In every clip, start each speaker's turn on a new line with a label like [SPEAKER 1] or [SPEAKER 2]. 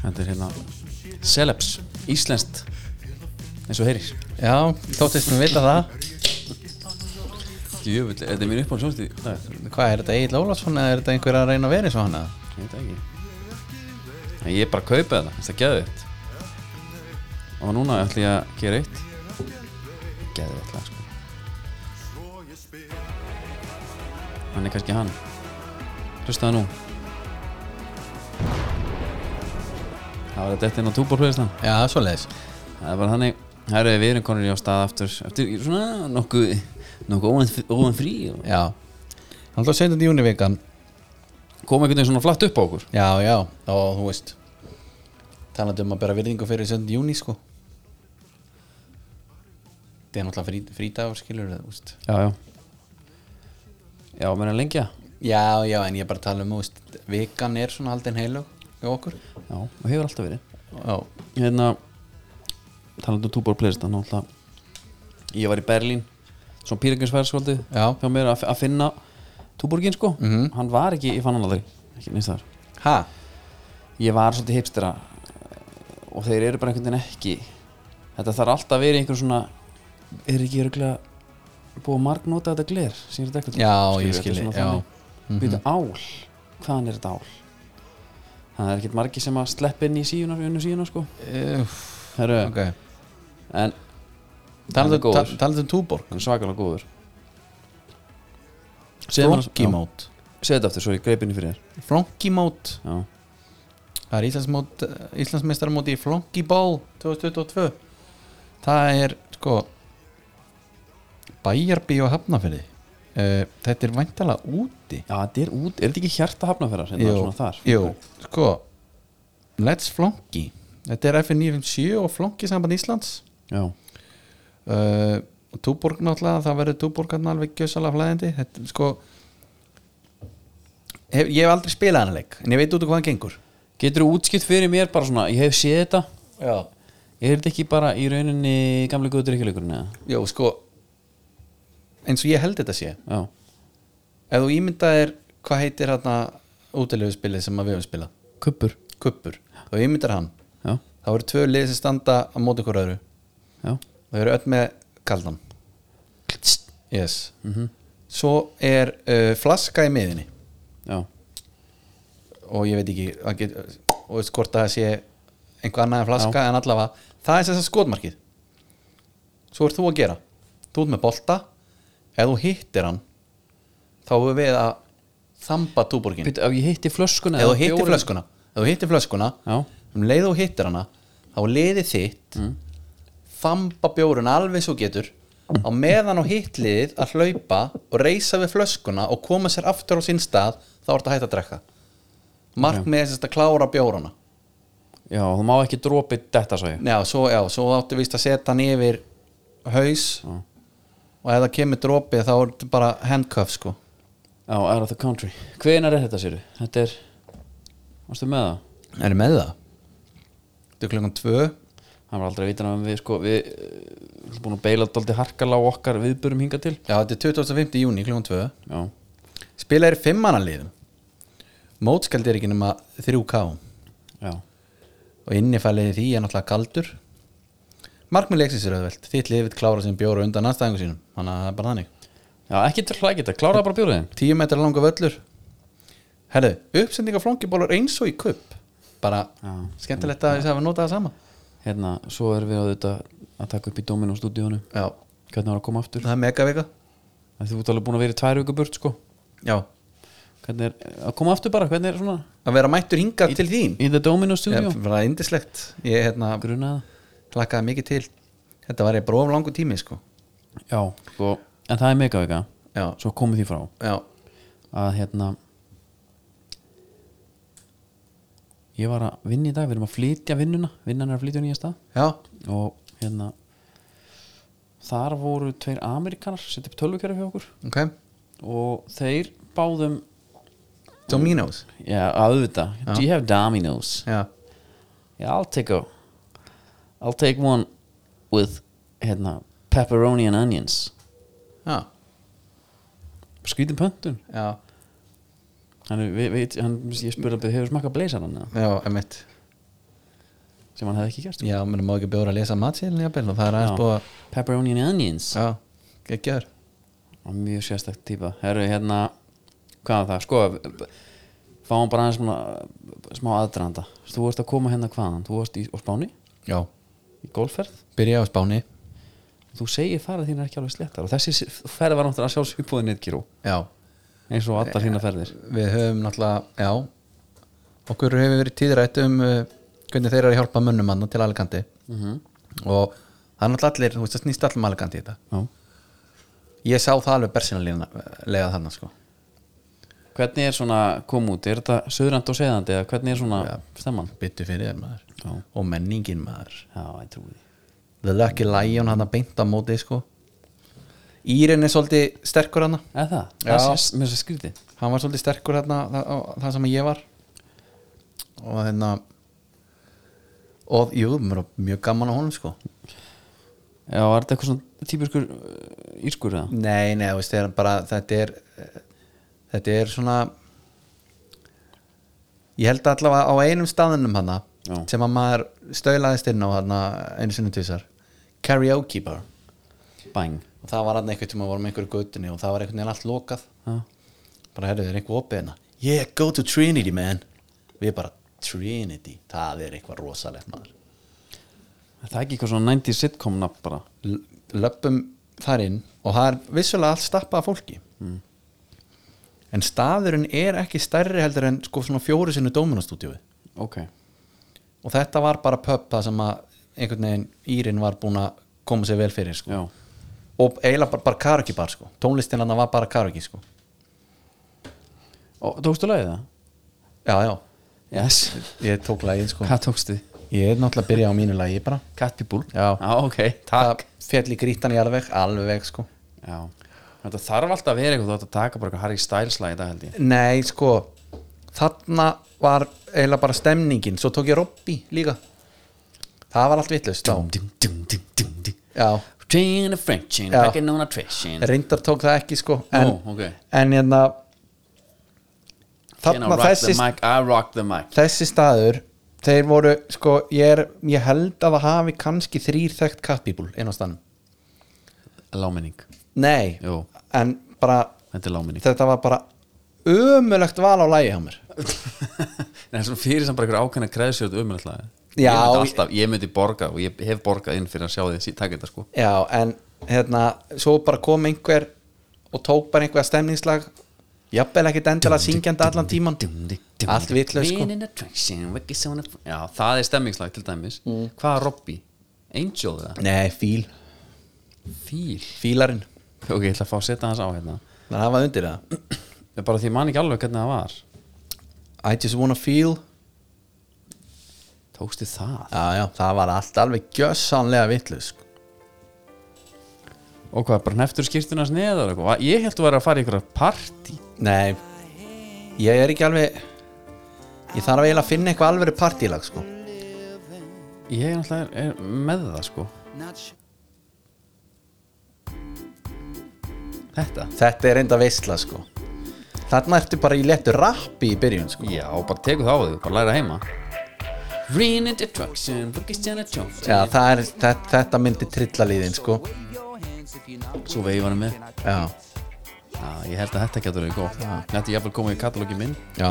[SPEAKER 1] Þetta er hérna Celebs, Íslenskt eins og heyrir
[SPEAKER 2] Já, þóttist mér vita það
[SPEAKER 1] Jöfull, þetta er mín uppáhald sjónstíð Ég
[SPEAKER 2] Hvað, er þetta Egil Ólafsson eða er þetta einhver að reyna að vera eins og hann eða?
[SPEAKER 1] veit það ekki En Ég er bara að kaupa þetta, þetta er geðvitt Og núna ætlum ég að gera eitt Geðvitt lag sko Hann er kannski hann Hlusta það nú Það var þetta inn á túbórflöðisna
[SPEAKER 2] Já, svoleiðis
[SPEAKER 1] Það er bara þannig Herru, við erum konur í á stað aftur Eftir svona nokkuð Nokkuð óan frí og
[SPEAKER 2] Já Alltaf 17. júni um vikan
[SPEAKER 1] Kom einhvern veginn svona flatt upp á okkur
[SPEAKER 2] Já, já, og þú veist Talandi um að bera virðingu fyrir 17. júni sko Þetta er náttúrulega frí, frídagur skilur það, veist
[SPEAKER 1] Já, já Já, menn að lengja
[SPEAKER 2] Já, já, en ég er bara að tala um, þú veist Vikan er svona haldin heilug hjá okkur
[SPEAKER 1] Já, og hefur alltaf verið
[SPEAKER 2] Já,
[SPEAKER 1] Hérna Talandi um túbor playlista Náttúrulega Ég var í Berlín Svona píringarsfæra svolítið
[SPEAKER 2] Já.
[SPEAKER 1] Hjá mér að, að finna Túborgin sko
[SPEAKER 2] Mhm.
[SPEAKER 1] Hann var ekki Ég fann hann aldrei Ekki neins þar
[SPEAKER 2] ha,
[SPEAKER 1] Ég var svolítið hipstera eh, Og þeir eru bara einhvern veginn ekki Þetta þarf alltaf að vera í einhver svona Er ekki örgulega Búið að margnóta þetta gler Sýnir þetta eitthvað
[SPEAKER 2] Já,
[SPEAKER 1] Skilurðu,
[SPEAKER 2] ég
[SPEAKER 1] þetta er
[SPEAKER 2] skil,
[SPEAKER 1] svona
[SPEAKER 2] já. Mhm.
[SPEAKER 1] þannig. Býta ál, hvaðan er þetta ál? Það er ekkert margir sem að sleppa inn í síðuna Unnu síðuna sko
[SPEAKER 2] uff,
[SPEAKER 1] Heru,
[SPEAKER 2] ok
[SPEAKER 1] En
[SPEAKER 2] Talandi
[SPEAKER 1] er góður.
[SPEAKER 2] ta- talandi um túborg
[SPEAKER 1] hann er svakalega góður Segðu mér- já,
[SPEAKER 2] Flonkimót
[SPEAKER 1] Segðu þetta aftur, sorry, greipinni fyrir þér
[SPEAKER 2] Flonkimót
[SPEAKER 1] já.
[SPEAKER 2] Það er Íslandsmót, Íslandsmeistarmót í Flonkiból 2022 Það er sko Bæjarbíu og hafnafyrði uh, Þetta er væntalega úti
[SPEAKER 1] já, þetta er út, er þetta ekki hjarta hafnaferðar? Þetta er svona þar
[SPEAKER 2] jú, sko Let's Flonki Þetta er FN957 og Flonki samband Íslands
[SPEAKER 1] Já,
[SPEAKER 2] uh, og Túborg náttúrulega það verður Túborg hann alveg gjössalega flæðindi þetta er sko hef, ég hef aldrei spilað hann leik en ég veit út af hvað hann gengur
[SPEAKER 1] Getur þú útskipt fyrir mér bara svona, ég hef séð þetta
[SPEAKER 2] já,
[SPEAKER 1] Er þetta ekki bara í rauninni gamli góður drikkilegurinn eða?
[SPEAKER 2] já sko eins og ég held þetta sé
[SPEAKER 1] Já,
[SPEAKER 2] ef þú ímyndaðir hvað heitir hann útilegspilið sem að við höfum spilað
[SPEAKER 1] kuppur
[SPEAKER 2] kuppur, þá ímyndar hann
[SPEAKER 1] Já,
[SPEAKER 2] þá eru tvö lið sem standa á móti hver öðru
[SPEAKER 1] já,
[SPEAKER 2] það eru öll með kaldan yes svo er uh, flaska í miðinni
[SPEAKER 1] já
[SPEAKER 2] og ég veit ekki það get, og veist hvort það sé einhver annað en flaska en allavega það er þess að skotmarkið svo ert þú að gera þú ert með bolta ef þú hittir hann þá er við að þamba túborgin
[SPEAKER 1] Býttu, ef ég hitti flöskuna
[SPEAKER 2] ef þú
[SPEAKER 1] eða
[SPEAKER 2] hittir
[SPEAKER 1] bjórinn-
[SPEAKER 2] flöskuna ef þú hittir flöskuna
[SPEAKER 1] Já.
[SPEAKER 2] um leið og þú hittir hana þá er liðið þitt þamba bjórun alveg svo getur á meðan á hittliðið að hlaupa og reysa við flöskuna og koma sér aftur á sinn stað þá er þetta hægt að drekka markmið er þess að klára bjóruna
[SPEAKER 1] Já, þú má ekki dropi þetta svo ég
[SPEAKER 2] já, svo, já, svo áttu víst að setja hann yfir haus og ef það kemur dropið þá er þetta bara handcuff sko
[SPEAKER 1] Já, out of the country Hvenær er þetta séru? Þetta er Varstu með það?
[SPEAKER 2] er með það? þetta er klukkan tvö
[SPEAKER 1] Hann var aldrei að vita um við sko Við erum búin að beila dálítið harkala á okkar viðburum hinga til
[SPEAKER 2] já, þetta er 25. júni klukkan tvö
[SPEAKER 1] Já,
[SPEAKER 2] spila er fimmannanliðum mótskald er ekki nema 3K
[SPEAKER 1] já,
[SPEAKER 2] og innifælið í því er náttúrulega kaldur markmið leiksins er auðvelt þitt lið vill klára sem bjóra undan aðstæðingu sínum þannig að það er bara þannig
[SPEAKER 1] já ekki til hlækja þetta Kláraði bara bjóriðin
[SPEAKER 2] 10 metrar langa völlur herðu, uppsendinga flóngibólur eins og í kupp bara
[SPEAKER 1] Já.
[SPEAKER 2] skemmtilegt að þess að hafa notað það sama
[SPEAKER 1] Hérna, svo erum við á þetta Að taka upp í dóminu á stúdíónu
[SPEAKER 2] já,
[SPEAKER 1] Hvernig var að koma aftur?
[SPEAKER 2] það er megavika
[SPEAKER 1] Það þú ert alveg búin að vera í tvær viku burt sko
[SPEAKER 2] já,
[SPEAKER 1] Hvernig er Að koma aftur bara, hvernig er svona
[SPEAKER 2] að vera mættur hingað til þín
[SPEAKER 1] Í the Domino
[SPEAKER 2] Já,
[SPEAKER 1] studio
[SPEAKER 2] bara indislegt ég hérna,
[SPEAKER 1] Grunaða
[SPEAKER 2] hlakkaði mikið til þetta var ég bróf langu tími sko
[SPEAKER 1] Já, sko En það er megavika
[SPEAKER 2] já,
[SPEAKER 1] Svo komið því frá
[SPEAKER 2] já,
[SPEAKER 1] að hérna ég var að vinna í dag við erum að flytja vinnuna, vinnan er að flytja á nýja stað
[SPEAKER 2] já,
[SPEAKER 1] og hérna þar voru tveir amerikanar setja upp tölvukerfi hjá okkur
[SPEAKER 2] ok
[SPEAKER 1] og þeir báðum
[SPEAKER 2] Domino's
[SPEAKER 1] já, auðvita, do you have Domino's?
[SPEAKER 2] Já,
[SPEAKER 1] Yeah, I'll take a I'll take one with hérna, pepperoni and onions
[SPEAKER 2] já,
[SPEAKER 1] skrítin pöntun
[SPEAKER 2] já,
[SPEAKER 1] hann, er- við- við- hann, ég spurði að hefur smakka bleysan hann eða?
[SPEAKER 2] já, emitt
[SPEAKER 1] sem hann hefði ekki gert sko.
[SPEAKER 2] Já, menn má ekki bjóra að lesa matseðilin jafnvel og það er aðeins
[SPEAKER 1] Já.
[SPEAKER 2] búið að
[SPEAKER 1] Pepperoni and Onions
[SPEAKER 2] Já, geggjör
[SPEAKER 1] og mjög sérstakt típa herru hérna, hvað er það sko, b- fáum bara aðeins smá, smá aðdraðanda þú varst að koma hérna hvaðan, þú varst í, á Spáni
[SPEAKER 2] Já,
[SPEAKER 1] í golfferð,
[SPEAKER 2] byrja á Spáni
[SPEAKER 1] þú segir farið þín er ekki alveg sléttar og þessi s- ferð var náttúrulega sjálfsvíkbúðin nýttgíró,
[SPEAKER 2] Já,
[SPEAKER 1] eins og allar þína ferðir
[SPEAKER 2] við höfum náttúrulega Já, okkur hefur verið tíðrætt um uh, hvernig þeir eru að hjálpa mönnum hann til Alicante -hmm. og það er náttúrulega allir, þú veist það snýst allir um Alicante í þetta
[SPEAKER 1] Já.
[SPEAKER 2] Ég sá það alveg bersinalega þarna sko
[SPEAKER 1] hvernig er svona kom út, er þetta söðrand og seðandi eða hvernig er svona
[SPEAKER 2] Já.
[SPEAKER 1] stemman
[SPEAKER 2] Byttu fyrir þér maður
[SPEAKER 1] Já.
[SPEAKER 2] og menningin maður
[SPEAKER 1] já, ég trúi því
[SPEAKER 2] The Lucky Lion hann að beinta móti sko Írin er svolítið sterkur hann
[SPEAKER 1] eða það,
[SPEAKER 2] Já.
[SPEAKER 1] það er s- mér svo skrítið
[SPEAKER 2] hann var svolítið sterkur þarna það, á- það sem ég var og þarna og jú, mér var mjög gaman á honum sko
[SPEAKER 1] já, var þetta eitthvað svona típiskur uh, írskur eða?
[SPEAKER 2] nei, nei, þú veist, það er bara þetta er eh, þetta er svona ég held allavega á einum staðinum hana
[SPEAKER 1] Já.
[SPEAKER 2] sem að maður stöðlaðist inn á hana einu sinni tvisar karaoke bar
[SPEAKER 1] bang
[SPEAKER 2] og það var hann einhvern tíma vorum einhverju gautinni og það var einhvern veginn allt lokað
[SPEAKER 1] já.
[SPEAKER 2] bara herrðu, er einhver opið hérna yeah, go to Trinity man við bara, Trinity, það er eitthvað rosalegt maður
[SPEAKER 1] Er það er ekki eitthvað svona 90 sitcom nafn bara
[SPEAKER 2] L löpum þar inn og það er vissulega allt stappað af fólki en staðurinn er ekki stærri heldur en sko svona fjóru sinni Dóminastúdíói
[SPEAKER 1] ok,
[SPEAKER 2] og þetta var bara pub það sem að einhvern veginn Írin var búin að koma sér vel fyrir sko
[SPEAKER 1] já
[SPEAKER 2] og eiginlega bara, bara karaoke bar sko tónlistin hann var bara karaoke sko
[SPEAKER 1] og tókstu lagið það?
[SPEAKER 2] já, já,
[SPEAKER 1] yes,
[SPEAKER 2] ég tók lagið sko
[SPEAKER 1] hvað tókstu?
[SPEAKER 2] ég er náttúrulega að byrja á mínu lagi bara
[SPEAKER 1] Cat People
[SPEAKER 2] Já.
[SPEAKER 1] já ok,
[SPEAKER 2] Takk Fjall í grítan í alveg, alveg sko
[SPEAKER 1] já þetta þarf alltaf að vera eitthvað þú átt að taka bara eitthvað Harry Styles lagið það held ég
[SPEAKER 2] Nei, sko Þarna var eiginlega bara stemningin Svo tók ég Robby líka Það var allt vitlaust þá
[SPEAKER 1] dum, dum, dum, dum, dum.
[SPEAKER 2] Já,
[SPEAKER 1] Train a Frenchin,
[SPEAKER 2] Já.
[SPEAKER 1] back in on a Trishin
[SPEAKER 2] reyndar tók það ekki sko En,
[SPEAKER 1] Ó, ok.
[SPEAKER 2] en hérna
[SPEAKER 1] Can I
[SPEAKER 2] Þarna
[SPEAKER 1] rock
[SPEAKER 2] þessi,
[SPEAKER 1] the mic, I rock the mic
[SPEAKER 2] þessi staður Þeir voru, sko, ég, er, ég held að það hafi kannski þrýr þekkt kattbíbul inn á stanum
[SPEAKER 1] Láminning,
[SPEAKER 2] Nei,
[SPEAKER 1] Jú.
[SPEAKER 2] en bara
[SPEAKER 1] þetta er láminning
[SPEAKER 2] Þetta var bara ömulegt val á lægi hjá mér
[SPEAKER 1] Það er svona fyrir sem bara eitthvað ákveðna kreðsjóð umræðlega
[SPEAKER 2] Já.
[SPEAKER 1] ég, myndi alltaf, ég myndi borga og ég hef borgað inn fyrir að sjá því sí- taka þetta sko
[SPEAKER 2] Já, en hérna svo bara kom einhver og tók bara einhver stemningslag jafnvel ekkert endilega syngjandi allan tíman allt vitlaust sko
[SPEAKER 1] Train in a Trishin, back in on a Já, það er stemmingslag til dæmis Hvað er Robby? Angel það?
[SPEAKER 2] Nei, fíl,
[SPEAKER 1] Fíl
[SPEAKER 2] fílarinn
[SPEAKER 1] Ok, ég ætla að fá að setja hans á hérna
[SPEAKER 2] þannig að það var undir það
[SPEAKER 1] Ég Bara því ég man ekki alveg hvernig það var
[SPEAKER 2] I just wanna feel
[SPEAKER 1] Tókstu það?
[SPEAKER 2] Já, já, það var allt alveg gjössanlega vitlaust sko.
[SPEAKER 1] Og hvað, bara hneftur skýrtunas neðar og eitthvað? Ég held að vera að fara í einhverja partí
[SPEAKER 2] Nei, ég er ekki alveg ég þarf eiginlega að finna eitthvað alveg partílag sko
[SPEAKER 1] Ég er alltaf er, er með það sko Þetta?
[SPEAKER 2] Þetta er enda veistla sko Þarna ertu bara í lettu rappi í byrjun sko
[SPEAKER 1] Já, bara teku það á því, bara læra heima Rain and destruction, bookist and a jump
[SPEAKER 2] Já, það er, þetta, þetta myndi trilla líðin sko
[SPEAKER 1] Svo veifar hann með
[SPEAKER 2] Já
[SPEAKER 1] Já, ég held að þetta getur verið gott Þetta ég jafnvel komið í katalógi minn
[SPEAKER 2] Já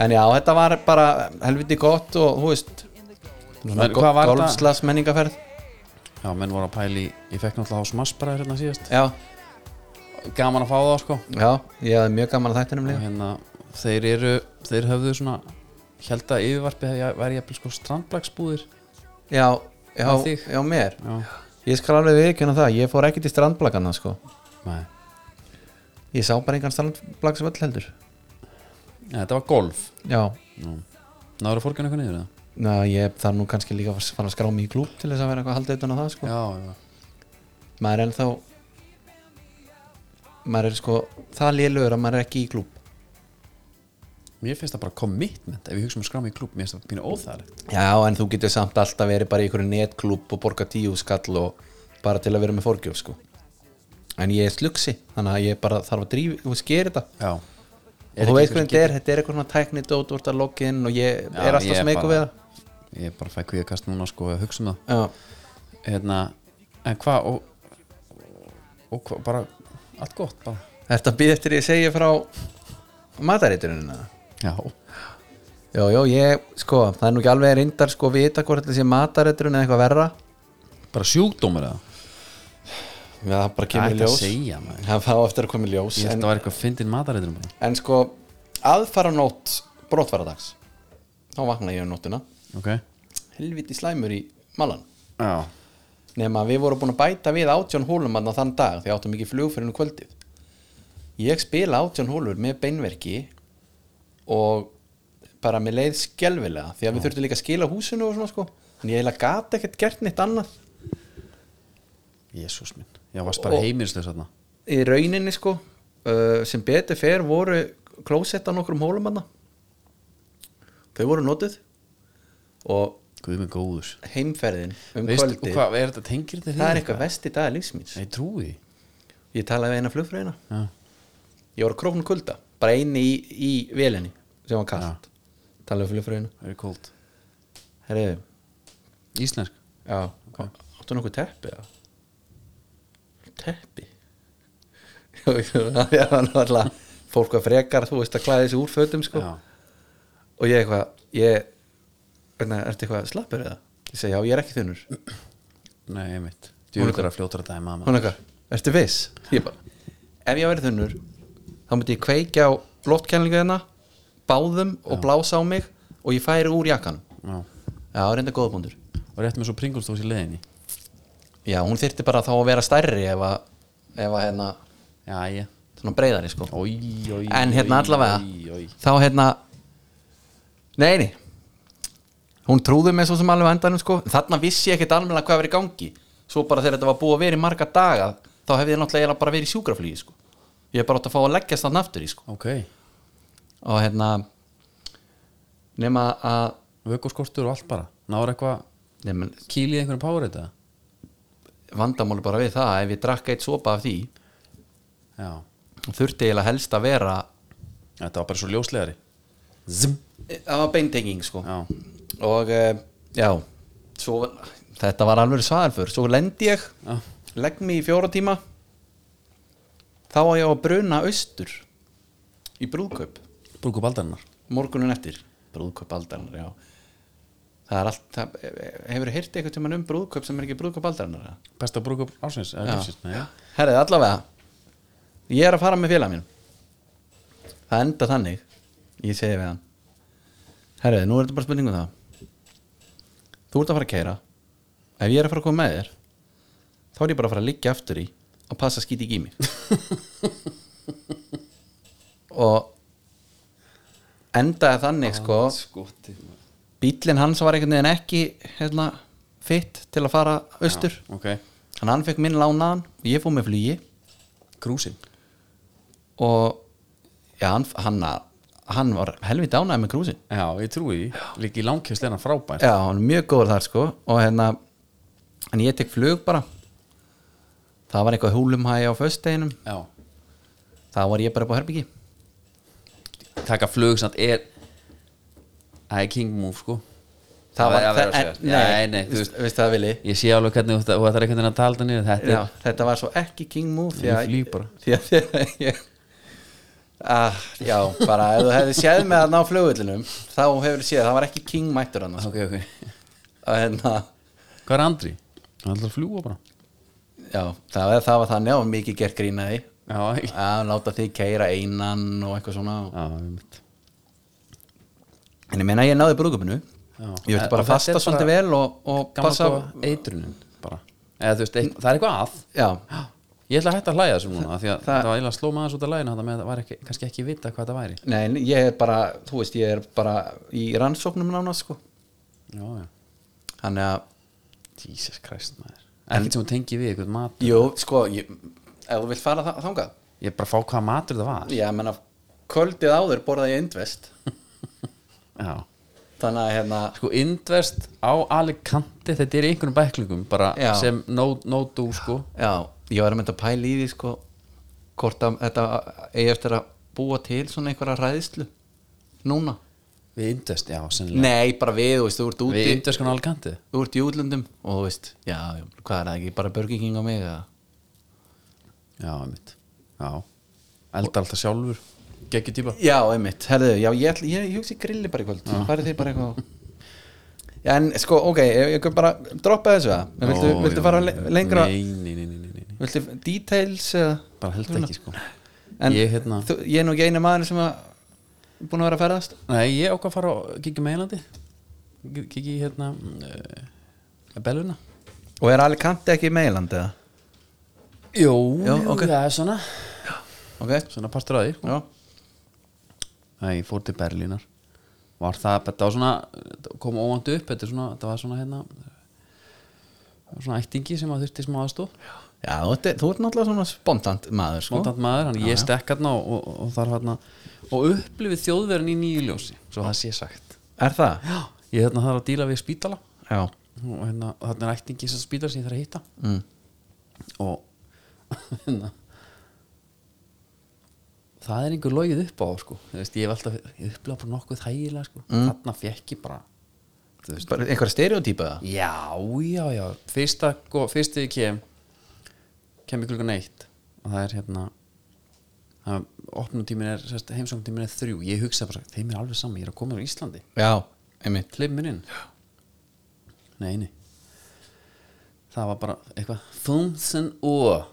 [SPEAKER 2] En já, þetta var bara helviti gott og þú veist svona
[SPEAKER 1] En
[SPEAKER 2] go-
[SPEAKER 1] hvað var það?
[SPEAKER 2] golfslas menningaferð
[SPEAKER 1] Já, menn voru að pæli, ég fekk náttúrulega á smassbræður hérna síðast
[SPEAKER 2] Já,
[SPEAKER 1] Gaman að fá það sko
[SPEAKER 2] já, ég hafði mjög gaman að þættinum
[SPEAKER 1] Og
[SPEAKER 2] líka
[SPEAKER 1] hérna, þeir eru, þeir höfðu svona Held að yfirvarpi hefði- væri jafnvel sko strandblagsbúðir
[SPEAKER 2] Já,
[SPEAKER 1] Og
[SPEAKER 2] já,
[SPEAKER 1] þig?
[SPEAKER 2] já, mér
[SPEAKER 1] Já,
[SPEAKER 2] Ég skal alveg viðkjöna það, ég fór ekki til strandblakana sko
[SPEAKER 1] nei,
[SPEAKER 2] Ég sá bara engan strandblaks völl heldur
[SPEAKER 1] Nei, þetta var golf
[SPEAKER 2] Já,
[SPEAKER 1] Náður að fórgjana eitthvað niður það?
[SPEAKER 2] na, ég þarf nú kannski líka að fara að skrá mig í klúb til þess að vera eitthvað haldið utan á það sko
[SPEAKER 1] Já, já
[SPEAKER 2] Maður er ennþá Maður er sko, það lélugur að maður er ekki í klúb
[SPEAKER 1] Mér finnst það bara commitment Ef ég hugsa um að skrá mig í klub, mér finnst það pínu óþægilegt
[SPEAKER 2] Já, en þú getur samt alltaf verið bara í einhverju netklúb og borga tíu skall og bara til að vera með forgjöf sko. En ég er slugsi, þannig að ég bara þarf að drífa, þú veist, gera þetta
[SPEAKER 1] Já
[SPEAKER 2] Og þú veist hvernig þetta er, þetta er eitthvað svona tæknidót úr þetta login og ég
[SPEAKER 1] Já,
[SPEAKER 2] er
[SPEAKER 1] ég
[SPEAKER 2] alltaf
[SPEAKER 1] er
[SPEAKER 2] smeyku
[SPEAKER 1] bara-
[SPEAKER 2] við það
[SPEAKER 1] ég bara fæ kvíðakast núna sko að hugsa um það
[SPEAKER 2] já,
[SPEAKER 1] hérna, en hvað og, og hva, bara allt gott bara
[SPEAKER 2] ertu að býða eftir ég segja frá matareiturinn eða?
[SPEAKER 1] já,
[SPEAKER 2] Jó, jó, ég, sko, það er nú ekki alveg reyndar sko vita hvort þetta sé matareiturinn eða eitthvað verra
[SPEAKER 1] bara sjúkdómur eða
[SPEAKER 2] Já, það bara
[SPEAKER 1] Það
[SPEAKER 2] kemur
[SPEAKER 1] er
[SPEAKER 2] í
[SPEAKER 1] þetta að
[SPEAKER 2] ljós
[SPEAKER 1] segja, maður.
[SPEAKER 2] Það fá eftir að koma í ljós
[SPEAKER 1] ég held að
[SPEAKER 2] en,
[SPEAKER 1] það var eitthvað fyndin matareitur bara
[SPEAKER 2] en sko, aðfara nótt brottvaradags þá vakna ég um nóttina
[SPEAKER 1] ok,
[SPEAKER 2] helviti slæmur í malan
[SPEAKER 1] já,
[SPEAKER 2] nema við vorum búin að bæta við átjón hólum aðna þann dag því áttum ekki flug fyrir hennu kvöldið ég spila átjón hólur með beinverki og bara með leið skelfilega því að við þurftum líka að skila húsinu og svona sko en ég heila gata ekkert gert neitt annað
[SPEAKER 1] jésús minn já, varst bara
[SPEAKER 2] Og-
[SPEAKER 1] heimilislaus þarna
[SPEAKER 2] í rauninni sko uh, sem betur fer voru klósett á nokkrum hólum hana þau voru notuð og
[SPEAKER 1] guð með góður
[SPEAKER 2] heimferðin um
[SPEAKER 1] Veist, og
[SPEAKER 2] kvöldið
[SPEAKER 1] hvað, er þetta tengir þetta
[SPEAKER 2] það er eitthvað vesti dag lífsmýns
[SPEAKER 1] ég trúi því.
[SPEAKER 2] ég talaði við eina flugfræðina
[SPEAKER 1] já,
[SPEAKER 2] ég var króknu kulda, bara eini í, í velinni sem var kallt talaði við flugfræðina
[SPEAKER 1] það er kóld
[SPEAKER 2] herriði,
[SPEAKER 1] íslensk,
[SPEAKER 2] já, áttu nokkuð teppi já? teppi já, hann var alltaf fólk var frekar, þú veist að klæði þessi úr fötum sko
[SPEAKER 1] já,
[SPEAKER 2] og ég eitthvað ég, hvernig, ertu eitthvað slappur eða? ég segi já, ég er ekki þunur
[SPEAKER 1] nei, einmitt djúður er að fljóta þetta í mamma
[SPEAKER 2] hún eitthvað, ertu viss? ég bara, ef ég væri þunur þá myndi ég kveikja á loftkjælingu hérna báðum og blása á mig og ég færi úr jakkanum
[SPEAKER 1] já.
[SPEAKER 2] já, reynda góðbundur
[SPEAKER 1] og rétt með svo pringulstós í leiðinni
[SPEAKER 2] já, hún þyrfti bara þá að vera stærri ef að, ef að hérna,
[SPEAKER 1] já, já
[SPEAKER 2] svona breyðari sko
[SPEAKER 1] Oj, oj,
[SPEAKER 2] en hérna
[SPEAKER 1] oj,
[SPEAKER 2] allavega
[SPEAKER 1] oj, oj.
[SPEAKER 2] þá hérna neini hún trúði mig svo sem alveg á endanum sko þarna vissi ég ekkert alveg hvað verið í gangi svo bara þegar þetta var búið að vera í marga daga þá hefði ég náttúrulega eiginlega bara verið í sjúkraflýgi sko ég hef bara átt að fá að leggjast þann aftur í sko
[SPEAKER 1] ok,
[SPEAKER 2] og hérna nema að
[SPEAKER 1] vökoskortur og allt bara náður eitthvað
[SPEAKER 2] nema,
[SPEAKER 1] kýlið einhverjum power þetta
[SPEAKER 2] vandamáli bara við það ef ég drakk eitt sopa af því
[SPEAKER 1] já,
[SPEAKER 2] þurfti eiginlega helst að vera
[SPEAKER 1] þetta var bara svo ljóslegari Zim.
[SPEAKER 2] það var beintenging sko
[SPEAKER 1] já,
[SPEAKER 2] og uh, já svo, þetta var alveg svar fyrr svo lendi ég,
[SPEAKER 1] Já.
[SPEAKER 2] legg mig í fjóra tíma þá á ég á að bruna austur í brúðkaup
[SPEAKER 1] brúku baldarinnar
[SPEAKER 2] morgunin eftir, brúðkaup aldarinnar já það er allt, það, hefur heyrt eitthvað tíma um brúðkaup sem er ekki brúðkaup aldarinnar eða?
[SPEAKER 1] besta brúku ásins eða lífsins, nei.
[SPEAKER 2] herrið allavega ég er að fara með félag mín það enda þannig ég segi við hann herrið, nú er þetta bara spurning um það þú ert að fara að keira ef ég er að fara að koma með þér þá er ég bara að fara að liggja aftur í og passa skíti ekki í mig og endaði þannig sko
[SPEAKER 1] skotið
[SPEAKER 2] bíllinn hans var einhvern veginn ekki hérna, fitt til að fara austur
[SPEAKER 1] ok,
[SPEAKER 2] Þannig að hann fekk minn lánaðan ég fór með flugi
[SPEAKER 1] krúsin
[SPEAKER 2] og já, hann, hann, hann var helviti ánægð með krúsin
[SPEAKER 1] já, ég trúi því líka í langkjöfsli hennar frábær
[SPEAKER 2] Já, hann er mjög góður þar sko og hérna, en ég tek flug bara það var eitthvað húlumhæði á föstudeginum
[SPEAKER 1] já,
[SPEAKER 2] þá var ég bara upp á herbyggi
[SPEAKER 1] taka flug samt er það er king move sko
[SPEAKER 2] það var,
[SPEAKER 1] er að vera að
[SPEAKER 2] en-
[SPEAKER 1] segja.
[SPEAKER 2] nei,
[SPEAKER 1] nei, nei, þú veist
[SPEAKER 2] veist það vilji
[SPEAKER 1] ég sé alveg hvernig þú þetta, þetta er einhvern veginn að tala þetta niður þetta
[SPEAKER 2] Já, þetta var svo ekki king move því
[SPEAKER 1] Ég
[SPEAKER 2] að-
[SPEAKER 1] flýg bara.
[SPEAKER 2] því að, því að ég, ah, já, bara ef þú hefði séð með að ná flugullinum þá hefur séð, það var ekki king mættur hann
[SPEAKER 1] er
[SPEAKER 2] sko.
[SPEAKER 1] ok, ok
[SPEAKER 2] og hérna
[SPEAKER 1] hvað er Andri? hann ætlar að fljúa bara
[SPEAKER 2] Já, það var, það var þannig og mikið gert grínaði
[SPEAKER 1] já, já,
[SPEAKER 2] að láta þig keira einan og eitthvað svona
[SPEAKER 1] einmitt.
[SPEAKER 2] en ég meina að ég náði brúðgöpinu
[SPEAKER 1] Já.
[SPEAKER 2] ég veit bara
[SPEAKER 1] Og þetta er
[SPEAKER 2] að fasta
[SPEAKER 1] bara
[SPEAKER 2] svolítið vel og, og
[SPEAKER 1] gamla
[SPEAKER 2] passa
[SPEAKER 1] góða eitrunin bara Eða, þú veist, eit, það er eitthvað að
[SPEAKER 2] já,
[SPEAKER 1] ég ætla að hætta að hlæja þessum núna af því að
[SPEAKER 2] Það-
[SPEAKER 1] það var eiginlega að sló maður út af lægina þannig að það var ekki, kannski ekki vita hvað það væri
[SPEAKER 2] nei, en ég er bara þú veist, ég er bara í rannsóknum nána sko,
[SPEAKER 1] já, já.
[SPEAKER 2] þannig að
[SPEAKER 1] Jesus Christ maður ekkert sem hún tengi við eitthvað mat
[SPEAKER 2] jú, sko, ég, ef þú vilt fara þa- þangað
[SPEAKER 1] ég bara fá hvaða matur það var
[SPEAKER 2] já, ég meina, kvöldið áður borðaði ég indvest
[SPEAKER 1] já.
[SPEAKER 2] þannig að hérna,
[SPEAKER 1] sko indvest á Alicante þetta er í einhvern bæklingum bara
[SPEAKER 2] Já.
[SPEAKER 1] sem no, no do sko
[SPEAKER 2] já, ég var að mynda að pæla í því sko, hvort að þetta eigi eftir að búa til svona einhverja ræðislu núna
[SPEAKER 1] Við indvest, já, sennilega
[SPEAKER 2] Nei, bara við, þú veist, þú ert
[SPEAKER 1] Við
[SPEAKER 2] úti
[SPEAKER 1] indvest konar algandi
[SPEAKER 2] Þú ert í útlöndum og þú veist, já, já, hvað er það ekki, bara Burger King á mig eða?
[SPEAKER 1] Já, einmitt Já, elda alltaf sjálfur Gekki típa
[SPEAKER 2] Já, einmitt, herðu, já, ég, ætl, ég, ég hugsi grilli bara í kvöld, farið þeir bara eitthvað Já, en sko, ok, ég, ég bara droppa þessu að, En viltu,
[SPEAKER 1] Ó,
[SPEAKER 2] viltu
[SPEAKER 1] já,
[SPEAKER 2] fara
[SPEAKER 1] já.
[SPEAKER 2] le lengra,
[SPEAKER 1] Nei, nei, nei, nei, nei, nei.
[SPEAKER 2] viltu details eða
[SPEAKER 1] Bara held ekki, sko
[SPEAKER 2] En
[SPEAKER 1] Ég, hérna-
[SPEAKER 2] þú, ég er nú ekki einu maður sem að búin að vera að ferðast
[SPEAKER 1] Nei, ég ákvað að fara og kikið með einlandi Kikið í hérna uh, Belluna
[SPEAKER 2] Og er Alicante ekki í meiland eða?
[SPEAKER 1] Jó,
[SPEAKER 2] Já,
[SPEAKER 1] jú,
[SPEAKER 2] ok.
[SPEAKER 1] það er svona
[SPEAKER 2] Ok,
[SPEAKER 1] Svona partur að því
[SPEAKER 2] já,
[SPEAKER 1] Nei, ég fór til Berlínar Var það, þetta var svona þetta kom óvænt upp, þetta, er svona, þetta var svona hérna svona ættingi sem að þurfti smá aðstóð
[SPEAKER 2] já þú, ert, þú ert náttúrulega svona spontant maður, sko
[SPEAKER 1] spontant maður, hann ég stekk hérna og, og, og þarf hérna og upplifið þjóðverðin í nýju ljósi svo það sé sagt
[SPEAKER 2] Er það?
[SPEAKER 1] Já, ég hérna þarf að díla við spítala
[SPEAKER 2] Já,
[SPEAKER 1] og hérna, þarna er ættingi sem spítala sem ég þarf að hitta
[SPEAKER 2] mm.
[SPEAKER 1] og hérna það er einhver logið upp á sko. Þú veist, ég hef alltaf, ég upplifa bara nokkuð þægilega sko. þarna fekk ég bara þú veist,
[SPEAKER 2] bara einhverja stereotypa eða?
[SPEAKER 1] Já, já, já Fyrsta, go- fyrst þegar ég kem kem ég klukkan eitt og það er hérna það- opnuntíminn er, heimsókntíminn er þrjú ég hugsa bara, þeim er alveg saman, ég er að koma úr Íslandi
[SPEAKER 2] Já, einmitt
[SPEAKER 1] hleyp mér inn Nei, nei Það var bara eitthvað 15 og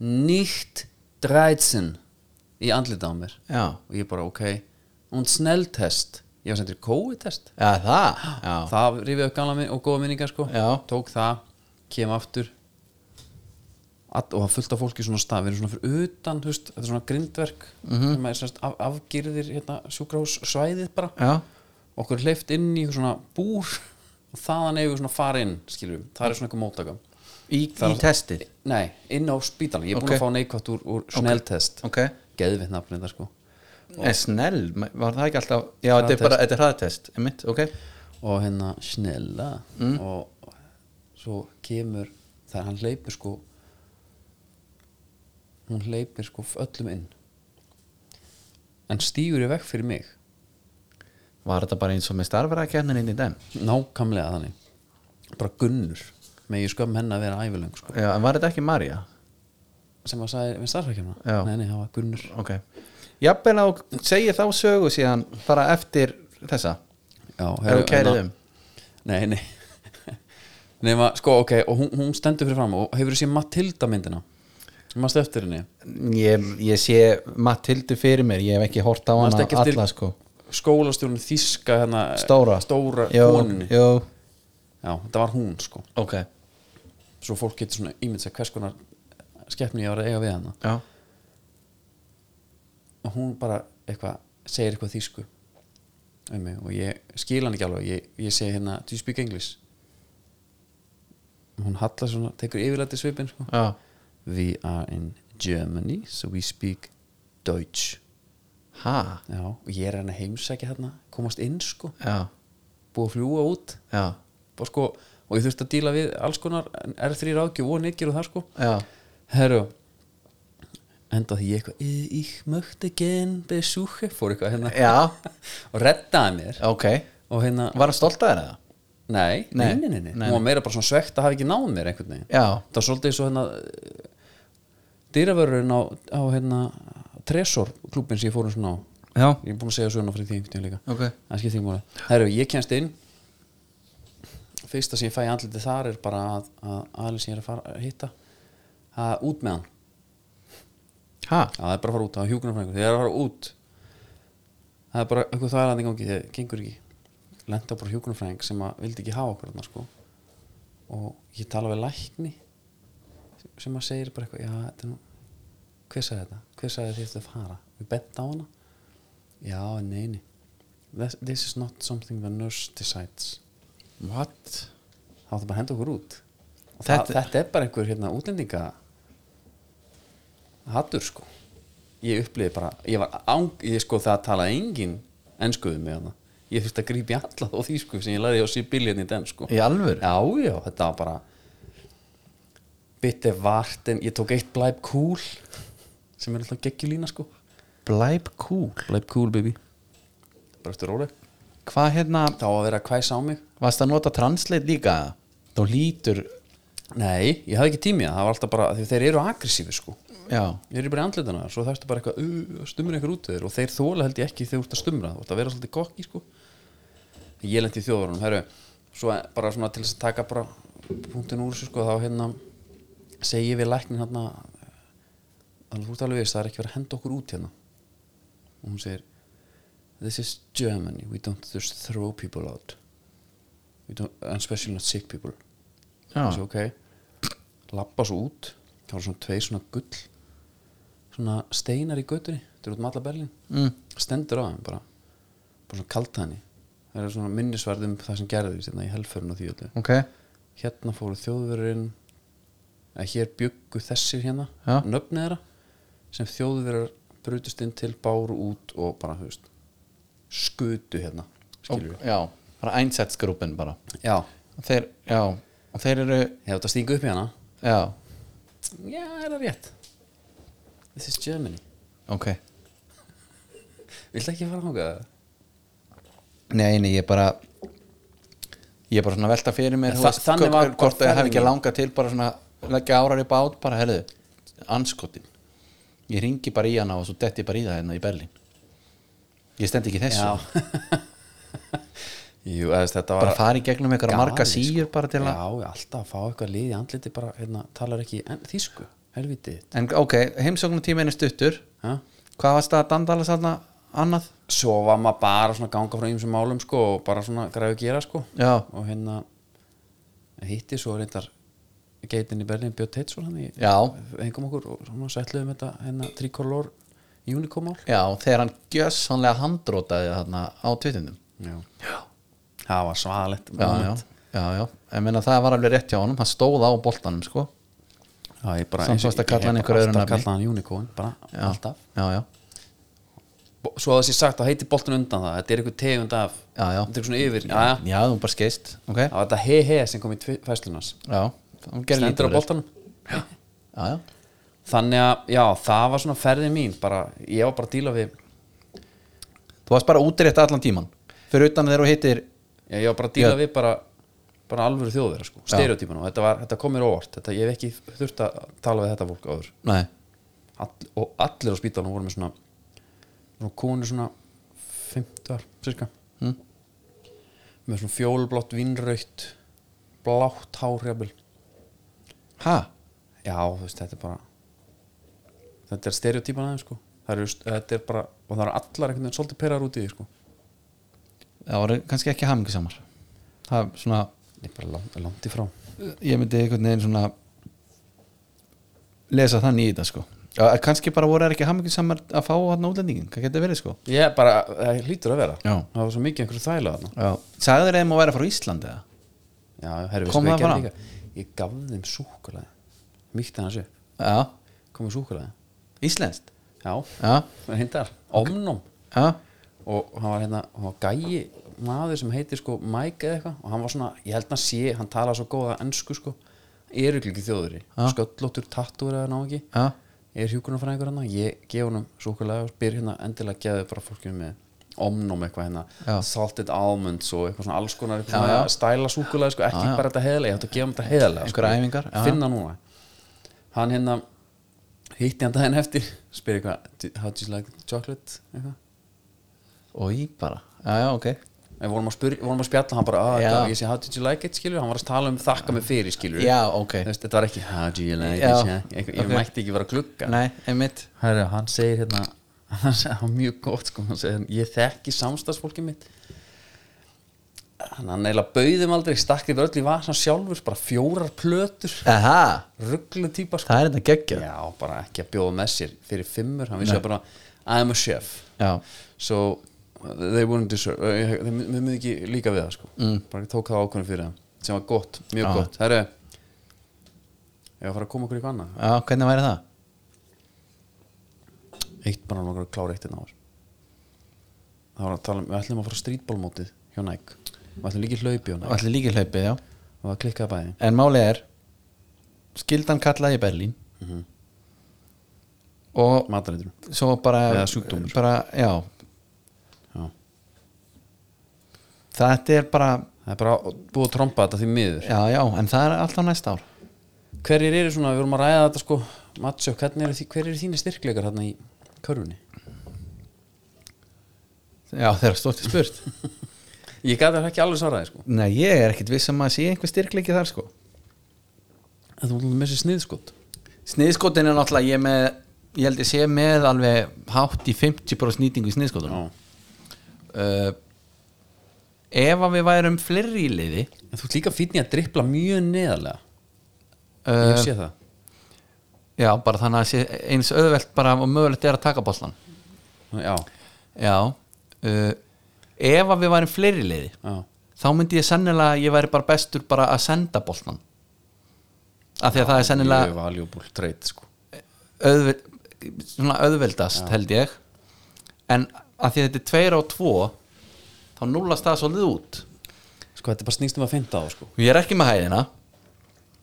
[SPEAKER 1] nýtt 13 í andlita á mér
[SPEAKER 2] Já,
[SPEAKER 1] og ég bara, ok, und snelltest ég var sendur COVID-test
[SPEAKER 2] já það Já,
[SPEAKER 1] það rifið upp gamla minn og góða minningar sko
[SPEAKER 2] Já.
[SPEAKER 1] tók það, kem aftur All, og það fullt af fólki svona stað við erum svona fyrir utan, þú veist, þetta er svona grindverk
[SPEAKER 2] Mhm.
[SPEAKER 1] sem er sérst af, afgirðir hérna, sjúkrahússvæðið bara
[SPEAKER 2] já,
[SPEAKER 1] okkur hleyft inn í svona búr og þaðan eigum við svona fara inn skiljum, það er svona eitthvað móttaka
[SPEAKER 2] í, í testið
[SPEAKER 1] nei, inn á spítalum, ég er búin
[SPEAKER 2] Ok.
[SPEAKER 1] að fá neikvætt úr, úr snelltest,
[SPEAKER 2] Ok,
[SPEAKER 1] geðvitt nafnir þetta sko
[SPEAKER 2] en snell, ma- var það ekki alltaf Já, þetta er
[SPEAKER 1] Hraðatest.
[SPEAKER 2] bara, þetta er hraðatest, einmitt, ok
[SPEAKER 1] og hérna snella og svo kemur það hann hleypir sko hún hleypir sko öllum inn en stígur í vekk fyrir mig
[SPEAKER 2] Var þetta bara eins og með starfverðakefnin inn í dem?
[SPEAKER 1] nákvæmlega þannig bara gunnur með ég skömm henni að vera ævilöng sko.
[SPEAKER 2] Já, en var þetta ekki Marja?
[SPEAKER 1] sem að sagði við starfækjumna
[SPEAKER 2] Já.
[SPEAKER 1] nei, nei, það var gunnur
[SPEAKER 2] Ok Jafnvel á, segir þá sögu síðan bara eftir þessa
[SPEAKER 1] Já, hérna-
[SPEAKER 2] Ef þú kærið um
[SPEAKER 1] Nei, nei Nefna, sko, ok, og hún, hún stendur fyrir fram og hefur þú séð Matilda myndina Mást eftir henni
[SPEAKER 2] Ég, ég sé Matildu fyrir mér, ég hef ekki hort á
[SPEAKER 1] Manstu
[SPEAKER 2] hana
[SPEAKER 1] ekki eftir-
[SPEAKER 2] alla sko
[SPEAKER 1] Skólastjórn þíska hérna
[SPEAKER 2] Stóra
[SPEAKER 1] Stóra
[SPEAKER 2] Jó,
[SPEAKER 1] konunni
[SPEAKER 2] Jó,
[SPEAKER 1] Já, þetta var hún, sko
[SPEAKER 2] ok
[SPEAKER 1] Svo fólk getur svona ímynd sér hvers konar skeppni ég var að eiga við hana
[SPEAKER 2] Já,
[SPEAKER 1] og hún bara eitthvað, segir eitthvað þýsku um mig og ég skil hann ekki alveg ég, ég segi hérna, do you speak English? Hún hallar svona, tekur yfirlæti svipin sko.
[SPEAKER 2] já
[SPEAKER 1] We are in Germany so we speak Deutsch
[SPEAKER 2] Ha,
[SPEAKER 1] Já, og ég er hann að heimsækja hérna komast inn sko,
[SPEAKER 2] já,
[SPEAKER 1] búið að fljúa út
[SPEAKER 2] já,
[SPEAKER 1] og sko, og ég þurfti að díla við alls konar R3 ráðgjöf og nýtgjur og það sko
[SPEAKER 2] já
[SPEAKER 1] Herru endaði ég eitthvað "Eh, Ich möchte gen besuche fór eitthvað hérna
[SPEAKER 2] Já,
[SPEAKER 1] og reddaði mér
[SPEAKER 2] ok
[SPEAKER 1] og hérna,
[SPEAKER 2] Var hann stolt að það?
[SPEAKER 1] nei, nei,
[SPEAKER 2] Nei,
[SPEAKER 1] nei, nei, nei.
[SPEAKER 2] nei.
[SPEAKER 1] hún var meira bara svona svegt að hafa ekki náð mér einhvern veginn
[SPEAKER 2] Já,
[SPEAKER 1] það var svolítið svo hérna dýravörurinn á, á hérna Tresor klubin sem ég fórum svona á
[SPEAKER 2] já,
[SPEAKER 1] ég er búin að segja söguna frá því einhvern veginn líka
[SPEAKER 2] ok
[SPEAKER 1] það skiptir ekki máli herru, ég kemst inn fyrsta sem ég fæ í andlitið þar er bara að, að aðeins ég er að fara að hitta að út með hann
[SPEAKER 2] Ha,
[SPEAKER 1] Já, það er bara að fara út, það er hjúknarfræðingur Þið er að fara út Það er bara eitthvað það er að gangi, það gengur ekki Lenda bara hjúknarfræðing sem að vildi ekki hafa okkur þarna sko Og ég tala við lækni sem að segir bara eitthvað Já, þetta er nú Hver sagði þetta? Hver sagði þið þetta að fara? Við bent á hana Já, en neini this, this is not something the nurse decides
[SPEAKER 2] what?
[SPEAKER 1] Það átti bara að henda okkur út Og þetta, það,
[SPEAKER 2] Þetta-
[SPEAKER 1] þetta er bara einhver hérna útlendinga hattur sko ég upplýði bara ég var án, ég sko það að tala engin ennskuðu með hana ég þurfti að grípa í alla þá því sko sem ég lærði á Sibiljan í den sko
[SPEAKER 2] Í alvöru?
[SPEAKER 1] já já þetta var bara bitte vartin ég tók eitt blæp cool sem er alltaf geggjulína sko
[SPEAKER 2] Blæb kúl
[SPEAKER 1] blæp cool baby bara eftir róleg
[SPEAKER 2] hvað hérna,
[SPEAKER 1] þá að vera að kvæsa á mig
[SPEAKER 2] varst að nota translate líka þá lítur,
[SPEAKER 1] nei, ég hafði ekki tími í það, það var alltaf bara, því þeir eru agressífi sko
[SPEAKER 2] já
[SPEAKER 1] þeir eru bara í andlitana þar, svo þarfstu bara eitthvað uh, stumra eitthvað út af þér og þeir þóla held ég ekki þegar þú ert að stumra, þú ert að vera svolítið kokki sko ég lendi í þjóðvarunum, herru svo bara svona til þess að taka bara punktin úr þessu sko, þá hérna segi ég við læknin hérna alveg þú ert alveg veist, það er ekki verið að henda okkur út hérna og hún segir this is Germany, we don't just throw people out We don't, and especially not sick people
[SPEAKER 2] Já.
[SPEAKER 1] Svo, ok lappa svo út, þá eru svona tveir svona gull svona steinar í göttunni þetta er út um alla Berlín
[SPEAKER 2] mm.
[SPEAKER 1] stendur á þeim bara bara svona kalt hann það er svona minnisverð um það sem gerðist hérna í helförun og því öllu
[SPEAKER 2] ok,
[SPEAKER 1] hérna fóru þjóðverðurinn að hér byggu þessir hérna
[SPEAKER 2] Já.
[SPEAKER 1] nöfnið þeirra sem þjóðverðar brutust inn til báru út og bara þú veist skutu hérna
[SPEAKER 2] og,
[SPEAKER 1] skilur við
[SPEAKER 2] já bara einsatsgrúpin bara
[SPEAKER 1] já
[SPEAKER 2] og þeir, já, og þeir eru
[SPEAKER 1] hefur þetta stingu upp í hana
[SPEAKER 2] já,
[SPEAKER 1] já er það rétt this is Germany
[SPEAKER 2] ok
[SPEAKER 1] viltu ekki fara hangað
[SPEAKER 2] Nei, nei, ég bara ég er bara svona að velta fyrir mér
[SPEAKER 1] En
[SPEAKER 2] þú
[SPEAKER 1] þa- þannig var bara
[SPEAKER 2] hvort það hef
[SPEAKER 1] ferðin
[SPEAKER 2] ekki
[SPEAKER 1] mín.
[SPEAKER 2] langað til bara svona leggja árar í bát bara herðu, anskotin ég ringi bara í hana og svo detti ég bara í það hérna í Berlín ég stendi ekki í þessu,
[SPEAKER 1] jú eða þess, þetta var
[SPEAKER 2] bara fari gegnum einhverja marga
[SPEAKER 1] Galið, sko.
[SPEAKER 2] síur bara til að
[SPEAKER 1] já, já, alltaf að fá eitthvað lið í andliti bara, hérna, talar ekki en, þýsku, helviti
[SPEAKER 2] en ok, heimsóknutíminn er stuttur
[SPEAKER 1] ha?
[SPEAKER 2] hvað varst það að dandala sann annað?
[SPEAKER 1] svo var maður bara svona að ganga frá ýmsum málum sko, og bara svona græðu að gera sko.
[SPEAKER 2] Já,
[SPEAKER 1] og hérna hitti svo reyndar geitin í Berlín Björn Teitsson hann í
[SPEAKER 2] já,
[SPEAKER 1] engum okkur og svona sætluðum þetta hérna trikolor unikomál
[SPEAKER 2] já þegar hann gjössanlega handrótaði þarna á tvitundum
[SPEAKER 1] já. það var svaðalegt
[SPEAKER 2] já, já, já, já, ég meina það var alveg rétt hjá honum hann stóð á boltanum sko
[SPEAKER 1] Já, ég bara,
[SPEAKER 2] Samt
[SPEAKER 1] eins og-
[SPEAKER 2] varstu að
[SPEAKER 1] ég-
[SPEAKER 2] kalla hann
[SPEAKER 1] ég-
[SPEAKER 2] einhverju öðru
[SPEAKER 1] alltaf
[SPEAKER 2] nafni.
[SPEAKER 1] kalla hann unicorn, bara
[SPEAKER 2] já,
[SPEAKER 1] alltaf
[SPEAKER 2] já, já,
[SPEAKER 1] Bo- svo að þessi sagt að heiti boltin undan það þetta er eitthvað tegund af
[SPEAKER 2] Já, já.
[SPEAKER 1] þetta er svona yfir já, já.
[SPEAKER 2] já, þú bara skeist ok,
[SPEAKER 1] það var þetta he-he sem kom í tvi- fæslunars
[SPEAKER 2] já, hann gerir
[SPEAKER 1] stendur á
[SPEAKER 2] úr þessu.
[SPEAKER 1] boltanum
[SPEAKER 2] já, já,
[SPEAKER 1] þannig að já, það var svona ferðin mín bara, ég var bara að díla við
[SPEAKER 2] þú varst bara útrétt allan tíman fyrir utan þegar þú hittir
[SPEAKER 1] ég, ég var bara að díla við bara, bara alvöru þjóðverða sko, stereotypun og þetta, var, þetta kom mér óvart þetta, ég hef ekki þurft að tala við þetta fólk áður
[SPEAKER 2] nei,
[SPEAKER 1] All, og allir á spítalunum voru með svona, svona konu svona 50 ár, cirka
[SPEAKER 2] Mm.
[SPEAKER 1] með svona fjólblott, vinnraut blátt hárjafil
[SPEAKER 2] ha,
[SPEAKER 1] Já, þú veist, þetta er bara þetta er stereotypan aðeins sko það eru, þetta er bara, og það eru allar einhvern veginn svolítið perrar út í því sko
[SPEAKER 2] það voru kannski ekki hamingisamar það er svona
[SPEAKER 1] Ég er bara langt, langt í frá
[SPEAKER 2] ég myndi einhvern veginn svona lesa þannig í þetta sko Já, kannski bara voru þær ekki hamingisamar að fá hann útlendingin, hvað getur verið sko
[SPEAKER 1] Ég bara, það hlýtur að vera
[SPEAKER 2] Já.
[SPEAKER 1] Það var svo mikið einhverju þæla þarna
[SPEAKER 2] já, sagður þeim að vera frá Íslandi eða?
[SPEAKER 1] Já, herri,
[SPEAKER 2] Kom
[SPEAKER 1] veistu hvað
[SPEAKER 2] það fram?
[SPEAKER 1] ég gerði líka? Ég gaf þeim súkulega Mýkti hann sér,
[SPEAKER 2] já,
[SPEAKER 1] komið súkulega
[SPEAKER 2] íslenskt
[SPEAKER 1] Já,
[SPEAKER 2] já,
[SPEAKER 1] hindar, omnum
[SPEAKER 2] já,
[SPEAKER 1] og hann var hérna, hann var gæi maður sem heitir sko Mike eða eitthvað og hann var svona, ég held að sé, hann talaði svo góða ennsku sko, er ekki þjóðuri
[SPEAKER 2] Já.
[SPEAKER 1] sköllóttur tattúr eða ná ekki
[SPEAKER 2] já
[SPEAKER 1] er hjúkunarfræðingur hann ég gef honum súkulega og spyr hérna endilega geðu bara fólkinu með omnum eitthvað hérna,
[SPEAKER 2] Já.
[SPEAKER 1] salted almonds og eitthvað svona alls konar eitthvað
[SPEAKER 2] Já,
[SPEAKER 1] svona
[SPEAKER 2] já.
[SPEAKER 1] stæla súkulega, sko, ekki
[SPEAKER 2] Já, já.
[SPEAKER 1] bara þetta heðlega ég ætti að gefa hann þetta heðlega
[SPEAKER 2] Einhverjar æfingar, já, já.
[SPEAKER 1] finna núna hann hérna, hitti hann daginn eftir spyr eitthvað, "Do- how do you like chocolate eitthvað
[SPEAKER 2] og ég bara, já já ok
[SPEAKER 1] Við vorum, að spyrja, vorum að spjalla, hann bara "Ah,
[SPEAKER 2] Já.
[SPEAKER 1] þetta- ég sé how did you like it, skilur, hann var að tala um þakka mig fyrir, skilur
[SPEAKER 2] já ok,
[SPEAKER 1] Þú veist, þetta var ekki how do you like
[SPEAKER 2] Já.
[SPEAKER 1] it, yeah." Eitthvað- ég
[SPEAKER 2] Ok.
[SPEAKER 1] mætti ekki vera að glugga
[SPEAKER 2] nei, einmitt
[SPEAKER 1] Herra, hann segir hérna hann segir, hann var mjög gott sko, hann segir, ég þekki samstagsfólkið mitt hann hann eiginlega bauðum aldrei stakk yfir öll í vasan sjálfur bara fjórar plötur
[SPEAKER 2] aha,
[SPEAKER 1] rugglu típa sko.
[SPEAKER 2] það er þetta geggjað
[SPEAKER 1] já, bara ekki að bjóða með sér fyrir fimmur, hann vissi að bara I'm a chef
[SPEAKER 2] já,
[SPEAKER 1] so they wouldn't deserve uh, þeim þeim myndi ekki líka við það sko mm. bara tók það ákvörðin fyrir það sem var gott, mjög
[SPEAKER 2] Já.
[SPEAKER 1] gott herru ég var að fara að koma okkur í eitthvað annað
[SPEAKER 2] já, hvernig væri það
[SPEAKER 1] eitt bara langar að klára eitt einn áður það var að tala um, við ætlum að fara á strítbólmótið hjá Nike við ætlum líka í hlaupi hjá
[SPEAKER 2] og
[SPEAKER 1] Nike
[SPEAKER 2] allir líki hlaupið, já
[SPEAKER 1] og það klikkaði bæði
[SPEAKER 2] en málið er, skildan kallaði í Berlín og
[SPEAKER 1] matarítur
[SPEAKER 2] svo bara
[SPEAKER 1] Eða sjúkdómur.
[SPEAKER 2] bara, já,
[SPEAKER 1] já.
[SPEAKER 2] þetta er bara
[SPEAKER 1] það er bara búið að tromba þetta því miður
[SPEAKER 2] já, já, en það er alltaf næsta ár
[SPEAKER 1] hverjir eru svona, við vorum að ræða þetta sko Matsjó, hvernig eru því, hver eru þínu styrkleikar hérna í körfunni?
[SPEAKER 2] já, þeir eru stórt spurt
[SPEAKER 1] Ég gæti það ekki alveg svaraði sko
[SPEAKER 2] nei, ég er ekkit viss um að sé einhver styrkleiki þar sko
[SPEAKER 1] en þú múlum með sér sniðskot
[SPEAKER 2] sniðskotin er náttúrulega ég er með ég held ég sé með alveg hátt í 50% nýtingu í sniðskotunum uh, ef að við værum fleiri í liði
[SPEAKER 1] En þú ert líka fínni að drippla mjög neðarlega Ég
[SPEAKER 2] uh,
[SPEAKER 1] sé það
[SPEAKER 2] já, bara þannig að sé eins auðvelt bara og mögulegt er að taka bollan
[SPEAKER 1] Já,
[SPEAKER 2] já uh, ef að við værum fleiri í liði
[SPEAKER 1] já,
[SPEAKER 2] þá myndi ég sennilega að ég væri bara bestur bara að senda boltan af því að það er sennilega
[SPEAKER 1] mjög valuable trade sko
[SPEAKER 2] auðveld, svona auðveldast held ég en af því að þetta er tveir á tvo þá núlast það svolítið út
[SPEAKER 1] Sko þetta er bara snýstum að finna á sko
[SPEAKER 2] og ég er ekki með hæðina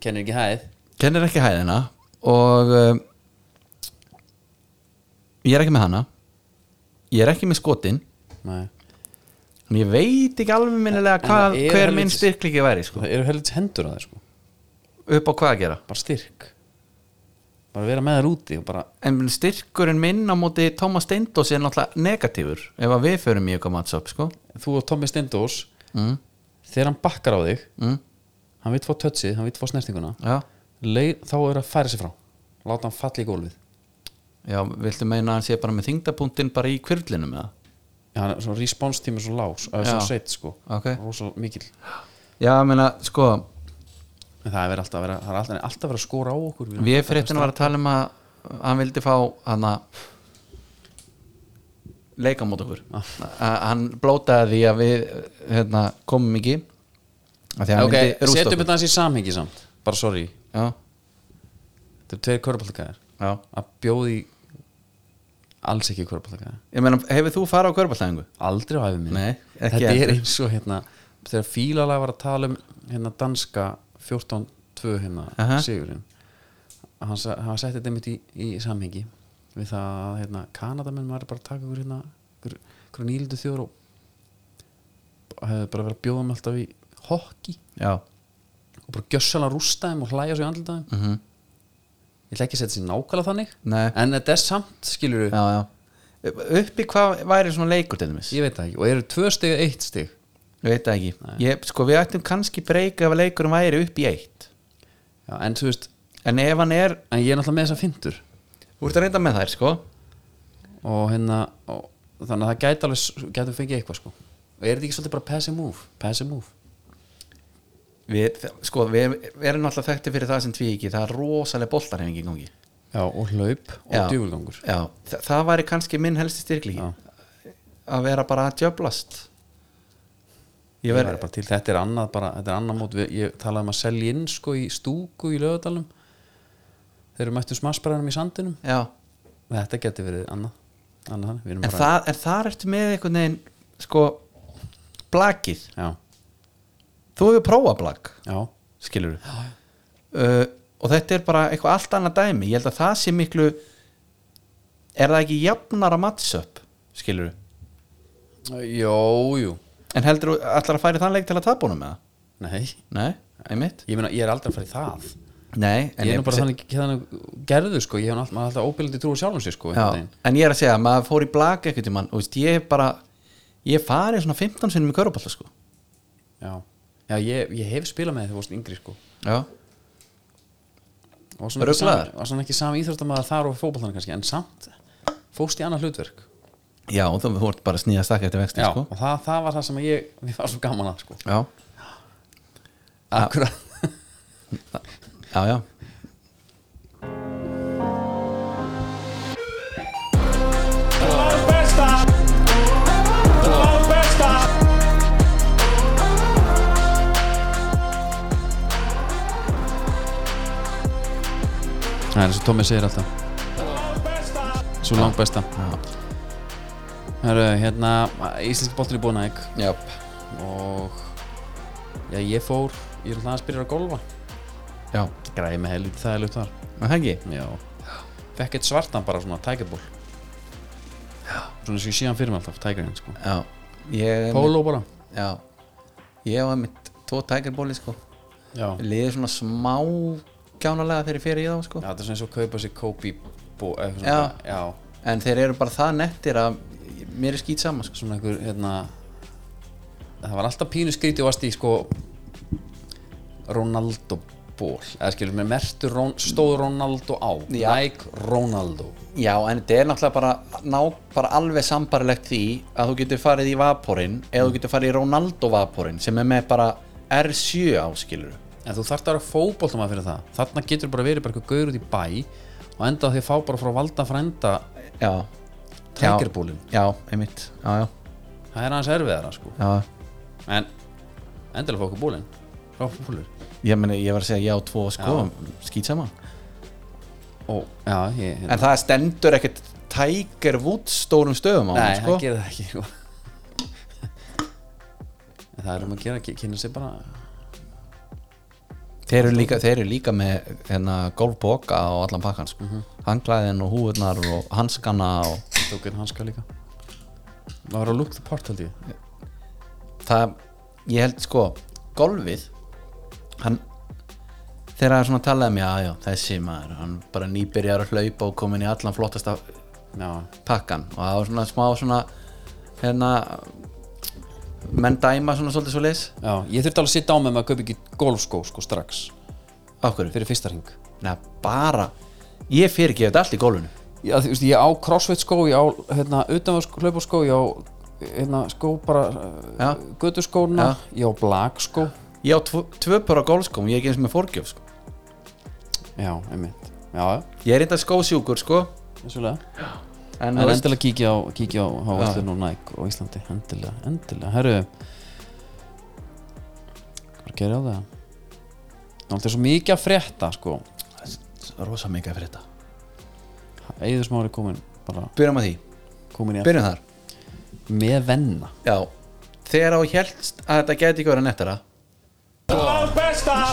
[SPEAKER 1] Kennir ekki hæð
[SPEAKER 2] kennir ekki hæðina og um, ég er ekki með hana ég er ekki með skotin
[SPEAKER 1] Nei
[SPEAKER 2] en ég veit ekki alveg minnilega
[SPEAKER 1] En
[SPEAKER 2] hvað,
[SPEAKER 1] það er
[SPEAKER 2] hver
[SPEAKER 1] helvítis-
[SPEAKER 2] minn styrkliki væri sko.
[SPEAKER 1] Það eru helvits hendur að það sko
[SPEAKER 2] upp á hvað að gera
[SPEAKER 1] Bara styrk Bara vera með þær úti og bara
[SPEAKER 2] en styrkurinn minn á móti Thomas Steindós er náttúrulega negatífur ef að við förum í eitthvað matchup sko.
[SPEAKER 1] Þú og Tommy Stendós
[SPEAKER 2] mm,
[SPEAKER 1] Þegar hann bakkar á þig
[SPEAKER 2] mm,
[SPEAKER 1] Hann vil fá tötsið, hann vil fá snertinguna
[SPEAKER 2] já.
[SPEAKER 1] Leir, Þá er að færa sig frá Láta hann falla í gólfið
[SPEAKER 2] já, viltu meina að hann sé bara með þingdapunktin bara í kvirlinu með
[SPEAKER 1] Já, hann er svona response tími svo lás Það er
[SPEAKER 2] Já.
[SPEAKER 1] svona set sko
[SPEAKER 2] Ok.
[SPEAKER 1] Rósa mikill
[SPEAKER 2] já, ég meina, sko
[SPEAKER 1] En það er alltaf að vera, það er alltaf, alltaf að vera að skora á okkur erum
[SPEAKER 2] við
[SPEAKER 1] alltaf að
[SPEAKER 2] fréttina var að tala um að hann vildi fá hann að leika mót okkur ah. hann blótaði því að við hérna, komum ekki af því að hann
[SPEAKER 1] Ok,
[SPEAKER 2] vildi rústa
[SPEAKER 1] setjum
[SPEAKER 2] okkur
[SPEAKER 1] þetta aðeins í samhengi samt Bara sorry,
[SPEAKER 2] já,
[SPEAKER 1] þetta er tveir körbáltakaðar
[SPEAKER 2] já.
[SPEAKER 1] Að bjóði alls ekki körbáltakaðar
[SPEAKER 2] ég meina, hefur þú farið á körbáltæðingu?
[SPEAKER 1] Aldrei á æfum minni
[SPEAKER 2] Nei, ekki
[SPEAKER 1] Þetta
[SPEAKER 2] heldur.
[SPEAKER 1] er eins og hérna Þegar fílalega var að tala um hérna danska 14-2 hérna
[SPEAKER 2] Aha.
[SPEAKER 1] Sigurinn Hann, sa- hann setti þetta mitt í, í samhengi Við það að hérna Kanadamenn var bara að taka ykkur hérna Ykkur, ykkur nýldu þjóður og og hefðu bara verið að bjóða með alltaf í hockey
[SPEAKER 2] já,
[SPEAKER 1] og bara gjössalega rústa þeim og hlæja svo í andlitaðum
[SPEAKER 2] mhm
[SPEAKER 1] ég ætla ekki að setja sér nákvæmlega þannig
[SPEAKER 2] Nei.
[SPEAKER 1] en þetta er samt, skilur við,
[SPEAKER 2] já, já. uppi hvað væri svona leikur til dæmis ég
[SPEAKER 1] ég veit það ekki og eru tvö stig eða eitt stig
[SPEAKER 2] veit það ekki ég, sko, við ættum kannski breyka ef leikurum væri upp í eitt
[SPEAKER 1] Já, en þú veist,
[SPEAKER 2] en ef hann er
[SPEAKER 1] en ég er náttúrulega með þess að fintur
[SPEAKER 2] þú ert að reynda með þær sko
[SPEAKER 1] og hérna og, þannig að það gæti alveg gæti fengið eitthvað sko og er þetta ekki svolítið bara pass and move pass and move
[SPEAKER 2] við, sko, við, við erum alltaf þekkti fyrir það sem tvíki það er rosalega boltarhefing í gangi
[SPEAKER 1] Já, og hlaup og
[SPEAKER 2] Já.
[SPEAKER 1] djúvulgangur
[SPEAKER 2] já, það, það væri kannski minn helsti styrkli
[SPEAKER 1] Já.
[SPEAKER 2] að vera bara að djöblast
[SPEAKER 1] Ég
[SPEAKER 2] ég
[SPEAKER 1] væri
[SPEAKER 2] verð
[SPEAKER 1] bara til, þetta er annað bara, þetta er annað mót, Við- ég talaði um að selja inn sko í stúku í lögadalum þeir eru mættu smassbræðanum í sandinum
[SPEAKER 2] já,
[SPEAKER 1] þetta geti verið annað, annað þannig. Við erum
[SPEAKER 2] en,
[SPEAKER 1] bara-
[SPEAKER 2] það, en þar ertu með einhvern veginn sko blakið,
[SPEAKER 1] Já,
[SPEAKER 2] þú hefur prófað blak
[SPEAKER 1] já,
[SPEAKER 2] skilur uh, og þetta er bara eitthvað allt annað dæmi ég held að það sé miklu er það ekki jafnara matchup skilur
[SPEAKER 1] Jó, jú
[SPEAKER 2] en heldur þú allar að færi þann leik til að tapa honum með það?
[SPEAKER 1] Nei,
[SPEAKER 2] Nei, einmitt
[SPEAKER 1] ég meina, ég er aldrei að fara í það
[SPEAKER 2] Nei,
[SPEAKER 1] Ég er nú bara þannig, þannig gerðu sko Ég hef alltaf, maður er alltaf óbyrjandi trú á sjálfum sér sko einhvern
[SPEAKER 2] já,
[SPEAKER 1] veginn.
[SPEAKER 2] en ég er að segja, maður fór í blak ekkert í mann og veist, ég bara ég farið svona 15 sinnum í köruballa sko
[SPEAKER 1] já, já ég, ég hef spilað með þegar þú varst yngri sko
[SPEAKER 2] já,
[SPEAKER 1] Og svona ekki
[SPEAKER 2] Ruglaður?
[SPEAKER 1] sami- var svona ekki sami íþróttamæður þar og fótboltan kannski En samt, fóst í annað hlutverk
[SPEAKER 2] já þú fórt bara að sníða stakka eftir vexti
[SPEAKER 1] Já,
[SPEAKER 2] sko
[SPEAKER 1] og það, það var það sem ég Við var svo gaman að sko
[SPEAKER 2] já,
[SPEAKER 1] Akkurat
[SPEAKER 2] já, já
[SPEAKER 3] Las besta. Las besta.
[SPEAKER 1] Það er eins og Tommi segir alltaf
[SPEAKER 3] Las besta.
[SPEAKER 1] Svo langt besta
[SPEAKER 2] Já.
[SPEAKER 1] Hörru, hérna, íslenski boltin er búin að ekki
[SPEAKER 2] já,
[SPEAKER 1] Og Já, ég fór, ég er alltaf að spyrja að golfa
[SPEAKER 2] já,
[SPEAKER 1] græði með helviti það er lutt þar
[SPEAKER 2] það hengi
[SPEAKER 1] já fekk eitt svartan bara svona tækjaból svona sem ég síðan fyrir mig alltaf tækjarinn sko
[SPEAKER 2] já, ég
[SPEAKER 1] póló bara
[SPEAKER 2] já, ég var mitt tvo tækirbóli sko
[SPEAKER 1] já,
[SPEAKER 2] Mér liði svona smá gjánalega þegar ég fer í þá sko
[SPEAKER 1] já þetta er svona eins og kaupa sér Kobe bó, eitthvað
[SPEAKER 2] Já.
[SPEAKER 1] svona, já.
[SPEAKER 2] en þeir eru bara það nettir að mér er skýt saman sko
[SPEAKER 1] svona einhver hérna, það var alltaf pínu skríti og varst í sko Ronaldo ból eða skilur með mertu Ron, stóð Ronaldo á
[SPEAKER 2] Já.
[SPEAKER 1] Nike Ronaldo
[SPEAKER 2] já en þetta er náttúrulega bara, ná, bara alveg sambarlegt því að þú getur farið í vaporinn eða þú getur farið í Ronaldo vaporinn sem er með bara R7 áskilur
[SPEAKER 1] en þú þarft að vera fótboltamaður fyrir það þarna getur bara verið bara eitthvað gaur út í bæ og enda á því að fá bara frá valda frænda
[SPEAKER 2] já
[SPEAKER 1] tækirbólin
[SPEAKER 2] já, einmitt, já já,
[SPEAKER 1] það er aðeins erfiðara sko
[SPEAKER 2] já.
[SPEAKER 1] en endilega fá okkur bólin frá bólur
[SPEAKER 2] Ég, meni, ég var að segja já tvo sko, skýt saman
[SPEAKER 1] og já, ég hérna.
[SPEAKER 2] En það stendur ekkert Tiger Woods stórum stöðum á
[SPEAKER 1] Nei,
[SPEAKER 2] hann sko.
[SPEAKER 1] það gerir það ekki sko. En Það er um að gera, ky- kynna sér bara
[SPEAKER 2] þeir, eru líka, þeir eru líka með hérna, golfboka og allan pakkan sko. Hanglæðin og húurnar og hanskana og
[SPEAKER 1] Tók einn hanska líka Það var að look the part held ég
[SPEAKER 2] það, ég held sko golfið hann, þegar það er svona talað um já, já, þessi maður, hann bara nýbyrjar að hlaupa og komin í allan flottasta
[SPEAKER 1] Já,
[SPEAKER 2] pakkan og það var svona smá svona hérna menn dæma svona svolítið svo leis
[SPEAKER 1] já Ég þurfti alveg að sitja á með maður að kaupa ekki golfskó sko strax
[SPEAKER 2] okkur,
[SPEAKER 1] Fyrir fyrsta hring
[SPEAKER 2] neða bara ég fyrir ekki þetta allt í gólfinu
[SPEAKER 1] Já, þú veist, ég á crossfit skó Ég á, hérna, utanveg hlaupa skó Ég á, hérna, skó bara
[SPEAKER 2] Já.
[SPEAKER 1] uh, Götu skóna Ég á blag skó
[SPEAKER 2] ég á tvo- tvö pör á gólfskóm, ég er ekki eins og með fórgjöf sko.
[SPEAKER 1] Já, einmitt Já, já,
[SPEAKER 2] ég er eitthvað skósjúkur sko
[SPEAKER 1] vissulega
[SPEAKER 2] en,
[SPEAKER 1] En
[SPEAKER 2] þú veist,
[SPEAKER 1] endilega kíkja á, kíkja á Hávæslun og Nike og Íslandi Endilega, endilega, herru Hvað gerir á það? Það er svo mikið að frétta sko
[SPEAKER 2] það er rosa mikið fyrir þetta
[SPEAKER 1] Eður smári komin bara
[SPEAKER 2] byrjum að því,
[SPEAKER 1] komin í að
[SPEAKER 2] byrjum þar
[SPEAKER 1] með venna
[SPEAKER 2] já, þegar á hélst að þetta geti ekki verið nettara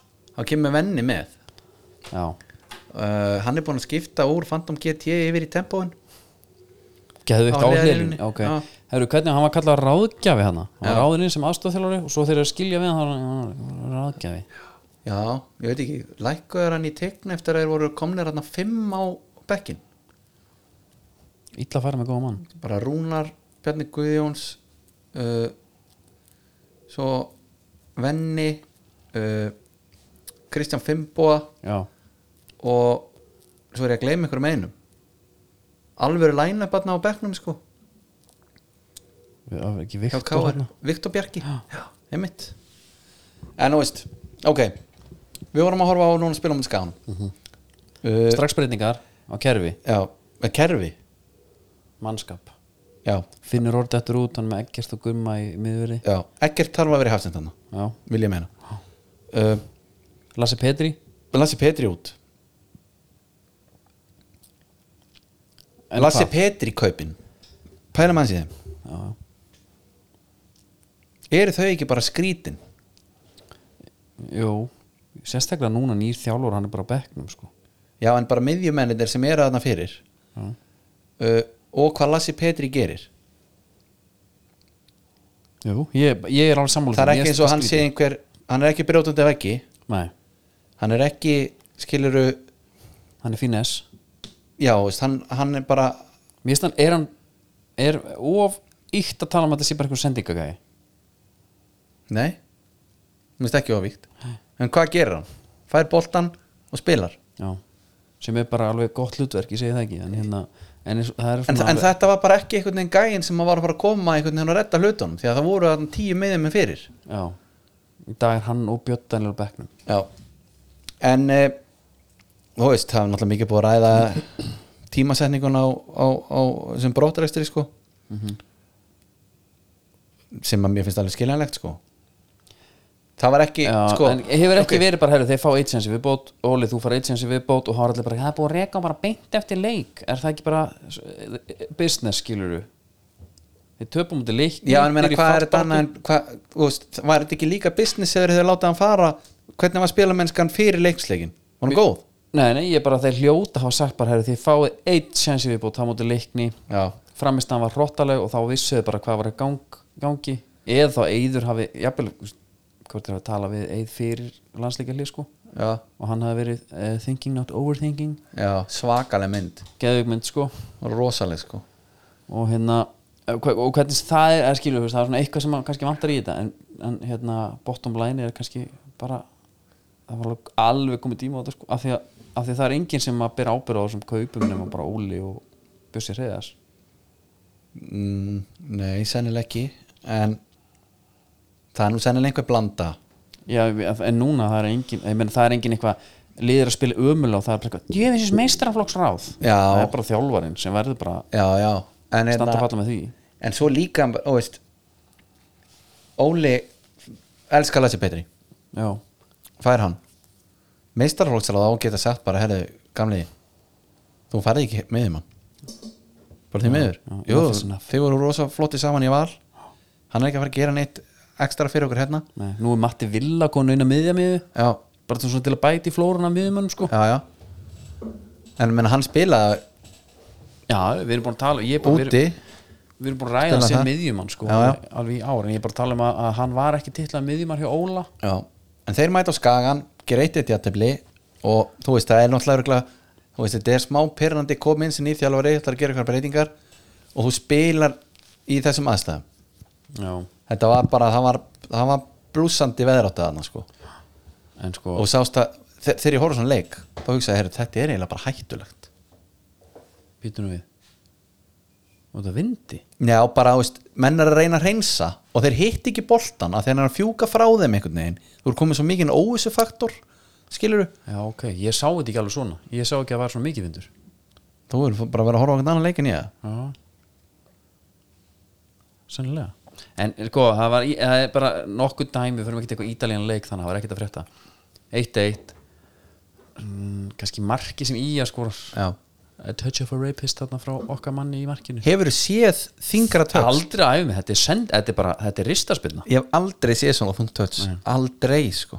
[SPEAKER 2] þá kemur venni með
[SPEAKER 1] Já,
[SPEAKER 2] uh, hann er búinn að skipta úr Phantom GT yfir í tempóin
[SPEAKER 1] geðu eitt
[SPEAKER 2] Á
[SPEAKER 1] á hliðinni
[SPEAKER 2] hliðarlínunni,
[SPEAKER 1] Ok,
[SPEAKER 2] já.
[SPEAKER 1] herru, hvernig hann var kallað ráðgjafi hana Hann var
[SPEAKER 2] Já.
[SPEAKER 1] ráðinni sem aðstofþjálari og svo þeir eru að skilja við hann hann var ráðgjafi
[SPEAKER 2] já, ég veit ekki, lækkuður hann í tegn eftir að þeir voru komnir hann fimm á bekkin
[SPEAKER 1] Ítla að fara með góða mann
[SPEAKER 2] bara Rúnar, Bjarni Guðjóns uh, svo Venni uh, Kristján Fimboa
[SPEAKER 1] Já,
[SPEAKER 2] og svo er ég að gleyma ykkur með einum alvöru læna barna á bekknum sko
[SPEAKER 1] við það var ekki hérna.
[SPEAKER 2] hjá
[SPEAKER 1] vikt
[SPEAKER 2] Káar, Viktor Bjarki já, einmitt en þú veist, ok við vorum að horfa á núna spilum um skáðan uh,
[SPEAKER 1] Mhm. Strax breytingar á kerfi,
[SPEAKER 2] já, með kerfi
[SPEAKER 1] mannskap
[SPEAKER 2] já,
[SPEAKER 1] Finnur orðið eftir út, hann með ekkert og gumma í miðveri
[SPEAKER 2] já, ekkert þarf að vera hafsend hann
[SPEAKER 1] Já,
[SPEAKER 2] vil ég meina uh,
[SPEAKER 1] Lasse Petri
[SPEAKER 2] Lassi Petri út
[SPEAKER 1] En
[SPEAKER 2] Lassi
[SPEAKER 1] hvað?
[SPEAKER 2] Petri kaupin pælum hans í þeim eru þau ekki bara skrítin
[SPEAKER 1] Jú, sérstaklega núna nýr þjálfur, hann er bara á bekknum sko
[SPEAKER 2] já en bara miðjumennir sem eru þarna fyrir
[SPEAKER 1] Já,
[SPEAKER 2] uh, og hvað Lassi Petri gerir
[SPEAKER 1] Jú, ég, ég er alveg sammála
[SPEAKER 2] það er
[SPEAKER 1] því,
[SPEAKER 2] ekki
[SPEAKER 1] mér
[SPEAKER 2] eins og hann
[SPEAKER 1] finnst
[SPEAKER 2] sé einhver hann er ekki brjótandi af ekki
[SPEAKER 1] skrítið. Nei,
[SPEAKER 2] hann er ekki skiluru
[SPEAKER 1] hann er fínes
[SPEAKER 2] já veist, hann, hann er bara
[SPEAKER 1] Mér finnst hann, er hann er of ykt að tala um að þetta sé bara eitthvað sendingagæði
[SPEAKER 2] nei minnst ekki ofvíkt en hvað gerir hann fær boltan og spilar
[SPEAKER 1] Já, sem er bara alveg gott hlutverk, ég segi það ekki en, hérna, en eins- það er
[SPEAKER 2] en,
[SPEAKER 1] svona
[SPEAKER 2] en þetta var bara ekki einhvern veginn gæinn sem að var að fara að koma einhvern veginn að redda hlutunum því að það voru þarna tíu miðjum með fyrir
[SPEAKER 1] Já, í dag er hann og Björn Daniel á bekknum
[SPEAKER 2] já en eh, þú veist það er náttúrulega mikið búið að ræða tímasetningun á, á, á sem brotarekstri sko
[SPEAKER 1] Mhm.
[SPEAKER 2] sem að mér finnst alveg skiljanlegt sko það var ekki
[SPEAKER 1] Já,
[SPEAKER 2] sko,
[SPEAKER 1] en hefur ekki
[SPEAKER 2] ok,
[SPEAKER 1] verið bara, herru, þeir fá eitt sensi viðbót Óli, þú fara eitt sensi viðbót og hára allir bara, það er búið að reka hann bara beint eftir leik er það ekki bara eh, business, skilur þeir töpum út í leik
[SPEAKER 2] já en meina hvað er þetta annað en hvað, þú veist, var þetta ekki líka business eða þau láta hann fara hvernig var spilamennskan fyrir leiksleikin var hann góð?
[SPEAKER 1] Nei, nei, ég er bara, þeir hljóta hafa sagt bara, herru, þeir fáið eitt sensi viðbót þá mútið leikni,
[SPEAKER 2] já,
[SPEAKER 1] framist hann var hrottaleg og þá vissuðu bara hvað var í gang, gangi eða þá eður hafi, jafnvel, þú veist, hvort er að tala við eið fyrir landsleika hlið sko
[SPEAKER 2] já,
[SPEAKER 1] og hann hafi verið uh, thinking not overthinking
[SPEAKER 2] já, svakaleg mynd
[SPEAKER 1] geðugmynd sko
[SPEAKER 2] rosaleg sko
[SPEAKER 1] og hérna eh, hva- og hvernig það er, er skilur, þú veist, það er svona eitthvað sem að kannski vantar í þetta en, en hérna bottom line er kannski bara það var alveg- alveg komið tíma á þetta sko af því, að, af því að það er enginn sem að byrja ábyrða á þessum kaupum nema bara Óli og Bjössi Hreiðars
[SPEAKER 2] mm, nei, sennileg ekki en það er nú sennileg einhver blanda
[SPEAKER 1] Já, við- en núna það er engin ég meina það er engin eitthvað liður að spila ömulega og það er bara eitthvað, ég veist meistaraflokks ráð
[SPEAKER 2] Já.
[SPEAKER 1] það er bara þjálfarinn sem verður bara
[SPEAKER 2] já, já, en
[SPEAKER 1] að standa
[SPEAKER 2] hérna-
[SPEAKER 1] að falla með því
[SPEAKER 2] en svo líka ó, veist, Óli elskar Lassi Petri
[SPEAKER 1] já,
[SPEAKER 2] fær hann meistarflóksalega á geta sagt bara herri, gamli, þú færði ekki með um hann bara því meður
[SPEAKER 1] já,
[SPEAKER 2] jú,
[SPEAKER 1] enough is enough.
[SPEAKER 2] þið voru rosa flotti saman í val hann er ekki að fara að gera neitt ekstra fyrir okkur hérna
[SPEAKER 1] Nei, nú er Matti Villa konu inn að miðja miðu
[SPEAKER 2] já,
[SPEAKER 1] bara svona til að bæti í flórun af miðjumönnum sko
[SPEAKER 2] já, já en menn hann spilaði
[SPEAKER 1] Já, við erum búin að tala ég er búin- við
[SPEAKER 2] úti
[SPEAKER 1] erum- Við erum búin að ræða
[SPEAKER 2] Stella
[SPEAKER 1] sem
[SPEAKER 2] það.
[SPEAKER 1] miðjumann sko
[SPEAKER 2] Já, já.
[SPEAKER 1] alveg í ára, en ég er bara að tala um að, að hann var ekki titlað miðjumann hjá Óla
[SPEAKER 2] já. en þeir mæta á skagan gera eitt eitt játefli og þú veist það er náttúrulega örugglega- þú veist þetta er smá pyrrandi kominn sem nýr þjálfari ætlar að gera eitthvað breytingar og þú spilar í þessum aðstæðum
[SPEAKER 1] Já,
[SPEAKER 2] þetta var bara, það var, það var blúsandi veðráttu þarna sko
[SPEAKER 1] en sko
[SPEAKER 2] og sást að þe- þegar ég horfði á svona leik þá hugsaði, heyrðu, þetta er eiginlega bara hættulegt
[SPEAKER 1] býtunum við og það vindi
[SPEAKER 2] já, bara, þú veist, menn er að reyna að reynsa og þeir hitt ekki boltan að þeir er að fjúka frá þeim einhvern veginn, þú er komið svo mikið óvissu faktor, skilur
[SPEAKER 1] Já, ok, ég sá þetta ekki alveg svona ég sá ekki að það var svona mikið vindur
[SPEAKER 2] þú er bara að vera að horfa á einhvern annan leikin í það
[SPEAKER 1] Já Sennilega En sko, það var í- það er bara nokkuð dæmi við fyrir ekki eitthvað ítalíðan leik þannig að það var ekkert að frétta 1-1 mm, kannski marki sem í að skorar
[SPEAKER 2] já.
[SPEAKER 1] A touch of a rapist þarna frá okkar manni í markinu
[SPEAKER 2] hefur séð þingra tötts
[SPEAKER 1] Aldrei að æfa mig, þetta er send, þetta er bara þetta er ristaspilna,
[SPEAKER 2] ég hef aldrei séð svona þungt tötts aldrei, sko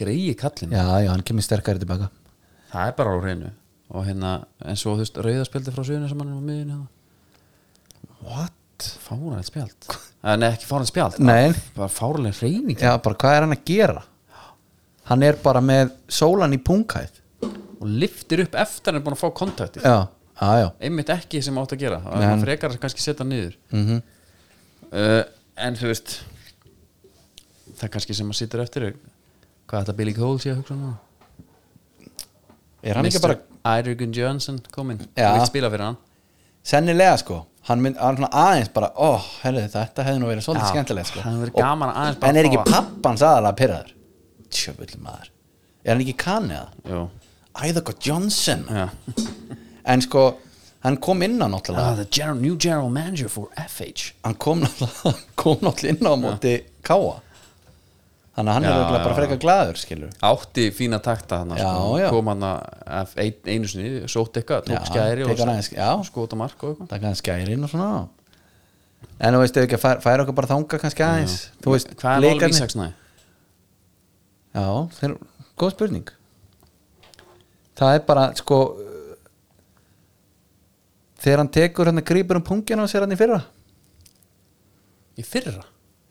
[SPEAKER 1] greiði kallin
[SPEAKER 2] já, já, hann kemur sterkari tilbaka
[SPEAKER 1] það er bara á reynu og hérna, en svo þú veist, rauðaspildi frá söguna sem hann var miðinu hérna
[SPEAKER 2] what?
[SPEAKER 1] fárænlega hérna. spjald, Eh, nei ekki fárænlega spjald
[SPEAKER 2] Nei.
[SPEAKER 1] bara fárænlega reyning
[SPEAKER 2] já, bara hvað er hann að gera hann er bara með sólan í punghæð
[SPEAKER 1] og liftir upp eftir hann er búin að fá kontaktið
[SPEAKER 2] já, já, já
[SPEAKER 1] einmitt ekki sem átt að gera það er maður frekar að kannski setja hann niður
[SPEAKER 2] Mhm.
[SPEAKER 1] uh, en þú veist það kannski sem maður situr eftir er, hvað þetta Billy Cole sé að hugsa núna
[SPEAKER 2] er hann ekki bara
[SPEAKER 1] Eiríkun Jönsson kominn
[SPEAKER 2] Já.
[SPEAKER 1] Þú vilt spila fyrir hann
[SPEAKER 2] sennilega sko hann, mynd, hann svona aðeins bara, ó, oh, herri þetta hefði nú verið svolítið
[SPEAKER 1] Já,
[SPEAKER 2] skemmtilegt sko
[SPEAKER 1] það hefði verið
[SPEAKER 2] Og-
[SPEAKER 1] gaman að aðeins bara
[SPEAKER 2] en er
[SPEAKER 1] fá
[SPEAKER 2] ekki
[SPEAKER 1] að-
[SPEAKER 2] pappans aðalega pyrraður tjöfull maður, er hann ekki kanið að
[SPEAKER 1] Jú
[SPEAKER 2] æðaka Johnson
[SPEAKER 1] Já.
[SPEAKER 2] en sko, hann kom inn á náttúrulega
[SPEAKER 1] The general, new general manager for FH
[SPEAKER 2] hann kom náttúrulega, kom náttúrulega inn á móti Káa þannig að hann
[SPEAKER 1] Já,
[SPEAKER 2] er örugglega bara
[SPEAKER 1] já,
[SPEAKER 2] frekar glaður skilur
[SPEAKER 1] Átti fína takta hann
[SPEAKER 2] Já, já.
[SPEAKER 1] Kom hann að ein, einu sinni Sótt eitthvað,
[SPEAKER 2] Já,
[SPEAKER 1] tók skæri
[SPEAKER 2] tek hann aðeins, já.
[SPEAKER 1] og skóta mark og eitthvað
[SPEAKER 2] það kannski skærin og svona en þú veist, ef ekki að færa, færa okkur bara þanga kannski aðeins þú veist,
[SPEAKER 1] Hvað er Óli
[SPEAKER 2] leikarnir-
[SPEAKER 1] Ísaksnæði?
[SPEAKER 2] Já, þeir, góð spurning Það er bara sko uh, þegar hann tekur hann að grípur um pungin á sér hann í fyrra
[SPEAKER 1] Í fyrra?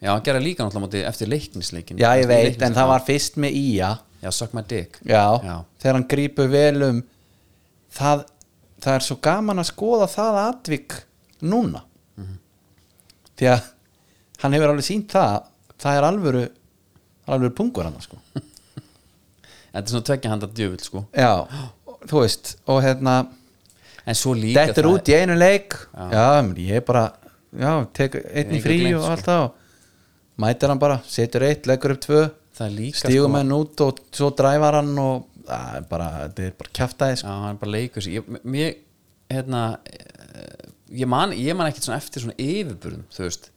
[SPEAKER 1] Já, hann gerði líka náttúrulega móti eftir leiknisleikin
[SPEAKER 2] Já, ég
[SPEAKER 1] Eftir
[SPEAKER 2] veit,
[SPEAKER 1] Leiknisleikinn.
[SPEAKER 2] en það var fyrst með Ía
[SPEAKER 1] Já, suck my dick
[SPEAKER 2] Já,
[SPEAKER 1] Já.
[SPEAKER 2] þegar hann grípur vel um það, það er svo gaman að skoða það atvik núna Mhm. því að hann hefur alveg sínt það það er alvöru það er alvöru pungur hann sko
[SPEAKER 1] Þetta er svona tveggja handa djöfull sko
[SPEAKER 2] Já, þú veist, og hérna
[SPEAKER 1] En svo líka
[SPEAKER 2] Þetta er
[SPEAKER 1] það-
[SPEAKER 2] út í einu leik Já, ég er bara Já, tek einn í
[SPEAKER 1] Engu
[SPEAKER 2] frí
[SPEAKER 1] gleymt,
[SPEAKER 2] og
[SPEAKER 1] sko.
[SPEAKER 2] allt það og Mætir hann bara, setur eitt, leggur upp tvö
[SPEAKER 1] Það er líka
[SPEAKER 2] Stígum
[SPEAKER 1] sko-
[SPEAKER 2] henn út og svo dræfar hann og það er bara, þetta er bara kjaftaði sko.
[SPEAKER 1] Já, hann bara leikur sér ég, mér, hérna, eh, ég, man, ég man ekkert svona eftir svona yfirburðum þú veist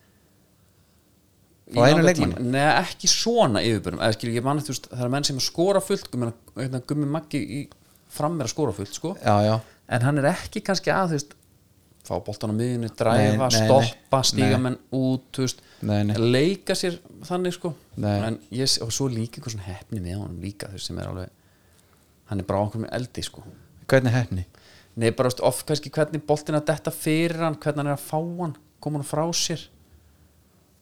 [SPEAKER 1] Í
[SPEAKER 2] Frá einum
[SPEAKER 1] langan
[SPEAKER 2] leikmanni?
[SPEAKER 1] tíma. Nei, ekki svona yfirburðum eða skilur, ég man eftir, þú veist, það er menn sem skora fullt ég meina, hérna, gummi maggi í fram er að skora fullt, sko
[SPEAKER 2] Já, já,
[SPEAKER 1] en hann er ekki kannski að, þú veist fá boltan á miðinu, dræfa,
[SPEAKER 2] Nei, nei, nei.
[SPEAKER 1] stoppa
[SPEAKER 2] Nei.
[SPEAKER 1] stíga menn út, þú veist
[SPEAKER 2] Nei, nei.
[SPEAKER 1] leika sér þannig, sko
[SPEAKER 2] Nei.
[SPEAKER 1] en ég, og svo líka eitthvað svona hefni með honum líka, þú veist, sem er alveg hann er bara á okkur með eldi, sko
[SPEAKER 2] hvernig hefni
[SPEAKER 1] Nei, bara veist, oft kannski hvernig boltin að detta fyrir hann, hvernig hann er að fá hann koma hann frá sér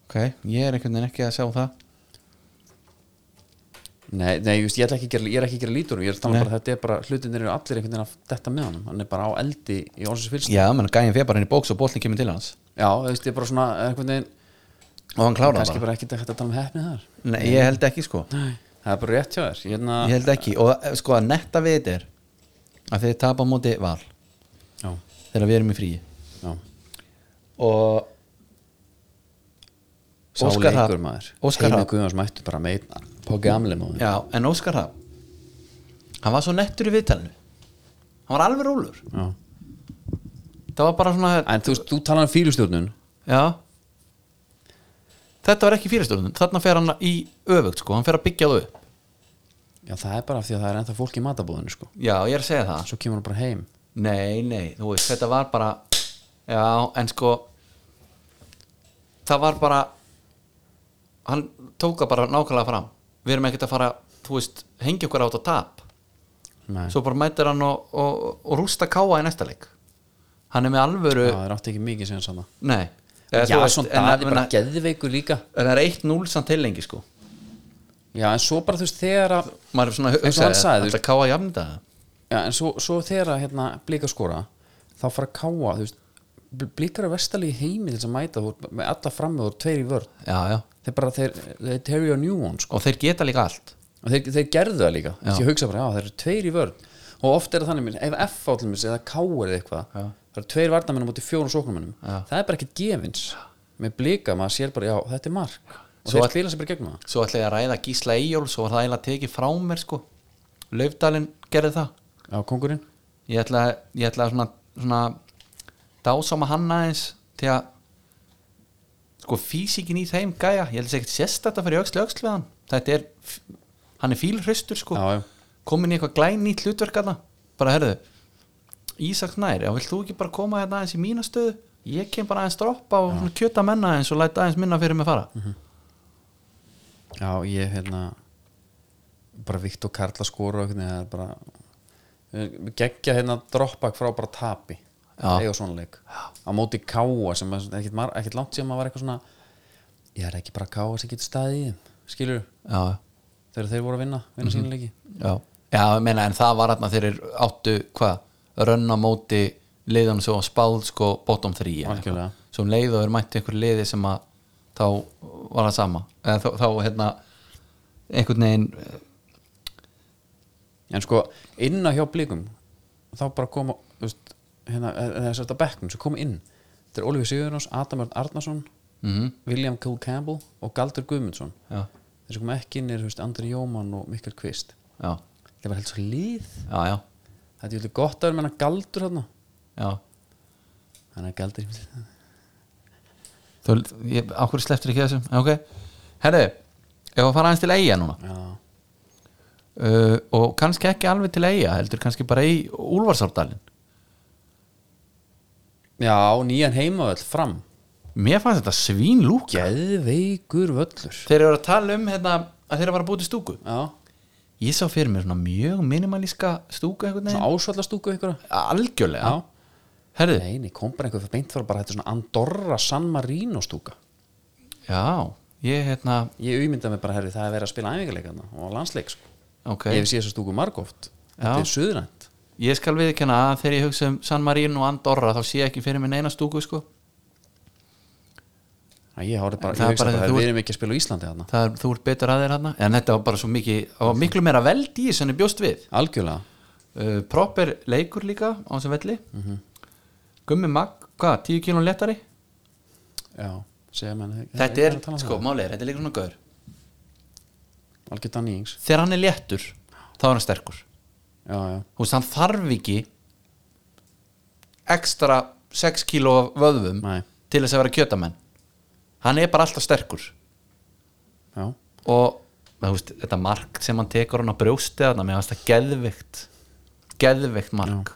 [SPEAKER 2] Ok, ég er einhvern veginn ekki að sjá það
[SPEAKER 1] Nei, nei just, ég, ætla ekki að gera, ég er ekki að gera lítur um, ég er að tala
[SPEAKER 2] Nei.
[SPEAKER 1] bara að þetta er bara, hlutinir eru allir einhvern veginn að detta með honum, hann er bara á eldi í orðsins fyrst
[SPEAKER 2] já, menn gæðin fyrir bara henni bóks og bóltin kemur til hans
[SPEAKER 1] Já, þú veist, ég er bara svona eh, einhvern veginn,
[SPEAKER 2] og hann klára
[SPEAKER 1] kannski Ah.
[SPEAKER 2] það bara
[SPEAKER 1] bara ekki þetta að tala um hefni þar
[SPEAKER 2] Nei, ég held ekki sko
[SPEAKER 1] Nei, það er bara rétt hjá þér hérna,
[SPEAKER 2] ég held ekki og eh, sko að netta við þetta er að þeir tapa á móti val
[SPEAKER 1] Já,
[SPEAKER 2] þegar við erum í fríi
[SPEAKER 1] já
[SPEAKER 2] og
[SPEAKER 1] Sá
[SPEAKER 2] Óskar Hrafn.
[SPEAKER 1] leikur maður
[SPEAKER 2] Óskar
[SPEAKER 1] Heimir
[SPEAKER 2] Hrafn.
[SPEAKER 1] Guðjóns mættu bara með einn Pá gamli maður
[SPEAKER 2] já, en Óskar Hrafn hann var svo nettur í viðtalinu hann var alveg rólur
[SPEAKER 1] Já.
[SPEAKER 2] það var bara svona
[SPEAKER 1] En þú veist, þú talar um fýlustjórnun
[SPEAKER 2] já þetta var ekki fyrirstjórnum þarna fer hann í öfugt sko hann fer að byggja það upp
[SPEAKER 1] Já, það er bara af því að það er ennþá fólk í matabúðinu sko.
[SPEAKER 2] já, ég er að segja það
[SPEAKER 1] Svo kemur hann bara heim
[SPEAKER 2] nei, nei, þú veist, þetta var bara já, en sko það var bara hann tók það bara nákvæmlega fram við erum ekkert að fara, þú veist, hengja okkur á þetta tap
[SPEAKER 1] Nei,
[SPEAKER 2] svo bara mætir hann og, og, og rústa káa í næsta leik hann er með alvöru
[SPEAKER 1] Já, það er átti ekki mikið sem sann
[SPEAKER 2] nei
[SPEAKER 1] Já,
[SPEAKER 2] Eða, Eh, þú veist,
[SPEAKER 1] svona
[SPEAKER 2] en
[SPEAKER 1] Daði
[SPEAKER 2] en
[SPEAKER 1] bara geðveikur líka
[SPEAKER 2] en það er 1-0 samt til lengi sko
[SPEAKER 1] Já, en svo bara þú veist þegar að
[SPEAKER 2] maður er svona
[SPEAKER 1] og hann sagði,
[SPEAKER 2] þetta káa jafn þetta
[SPEAKER 1] Já, en svo, svo þegar að hérna blika skora þá fara að káa, þú veist bl- blikar að vestalegi heimi til þess að mæta þú ert með alla framöð og tveir í vörn
[SPEAKER 2] já, já.
[SPEAKER 1] þeir bara, þeir, þeir terry og new one sko.
[SPEAKER 2] og þeir geta líka allt
[SPEAKER 1] og þeir, þeir gerðu það líka,
[SPEAKER 2] Já.
[SPEAKER 1] þess ég hugsa bara, já, þeir eru tveir í vörn og oft er það þannig minn, ef F átlumins eða K er eitthvað,
[SPEAKER 2] Já.
[SPEAKER 1] það eru tveir varnamennum mútið fjórum sóknumennum,
[SPEAKER 2] Já.
[SPEAKER 1] það er bara ekkit gefins með blika, maður sér bara, já, þetta er mark og
[SPEAKER 2] Svo
[SPEAKER 1] þeir
[SPEAKER 2] að-
[SPEAKER 1] spila sér bara í gegnum það
[SPEAKER 2] svo ætla ég að ræða Gísla Eyjól svo var það eiginlega tekið frá mér sko Laufdalinn gerði það
[SPEAKER 1] Já, kongurinn,
[SPEAKER 2] ég ætla, ég ætla svona, svona dásama hann aðeins til að sko físikin í þeim gæja ég held ekki sérstætt að fyrir öxli öxl við hann þetta er, f- hann er fílhraustur sko
[SPEAKER 1] Já, já.
[SPEAKER 2] komin í eitthvað glænýtt hlutverk aðna bara herðu Ísak Nær, já vilt þú ekki bara koma hérna aðeins í mína stöðu ég kem bara aðeins droppa og svona kjöta menna aðeins og læta aðeins minna fyrir mig fara
[SPEAKER 1] Mhm. já, ég, hérna bara Viktor Karla skora og einhvern veginn, það er bara geggja hérna droppback frá bara tapi
[SPEAKER 2] Já.
[SPEAKER 1] eiga svona leik á móti káa sem er ekkit, mar- ekkit langt sem maður var eitthvað svona ég er ekki bara káa sem getur staðið í þeim skilur
[SPEAKER 2] já,
[SPEAKER 1] þegar þeir voru að vinna,
[SPEAKER 2] Mhm.
[SPEAKER 1] vinna mm -hmm. sínuleiki
[SPEAKER 2] já, já ég meina, en það var hérna þeir áttu hvað, rönn á móti liðan svo á spáð sko bottom 3
[SPEAKER 1] Algjörlega.
[SPEAKER 2] svo um leið og er mætti einhver liði sem að þá var það sama eða þá, þá hérna einhvern veginn eh,
[SPEAKER 1] en sko inn að hjá blíkum þá bara koma þú veist, hérna, þess að bekknum sem koma inn þetta er Oliver Sigurjóns, Adam Örn Arnason
[SPEAKER 2] mhm,
[SPEAKER 1] William Cole Campbell og Galdur Guðmundsson
[SPEAKER 2] já,
[SPEAKER 1] þessi koma ekki inn er þú veist, Andri Jómann og Mikkel Kvist
[SPEAKER 2] já,
[SPEAKER 1] þetta var held svo lið
[SPEAKER 2] já, já,
[SPEAKER 1] þetta er jóldi gott að vera með hann Galdur hann
[SPEAKER 2] já.
[SPEAKER 1] hann er Galdur
[SPEAKER 2] Þú, ég, á hverju sleftir ekki þessum ok, herri ef að fara aðeins til eiga núna
[SPEAKER 1] já,
[SPEAKER 2] uh, og kannski ekki alveg til eiga heldur kannski bara í Úlfarsárdalinn
[SPEAKER 1] já nýjan heimavöll fram
[SPEAKER 2] mér fannst þetta svín lúka
[SPEAKER 1] geðveikur völlur
[SPEAKER 2] þeir eru að tala um hérna, að þeir eru að fara að búti stúku
[SPEAKER 1] já,
[SPEAKER 2] ég sá fyrir mér svona mjög minimalíska stúku einhvern
[SPEAKER 1] svona
[SPEAKER 2] veginn
[SPEAKER 1] ásvallastúku einhverja
[SPEAKER 2] algjörlega
[SPEAKER 1] Já.
[SPEAKER 2] herðu,
[SPEAKER 1] Nei, nei, kom bara einhver fyrir beint frá bara þetta er svona Andorra San Marino stúka
[SPEAKER 2] já, ég hérna
[SPEAKER 1] Ég ummynda mig bara, herri, það er verið að spila æfingarleikana og landsleik, sko
[SPEAKER 2] ok,
[SPEAKER 1] Ég
[SPEAKER 2] ég,
[SPEAKER 1] hef séð þessa stúku margóft Þetta
[SPEAKER 2] Já.
[SPEAKER 1] er suðrænt
[SPEAKER 2] skal viðkenna að þegar ég hugsa um San Marino og Andorra þá sé ég ekki fyrir mér neina stúku sko
[SPEAKER 1] Það Ég horfði bara, ég
[SPEAKER 2] Það er
[SPEAKER 1] hugsa
[SPEAKER 2] bara
[SPEAKER 1] bara, bara
[SPEAKER 2] því þú
[SPEAKER 1] við
[SPEAKER 2] ert-
[SPEAKER 1] erum ekki að spila á Íslandi þarna
[SPEAKER 2] Það er, þú ert betur að þér hérna en þetta var bara svo mikið, það var miklu meira veld í sem ég bjóst við
[SPEAKER 1] Algjörlega,
[SPEAKER 2] uh, proper leikur líka á þessum velli
[SPEAKER 1] Mhm.
[SPEAKER 2] gummi mag, hvað, 10 kílón letari
[SPEAKER 1] já, segja menn
[SPEAKER 2] þetta er,
[SPEAKER 1] um
[SPEAKER 2] sko, málið er, þetta er líka svona gaur
[SPEAKER 1] Algjörða nýjings,
[SPEAKER 2] þegar hann er léttur, þá er hann sterkur
[SPEAKER 1] já, já,
[SPEAKER 2] þú veist, hann þarf ekki ekstra 6 kíló af vöðvum
[SPEAKER 1] Nei.
[SPEAKER 2] til þess að vera kjötamenn hann er bara alltaf sterkur
[SPEAKER 1] já
[SPEAKER 2] og þú veist, þetta mark sem hann tekur hann á brjósti þarna, mér finnst það geðvikt geðvikt mark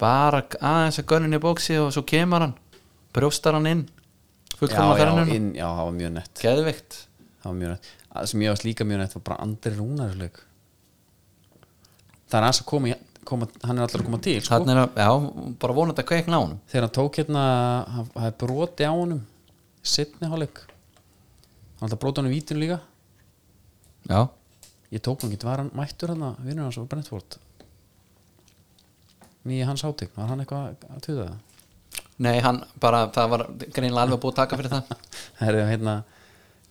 [SPEAKER 2] bara aðeins að gönnin í bóksi og svo kemur hann brjóstar hann inn
[SPEAKER 1] Já,
[SPEAKER 2] fullkomna
[SPEAKER 1] já,
[SPEAKER 2] ferðinu
[SPEAKER 1] inn, já, það var mjög nett
[SPEAKER 2] geðvikt
[SPEAKER 1] Það var mjög nett Það sem ég varst líka mjög nett var bara Andri Rúnarsleik Það er aðeins að koma, í- koma Hann er allar að koma til, sko
[SPEAKER 2] Þarna er að, já, bara vonandi að kveikna á hann
[SPEAKER 1] þegar hann tók hérna hann hann hafði broti á honum setni hálfleik hann alltaf broti honum vítinu líka
[SPEAKER 2] já,
[SPEAKER 1] ég tók hann ekki, var hann mættur hann að vinnur hans á Brentford nýja hans átík, var hann eitthvað að tuða það
[SPEAKER 2] Nei, hann bara, það var greinlega alveg búið að taka fyrir það
[SPEAKER 1] Herri, hérna,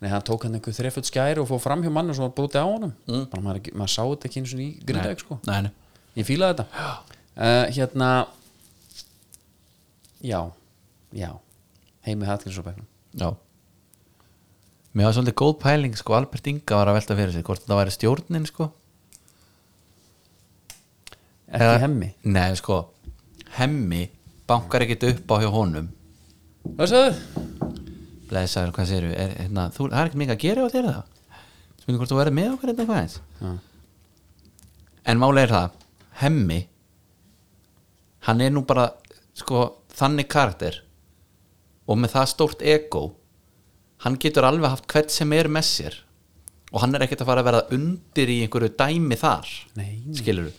[SPEAKER 1] nei, hann tók hann einhver þreföld skæri og fóð fram hjá mann og svo var brotið á honum bara maður, ekki- maður sá þetta ekki eins og í
[SPEAKER 2] Nei,
[SPEAKER 1] grindaug sko.
[SPEAKER 2] nei, nei.
[SPEAKER 1] ég fílaði þetta uh, hérna já, já heimið Hallgríms og Bæknum
[SPEAKER 2] Já Mér var svolítið góð pæling sko Albert Inga var að velta fyrir sig hvort þetta væri stjórnin sko
[SPEAKER 1] ekki hemmi,
[SPEAKER 2] Nei sko Hemmi bankar ekkit upp á hjá honum
[SPEAKER 1] hvað sagðu?
[SPEAKER 2] Blesaður, hvað segirðu er, hérna, þú, Það er ekkert mikið að gera á þér það Spurning hvort þú verður með okkur hérna eitthvað eins
[SPEAKER 1] Já.
[SPEAKER 2] En máli er það Hemmi Hann er nú bara sko þannig karakter og með það stórt ego hann getur alveg haft hvert sem er með sér og hann er ekkert að fara að verða undir í einhverju dæmi þar
[SPEAKER 1] Nei, nei.
[SPEAKER 2] skilur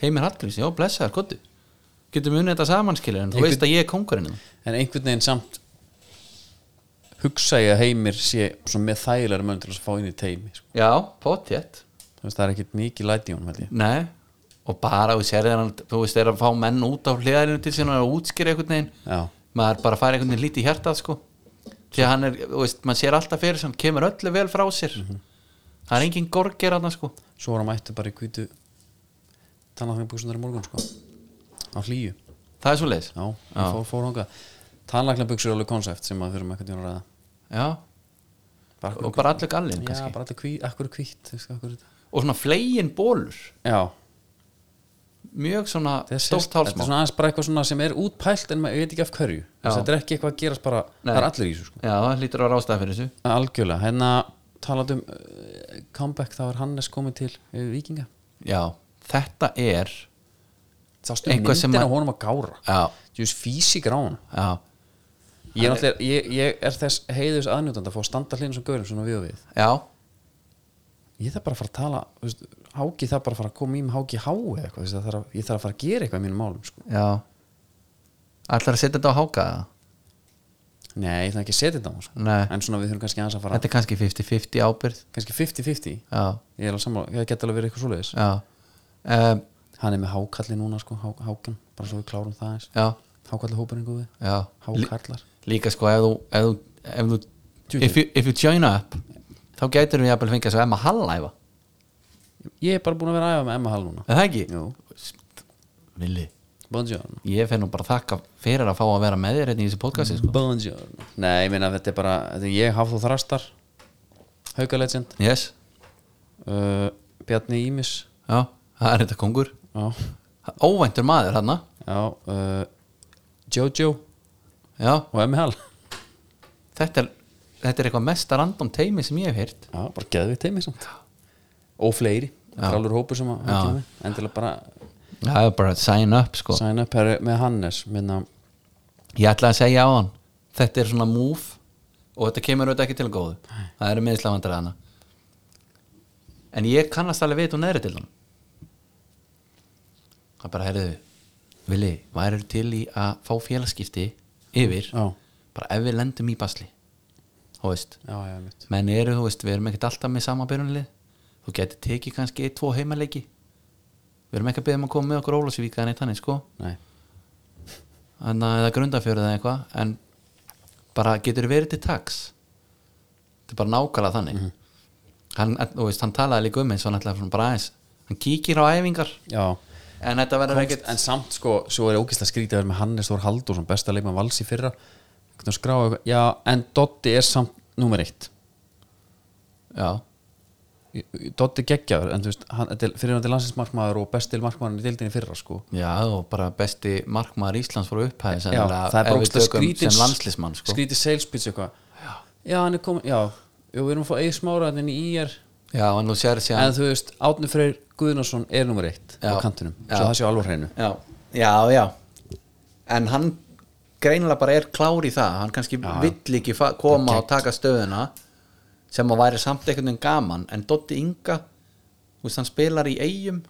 [SPEAKER 2] heimir Hallgríms, já blessaður, gottu getur munið þetta saman skilur en þú
[SPEAKER 1] Einhvern-
[SPEAKER 2] veist að ég er kongurinn hérna.
[SPEAKER 1] en einhvern veginn samt hugsa ég að heimir sé svo með þægilega mönd til að fá inn í teimi sko.
[SPEAKER 2] já, potjett
[SPEAKER 1] Þú veist, það er ekkert mikið læti í honum held ég.
[SPEAKER 2] Nei, og bara þú sér þegar hann, þú veist, þegar að fá menn út á hliðarinu til síðan og útskýra einhvern veginn
[SPEAKER 1] Já.
[SPEAKER 2] maður bara fær einhvern veginn lítið hjartað sko því að hann er, þú veist, maður sér alltaf fyrir sem kemur öllu vel frá sér
[SPEAKER 1] Mhm.
[SPEAKER 2] það er engin gorger hann sko
[SPEAKER 1] svo var hann mættu bara í hvítu tannlæknabuksunar í morgun sko. á hlýju
[SPEAKER 2] það er svo leiðis
[SPEAKER 1] Já, hann fór, fór honga Tannlæknabuxur er alveg konsept sem maður þurfum ekkert að ræða
[SPEAKER 2] já,
[SPEAKER 1] bara
[SPEAKER 2] og bara allur gallin
[SPEAKER 1] Já,
[SPEAKER 2] kannski
[SPEAKER 1] bara allir hví, akkur er hvítt þú veist, akkur er-
[SPEAKER 2] og svona flegin bólur
[SPEAKER 1] Já,
[SPEAKER 2] mjög svona
[SPEAKER 1] þetta er
[SPEAKER 2] stórt
[SPEAKER 1] sérst- þetta er
[SPEAKER 2] hálsmá
[SPEAKER 1] svona aðeins bara eitthvað svona sem er útpælt en maður veit ekki af hverju Þess,
[SPEAKER 2] Já.
[SPEAKER 1] þetta er ekki eitthvað að gerast bara,
[SPEAKER 2] Nei.
[SPEAKER 1] það er allir í þessu sko.
[SPEAKER 2] já, það lítur að rástaða fyrir þessu
[SPEAKER 1] algjörlega, hérna talað um uh, comeback þá er Hannes komið til uh, Víkinga
[SPEAKER 2] já, þetta er
[SPEAKER 1] Sástu myndin
[SPEAKER 2] Eitthvað sem
[SPEAKER 1] að
[SPEAKER 2] að-
[SPEAKER 1] honum að gára
[SPEAKER 2] já,
[SPEAKER 1] Þú veist físík rána
[SPEAKER 2] já,
[SPEAKER 1] ég er, náttúrulega- ég, ég er þess heiðus aðnjótandi að fá að standa hlýnum sem gaurum svona við og við
[SPEAKER 2] já
[SPEAKER 1] ég þarf bara að fara að tala þú veist, háki þarf bara að fara að koma í með háki há eða eitthvað, þú veist, það þarf að, ég þarf að fara að gera eitthvað í mínum málum sko.
[SPEAKER 2] já ætlar að setja þetta á háka eða?
[SPEAKER 1] nei, ég þarf ekki að setja þetta á hann, sko.
[SPEAKER 2] nei,
[SPEAKER 1] en svona við þurfum kannski aðeins að fara
[SPEAKER 2] þetta er kannski 50-50 ábyrð
[SPEAKER 1] kannski 50-50,
[SPEAKER 2] já,
[SPEAKER 1] ég er alveg sammála það geta alveg verið eitthvað svoleiðis
[SPEAKER 2] já um,
[SPEAKER 1] hann er með hákalli núna, sko, há, hákan bara svo við klárum það eins
[SPEAKER 2] já,
[SPEAKER 1] hákalli hópurinn góði,
[SPEAKER 2] já
[SPEAKER 1] hákallar
[SPEAKER 2] líka sko ef þú, ef þú, ef þú
[SPEAKER 1] Tjútur.
[SPEAKER 2] if, you, if you join up þá gætur við jafnvel fengið svo Emma Hall æfa
[SPEAKER 1] ég er bara búin að vera að æfa með Emma Hall núna
[SPEAKER 2] er það ekki?
[SPEAKER 1] Jú.
[SPEAKER 2] Vili,
[SPEAKER 1] bonjour
[SPEAKER 2] ég fer nú bara að þakka fyrir að fá að vera með þér hérna í þessu podcasti sko.
[SPEAKER 1] bonjour, nei, ég meina þetta er bara þetta er ég, Hafþór Þrastar Haukalegend,
[SPEAKER 2] yes,
[SPEAKER 1] uh, Bjarni Ímis
[SPEAKER 2] já, það er þetta kongur
[SPEAKER 1] já,
[SPEAKER 2] óvæntur maður hérna. hann
[SPEAKER 1] Já, uh, Jojo
[SPEAKER 2] já,
[SPEAKER 1] og Emmi Hall
[SPEAKER 2] þetta er, þetta er eitthvað mesta random teimi sem ég hef heyrt
[SPEAKER 1] Já, bara geðvitt teimi samt Og fleiri, þetta er alveg hópur sem að
[SPEAKER 2] Já.
[SPEAKER 1] kemur. endilega bara
[SPEAKER 2] það er bara að sign up sko
[SPEAKER 1] sign up herri, með Hannes minna,
[SPEAKER 2] ég ætla að segja á hann þetta er svona move og þetta kemur auðvitað ekki til góðu það eru miðislavandar hana en ég kannast alveg við hún neðri til hann það bara herriðu Vili, væri til í að fá félagskipti yfir,
[SPEAKER 1] Já,
[SPEAKER 2] bara ef við lendum í basli þú veist
[SPEAKER 1] já, já, mitt
[SPEAKER 2] menn eru, þú veist, við erum ekkert alltaf með sama byrjunlið þú getur tekið kannski eitt, tvo heimaleiki við erum ekki að beða um að koma með okkur Ólafsvíka en eitt hann, sko
[SPEAKER 1] Nei,
[SPEAKER 2] þannig að það grundafjörð eða eitthvað en bara getur verið til tax þetta er bara nákvæmlega þannig
[SPEAKER 1] Mhm.
[SPEAKER 2] hann, þú veist, hann talaði líka um eins og hann ætlaði svona bara aðeins hann kíkir á æfingar
[SPEAKER 1] já
[SPEAKER 2] en þetta verður
[SPEAKER 1] Komst,
[SPEAKER 2] ekkert
[SPEAKER 1] En samt sko, svo er ógislega skrítið að vera með Hannes Þór Haldur sem besta leikmann vals í fyrra Hvernig að skráa eitthvað Já, en Dotti er samt númer eitt
[SPEAKER 2] já,
[SPEAKER 1] Dotti geggjaður, en þú veist hann, þetta er fyrirvændi landsinsmarkmaður og bestil markmaðurinn í deildinni í fyrra sko
[SPEAKER 2] já, og bara besti markmaður Íslands fór upphæði
[SPEAKER 1] já,
[SPEAKER 2] sennilega
[SPEAKER 1] það er
[SPEAKER 2] ef
[SPEAKER 1] bara
[SPEAKER 2] við
[SPEAKER 1] ógeðslega
[SPEAKER 2] tökum
[SPEAKER 1] skrítið
[SPEAKER 2] sem landslismann sko.
[SPEAKER 1] skrítið sales pitch eitthvað já. hann er komin, já, Jú, við erum að fá eigi smáraðin í IR
[SPEAKER 2] já, en þú sér sér
[SPEAKER 1] en þú veist, Átni Freyr Guðnarsson er nummer eitt á
[SPEAKER 2] Já.
[SPEAKER 1] kantinum
[SPEAKER 2] Já.
[SPEAKER 1] svo það sé alveg á hreinu
[SPEAKER 2] já, já, já en hann greinilega bara er klár í það hann kannski vill ekki fa- koma og taka stöðuna sem að væri samt einhvern veginn gaman en Dotti Inga þú veist, hann spilar í eigum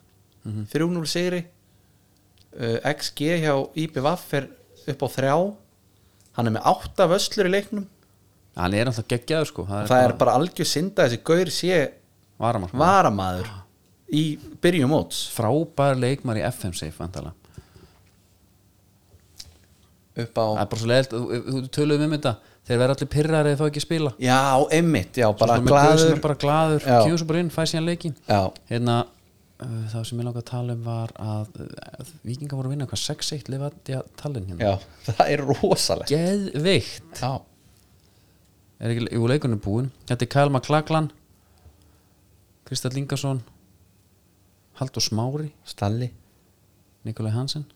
[SPEAKER 1] Mhm.
[SPEAKER 2] 3-0 sigri uh, XG hjá IPVF er upp á þrjá hann er með átta vöslur í leiknum
[SPEAKER 1] hann er alltaf geggjaður sko, það er
[SPEAKER 2] það er bara algjör synda þessi gaur sé
[SPEAKER 1] varamark
[SPEAKER 2] varamaður í byrjum móts
[SPEAKER 1] frábær leikmar í FM safe vantala
[SPEAKER 2] upp á
[SPEAKER 1] það er bara svo leiðilt, þú- þú þú töluðum um þetta þeir verða allir pirrar eða þá ekki að spila
[SPEAKER 2] já, emmitt, já, bara
[SPEAKER 1] Svo með gaur sem
[SPEAKER 2] glaður
[SPEAKER 1] er bara glaður,
[SPEAKER 2] Já.
[SPEAKER 1] kemur svo bara inn, fæ síðan leikin
[SPEAKER 2] já,
[SPEAKER 1] hérna, uh, það sem ég langa að tala um var að uh, vikingar voru að vinna hvað 6-1 lifandi að talin hérna
[SPEAKER 2] já, það er rosalegt
[SPEAKER 1] geðveikt
[SPEAKER 2] já,
[SPEAKER 1] er ekki, jú, leikunum búin þetta er Kyle McLachlan Kristall Ingarsson Haldur Smári
[SPEAKER 2] Stalli
[SPEAKER 1] Nikolai Hansen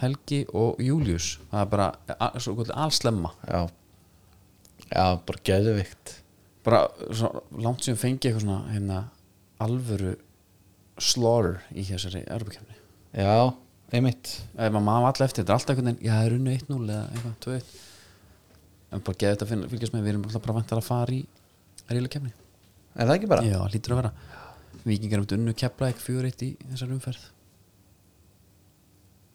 [SPEAKER 1] Helgi og Július það er bara a- svo kvöldi allslemma
[SPEAKER 2] já, já, bara geðvikt
[SPEAKER 1] bara svo, langt sem fengi eitthvað svona hérna, alvöru slaughter í þessari erbukefni
[SPEAKER 2] já, emmitt
[SPEAKER 1] ef maður maður alltaf eftir, þetta er alltaf einhvern veginn já, það er unnu 1-0 eða eitthvað, 2-1 en bara geði þetta að finna- fylgjast með við erum alltaf bara vantar að fara í reyla kefni
[SPEAKER 2] er það ekki bara?
[SPEAKER 1] já, hlýtur að vera vikingar um unnu kefla ekki 4-1 í þessari umferð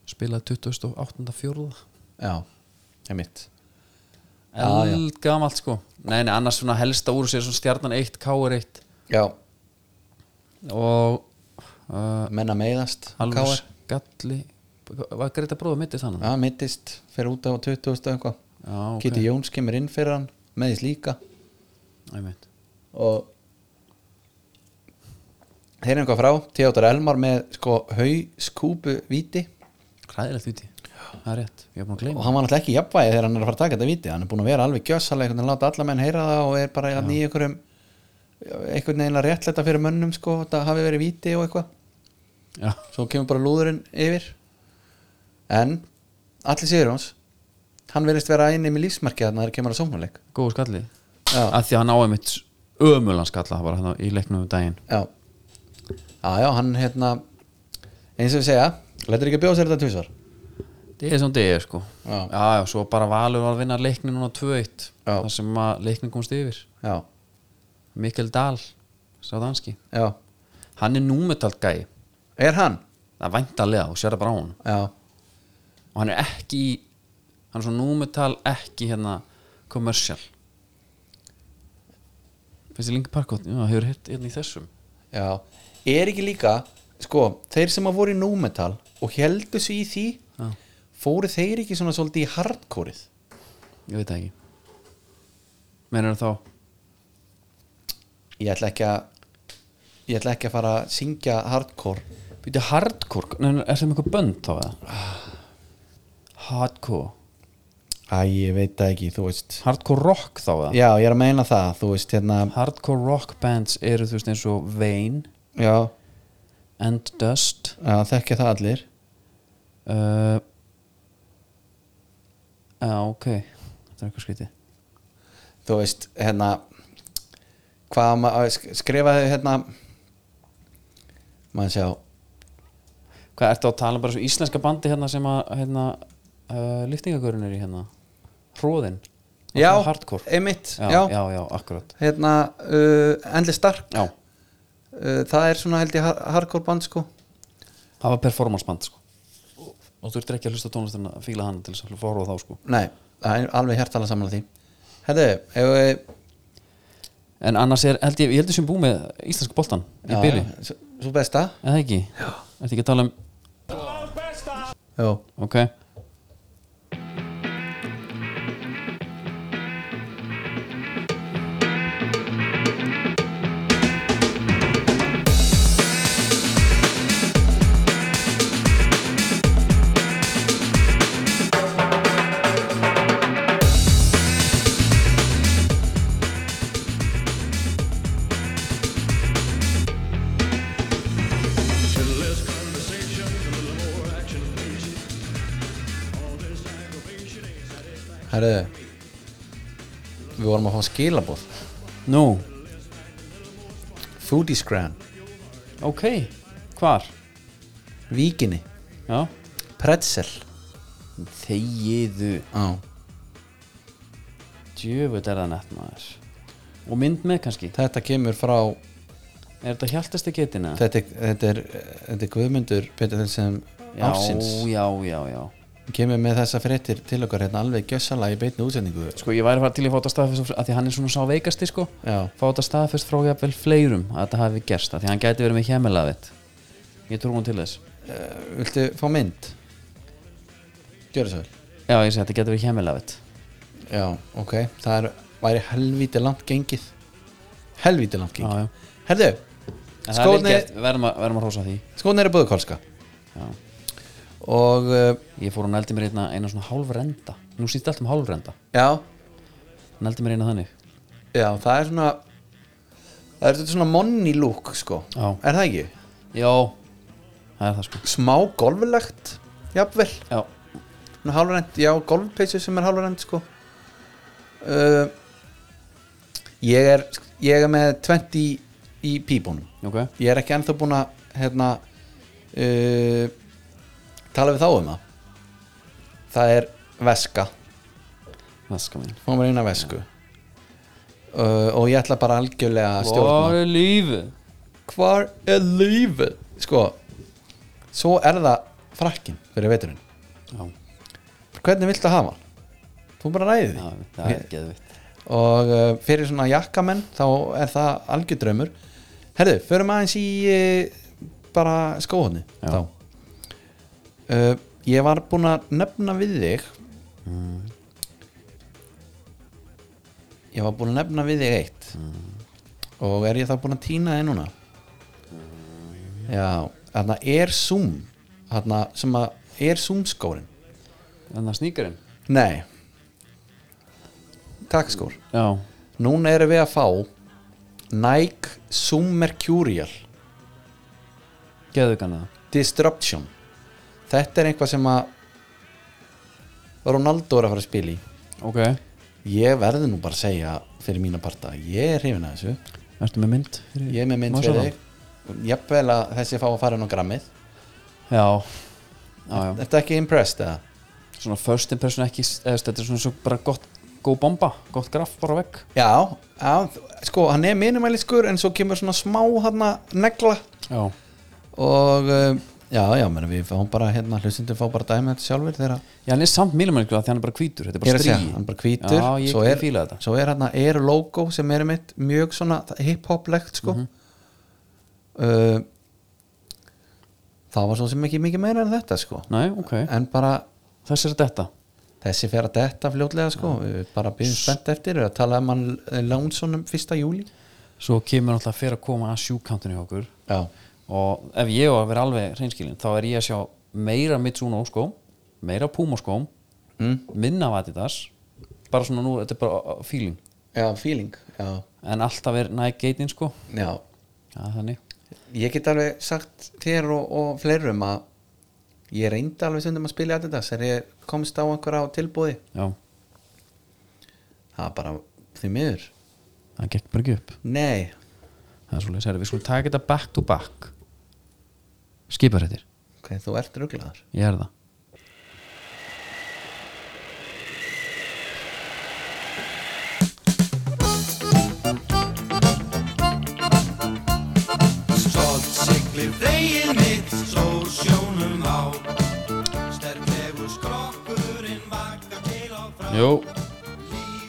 [SPEAKER 1] spilaði 2008.4
[SPEAKER 2] já, emmitt Já, já.
[SPEAKER 1] eldgamalt sko nei, nei, annars svona helsta úr sér svona stjarnan 1, káur 1
[SPEAKER 2] já,
[SPEAKER 1] og uh,
[SPEAKER 2] menna meiðast
[SPEAKER 1] alveg
[SPEAKER 2] KR.
[SPEAKER 1] skalli var greita bróða mitt í þannig
[SPEAKER 2] já, mittist, fer út á 20 og eitthvað
[SPEAKER 1] já, ok,
[SPEAKER 2] Kitty Jóns kemur inn fyrir hann meðist líka
[SPEAKER 1] einmitt
[SPEAKER 2] og þeir eru eitthvað frá Theodor Elmar með sko hauskúpu viti
[SPEAKER 1] hræðilegt viti, það er rétt, ég er búin að
[SPEAKER 2] og
[SPEAKER 1] gleyma
[SPEAKER 2] hann var náttúrulega ekki í jafnvægi þegar hann er að fara að taka þetta viti hann er búin að vera alveg gjössalega einhvern veginn láta alla menn heyra það og er bara hann í einhverjum einhvern veginn að réttlæta fyrir mönnum sko þetta hafi verið viti og eitthvað
[SPEAKER 1] já,
[SPEAKER 2] svo kemur bara lúðurinn yfir en allir sigur hans hann verðist vera einnig með lífsmarkið þannig að það kemur að sóknuleik
[SPEAKER 1] góðu skalli
[SPEAKER 2] Já.
[SPEAKER 1] að því að hann á einmitt ömulan skalla bara hann í leiknum um daginn
[SPEAKER 2] Já Já, já, hann hérna eins og við segja, letur ekki að bjóða sér þetta tvisvar
[SPEAKER 1] það er svona degi sko
[SPEAKER 2] Já.
[SPEAKER 1] já, já, svo bara Valur var að vinna leiknin núna 2-1
[SPEAKER 2] Já.
[SPEAKER 1] þar sem að leiknin komst yfir
[SPEAKER 2] Já,
[SPEAKER 1] Mikkel Dahl, sá danski
[SPEAKER 2] já
[SPEAKER 1] hann er númetalt gæi
[SPEAKER 2] Er hann?
[SPEAKER 1] það er væntanlega, þú sér það bara á hún
[SPEAKER 2] Já,
[SPEAKER 1] og hann er ekki í- hann er svo númetal ekki hérna kommersial finnst þið lengi parkot já, hefur hirt hérna í þessum
[SPEAKER 2] já Er ekki líka, sko, þeir sem að voru í númetal og heldu svo í því
[SPEAKER 1] Já.
[SPEAKER 2] fóru þeir ekki svona svolítið í hardkórið
[SPEAKER 1] ég veit það ekki meinar þá
[SPEAKER 2] Ég ætla ekki að ég ætla ekki að fara að syngja hardkór
[SPEAKER 1] byrja hardcore, nei, nei, er það með eitthvað bönd þá eða
[SPEAKER 2] Ah.
[SPEAKER 1] hardcore,
[SPEAKER 2] Æ, ég veit það ekki, þú veist
[SPEAKER 1] hardcore rock þá eða
[SPEAKER 2] Já, ég er að meina það, þú veist, hérna
[SPEAKER 1] hardcore rock bands eru þú veist eins og Vane
[SPEAKER 2] Já,
[SPEAKER 1] and Dust
[SPEAKER 2] já þekkja það allir
[SPEAKER 1] uh, já ok þetta er eitthvað skrítið
[SPEAKER 2] þú veist, hérna hvað maður sk- skrifaði hérna maður sjá
[SPEAKER 1] Hvað ertu að tala um bara svo íslenska bandi hérna sem að hérna, uh, liftingagörun er í hérna Hróðinn Og það er Hardcore
[SPEAKER 2] einmitt,
[SPEAKER 1] já,
[SPEAKER 2] já,
[SPEAKER 1] já, já, akkurat
[SPEAKER 2] hérna, uh, Endli Stark
[SPEAKER 1] Já,
[SPEAKER 2] uh, það er svona held ég har- hardcore band sko
[SPEAKER 1] það var performance band sko Og þú ert ekki að hlusta á tónlistina að fíla hana til þess að fóra á þá sko
[SPEAKER 2] nei, það er alveg hjartalega saman að því hérna, ef við
[SPEAKER 1] En annars er, held ég, ég heldur sem búið með íslenska boltan í
[SPEAKER 2] já,
[SPEAKER 1] byli,
[SPEAKER 2] já, svo- svo besta
[SPEAKER 1] eða ekki? Já Ertu ekki að tala um,
[SPEAKER 2] já,
[SPEAKER 1] ok
[SPEAKER 2] hérna við vorum að fá skilabóð
[SPEAKER 1] Nú,
[SPEAKER 2] Foodies Grand,
[SPEAKER 1] ok, hvar?
[SPEAKER 2] Víkinni
[SPEAKER 1] Já
[SPEAKER 2] Pretzel
[SPEAKER 1] Þegiðu
[SPEAKER 2] já,
[SPEAKER 1] Djöfull er það nett maður Og mynd með kannski
[SPEAKER 2] þetta kemur frá
[SPEAKER 1] Er þetta hjaltasti getina?
[SPEAKER 2] þetta, er- þetta, er, þetta er Guðmundur Petur Þelsson
[SPEAKER 1] Já,
[SPEAKER 2] ársins
[SPEAKER 1] já, já, já
[SPEAKER 2] kemur með þessa fréttir til okkar hérna alveg gjössalega í beinni útsendingu
[SPEAKER 1] sko ég væri að fara til í fóta staðfest að því hann er svona sá veikasti sko
[SPEAKER 2] Já,
[SPEAKER 1] fóta staðfest frá ég vel fleirum að þetta hafi gerst að því hann gæti verið með hjemmelaðið ég trú hún til þess
[SPEAKER 2] Eh, viltu fá mynd? Gjörðu svo vel
[SPEAKER 1] já ég segi þetta gæti verið hjemmelaðið
[SPEAKER 2] Já, ok, það er, væri helvíti langt gengið Helvíti langt
[SPEAKER 1] já
[SPEAKER 2] gengið
[SPEAKER 1] já
[SPEAKER 2] Herðu,
[SPEAKER 1] En
[SPEAKER 2] sko,
[SPEAKER 1] það er vel
[SPEAKER 2] Skórnir-
[SPEAKER 1] gert, við verðum að, verðum að rosa því
[SPEAKER 2] skóðin eru búðu kolska
[SPEAKER 1] já.
[SPEAKER 2] Og, uh,
[SPEAKER 1] ég fór og nældi mér einna, eina svona hálfrenda nú sýtti allt um hálfrenda
[SPEAKER 2] já,
[SPEAKER 1] nældi mér eina þannig
[SPEAKER 2] Já, það er svona Það er þetta svona money look sko
[SPEAKER 1] Já.
[SPEAKER 2] Er það ekki?
[SPEAKER 1] já það er það sko
[SPEAKER 2] Smá golflegt Jafnvel,
[SPEAKER 1] já
[SPEAKER 2] svona hálfrænt Já, golfpeysu sem er hálfrænt sko uh, Ég er Ég er með 20 í pípunum
[SPEAKER 1] ok
[SPEAKER 2] Ég er ekki ennþá búinn að hérna uh, Tala við þá um það Það er veska
[SPEAKER 1] veska mín
[SPEAKER 2] Fá mér eina vesku uh, Og ég ætla bara algjörlega að stjórna
[SPEAKER 1] hvað er lífið
[SPEAKER 2] hvar er lífið sko, svo er það frakkin fyrir veturinn
[SPEAKER 1] já
[SPEAKER 2] hvernig viltu hafa hann? þú bara ræði því
[SPEAKER 1] já það er geðvitt
[SPEAKER 2] og uh, fyrir svona jakkamenn þá er það algjör draumur herðu, förum aðeins í uh, bara skóhóðni
[SPEAKER 1] Já.
[SPEAKER 2] þá uh, ég var búinn að nefna við þig ég var búinn að nefna við þig eitt og er ég þá búinn að týna þig núna já, þarna er Zoom þarna sem að er Zoom skórin
[SPEAKER 1] en það sníkarinn
[SPEAKER 2] nei takkskór
[SPEAKER 1] já
[SPEAKER 2] Núna erum við að fá Nike Zoom Mercurial
[SPEAKER 1] geðvikan það
[SPEAKER 2] Disruption Þetta er eitthvað sem að Ronaldo er að fara að spila í
[SPEAKER 1] ok
[SPEAKER 2] Ég verði nú bara að segja fyrir mína parta Ég er hrifin að þessu
[SPEAKER 1] ertu með mynd fyrir-
[SPEAKER 2] Ég er með mynd
[SPEAKER 1] Má sjá
[SPEAKER 2] fyrir
[SPEAKER 1] það?
[SPEAKER 2] þig Jafnvel að þessi fá að fara inn á grammið
[SPEAKER 1] já já já
[SPEAKER 2] Þetta er ekki impressed eða?
[SPEAKER 1] svona first impression ekki eða þetta er svona svo bara gott góð bomba gott graf bara vekk
[SPEAKER 2] Já, já, þ- sko hann er minimæliskur en svo kemur svona smá hana negla
[SPEAKER 1] já
[SPEAKER 2] og um, já, já, meni, við fáum bara hérna hlustundur fá bara dæmi þetta sjálfur þegar
[SPEAKER 1] já hann er samt mínumælgur að því hann er bara hvítur þetta er
[SPEAKER 2] Ég er
[SPEAKER 1] bara
[SPEAKER 2] að segja,
[SPEAKER 1] stríði
[SPEAKER 2] hann er bara hvítur
[SPEAKER 1] já ég,
[SPEAKER 2] svo
[SPEAKER 1] ég
[SPEAKER 2] er,
[SPEAKER 1] fíla þetta
[SPEAKER 2] svo er hann að er logo sem er mitt mjög svona
[SPEAKER 1] Mhm.
[SPEAKER 2] hip-hop-legt sko. uh, það var svo sem ekki mikið meira en þetta sko.
[SPEAKER 1] næ ok
[SPEAKER 2] en bara
[SPEAKER 1] þess er þetta
[SPEAKER 2] þessi fer að detta fljótlega sko. Við bara byrjum spennt eftir við að tala um hann Lónsson um 1. júli
[SPEAKER 1] svo kemur náttúrulega fyrir að koma að sjúkantinu hjá okkur
[SPEAKER 2] já,
[SPEAKER 1] og ef ég á að vera alveg hreinskilin þá er ég að sjá meira Mitsuno skóm meira Puma skóm
[SPEAKER 2] Mm.
[SPEAKER 1] minna af Adidas bara svona nú þetta er bara uh, feeling
[SPEAKER 2] já feeling já.
[SPEAKER 1] en alltaf er Nike geitin sko
[SPEAKER 2] já,
[SPEAKER 1] já þannig
[SPEAKER 2] ég get alveg sagt þér og, og fleirum að ég reyndi alveg stundum að spila þetta þegar ég komst á einhverja á tilbúði
[SPEAKER 1] já
[SPEAKER 2] það var bara því miður
[SPEAKER 1] það gekk bara ekki upp
[SPEAKER 2] Nei,
[SPEAKER 1] það er svolítið að við skulum taka þetta back to back skiparhættir
[SPEAKER 2] ok, þú ert ruglaður
[SPEAKER 1] ég er það
[SPEAKER 4] Stolt siglir veginn mitt, sól sjónum á Sterklegur skrokkurinn vakar til á frá
[SPEAKER 1] Jú,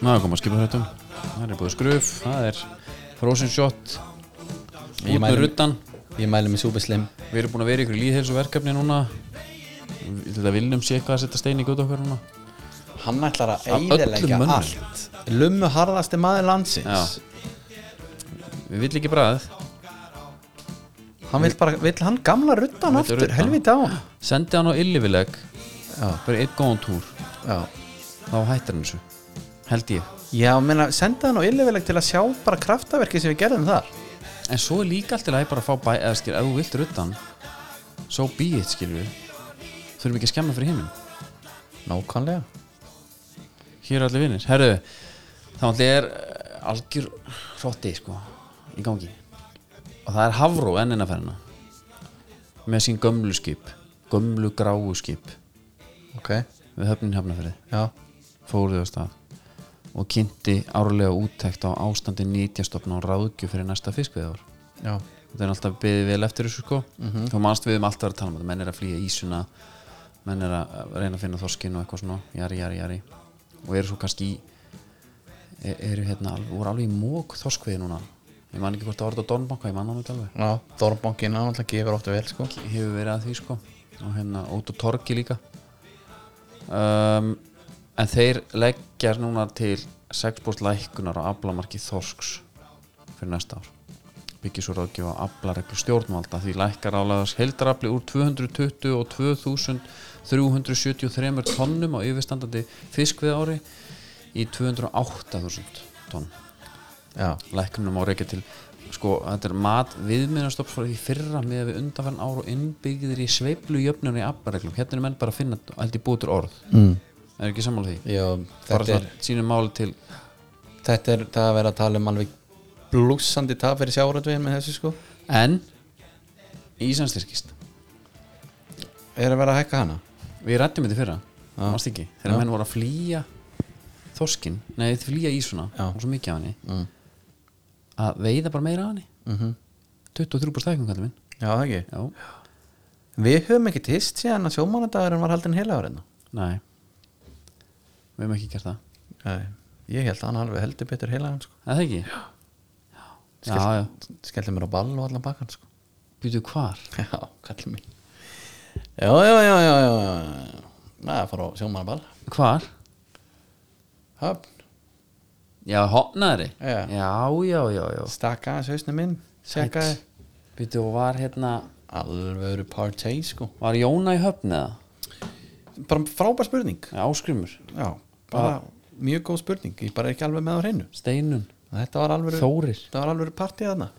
[SPEAKER 1] ná að koma að skipa þetta Það er búið skruf, það er frozen shot
[SPEAKER 2] Ég
[SPEAKER 1] Út með
[SPEAKER 2] mæli-
[SPEAKER 1] ruttan
[SPEAKER 2] Ég mæli mig súbislim
[SPEAKER 1] Við erum búin að vera í ykkur líðhelsuverkefni núna Við- Þetta viljum sé eitthvað að setja stein í gott okkar núna
[SPEAKER 2] Hann ætlar að
[SPEAKER 1] öllum
[SPEAKER 2] eyðileggja
[SPEAKER 1] mönnum.
[SPEAKER 2] allt Lummu harðasti maður landsins
[SPEAKER 1] Já. Við vill ekki bræð
[SPEAKER 2] Hann vill bara, vill hann gamla ruttan
[SPEAKER 1] Hann vill
[SPEAKER 2] aftur,
[SPEAKER 1] ruddan.
[SPEAKER 2] helviti á hann
[SPEAKER 1] Sendi hann á illivileg
[SPEAKER 2] Já,
[SPEAKER 1] Fyrir einn góðan túr
[SPEAKER 2] já
[SPEAKER 1] Þá hættir hann þessu Held ég
[SPEAKER 2] Já, menna, senda hann á yllifileg til að sjá bara kraftaverki sem við gerðum þar
[SPEAKER 1] En svo er líka allt til að ég bara að fá bæ Eða skil, ef þú vilt ruttan So be it, skil við Þurfum ekki að skemma fyrir hinnum
[SPEAKER 2] Nákvæmlega
[SPEAKER 1] Hér er allir vinnir Herru, þá allir er eh, algjör hrotti sko í gangi og það er Havró ennina ferðina með sín gömlu skip gömlu gráu skip
[SPEAKER 2] Ok,
[SPEAKER 1] við höfnin hafnafyrði
[SPEAKER 2] já,
[SPEAKER 1] fóruðu á stað og kynnti árlega úttekt á ástandi nýtjastofna og ráðgjöf fyrir næsta fiskveðar
[SPEAKER 2] já
[SPEAKER 1] þetta er alltaf beðið vel eftir þessu sko mm -hmm. þá manst við um alltaf að tala um þetta menn er að flýja ísuna menn er að að reyna að finna þorskin og eitthvað svona jari, jari, jari og eru svo kannski í e- eru hérna, alveg- voru alveg í mók þorskvið núna ég man ekki hvort það var þetta á Dornbanka, ég man hann ekki alveg
[SPEAKER 2] Já, Þorbankin, hann alltaf gefur ofta vel sko.
[SPEAKER 1] hefur verið að því sko og hérna út á torgi líka um, en þeir leggjar núna til 6% lækkunar á aflamarki þorsks fyrir næsta ár byggis úr ráðgjöf á aflareglu stjórnvalda því lækkar álæðars heldrafli úr 222.373 tonnum á yfirstandandi fiskvið ári í 208.000 tonn
[SPEAKER 2] Já,
[SPEAKER 1] læknum á reykja til sko, þetta er mat viðmiðnastofs frá því fyrra með við undanfæran ár og innbyggðir í sveiflu jöfnun í abbareglum hérna er menn bara að finna allt í bútur orð mm. er ekki sammála því?
[SPEAKER 2] Já
[SPEAKER 1] bara
[SPEAKER 2] þetta, er,
[SPEAKER 1] svona sínu máli til
[SPEAKER 2] þetta er það að vera að tala um alveg blúsandi tap fyrir sjáratvegin með þessu sko
[SPEAKER 1] en Ísland styrkist
[SPEAKER 2] Er að vera að hækka hana?
[SPEAKER 1] við rættum þetta í fyrra,
[SPEAKER 2] Já.
[SPEAKER 1] mást ekki þegar
[SPEAKER 2] Já.
[SPEAKER 1] menn voru að flýja þorskin, nei flýja ísuna
[SPEAKER 2] Já.
[SPEAKER 1] og svo mikið af henni
[SPEAKER 2] Mm.
[SPEAKER 1] að veiða bara meira af henni
[SPEAKER 2] Mm
[SPEAKER 1] 23 stækjum kallum minn
[SPEAKER 2] Já, það ekki
[SPEAKER 1] já,
[SPEAKER 2] Við höfum ekki tist síðan að sjómánadagurinn var hérna. haldin heila áriðna
[SPEAKER 1] nei við hefum ekki gert það
[SPEAKER 2] Nei, ég held að hann alveg heldur betur heila hann sko
[SPEAKER 1] Er Það ekki? Já Já, já
[SPEAKER 2] Skellir mér á ball og allan bakkan sko
[SPEAKER 1] Býtu hvar?
[SPEAKER 2] Já, kallir mér Já, já, já, já, já, já Næ, að fara á sjómánaball
[SPEAKER 1] Hvar?
[SPEAKER 2] Höfn,
[SPEAKER 1] Já, hopnaðri
[SPEAKER 2] Já.
[SPEAKER 1] já, já, já, já.
[SPEAKER 2] stakka aðeins hausnum minn Sjekkaði
[SPEAKER 1] Býtu og var hérna
[SPEAKER 2] Alvöru partey sko
[SPEAKER 1] Var Jóna í höfn eða?
[SPEAKER 2] Bara frábær spurning
[SPEAKER 1] Já, Áskrimur
[SPEAKER 2] Já, bara mjög góð spurning Ég bara er ekki alveg með á hreinu
[SPEAKER 1] Steinun
[SPEAKER 2] Þetta var alvöru,
[SPEAKER 1] Þórir
[SPEAKER 2] þetta var alvöru partíð þarna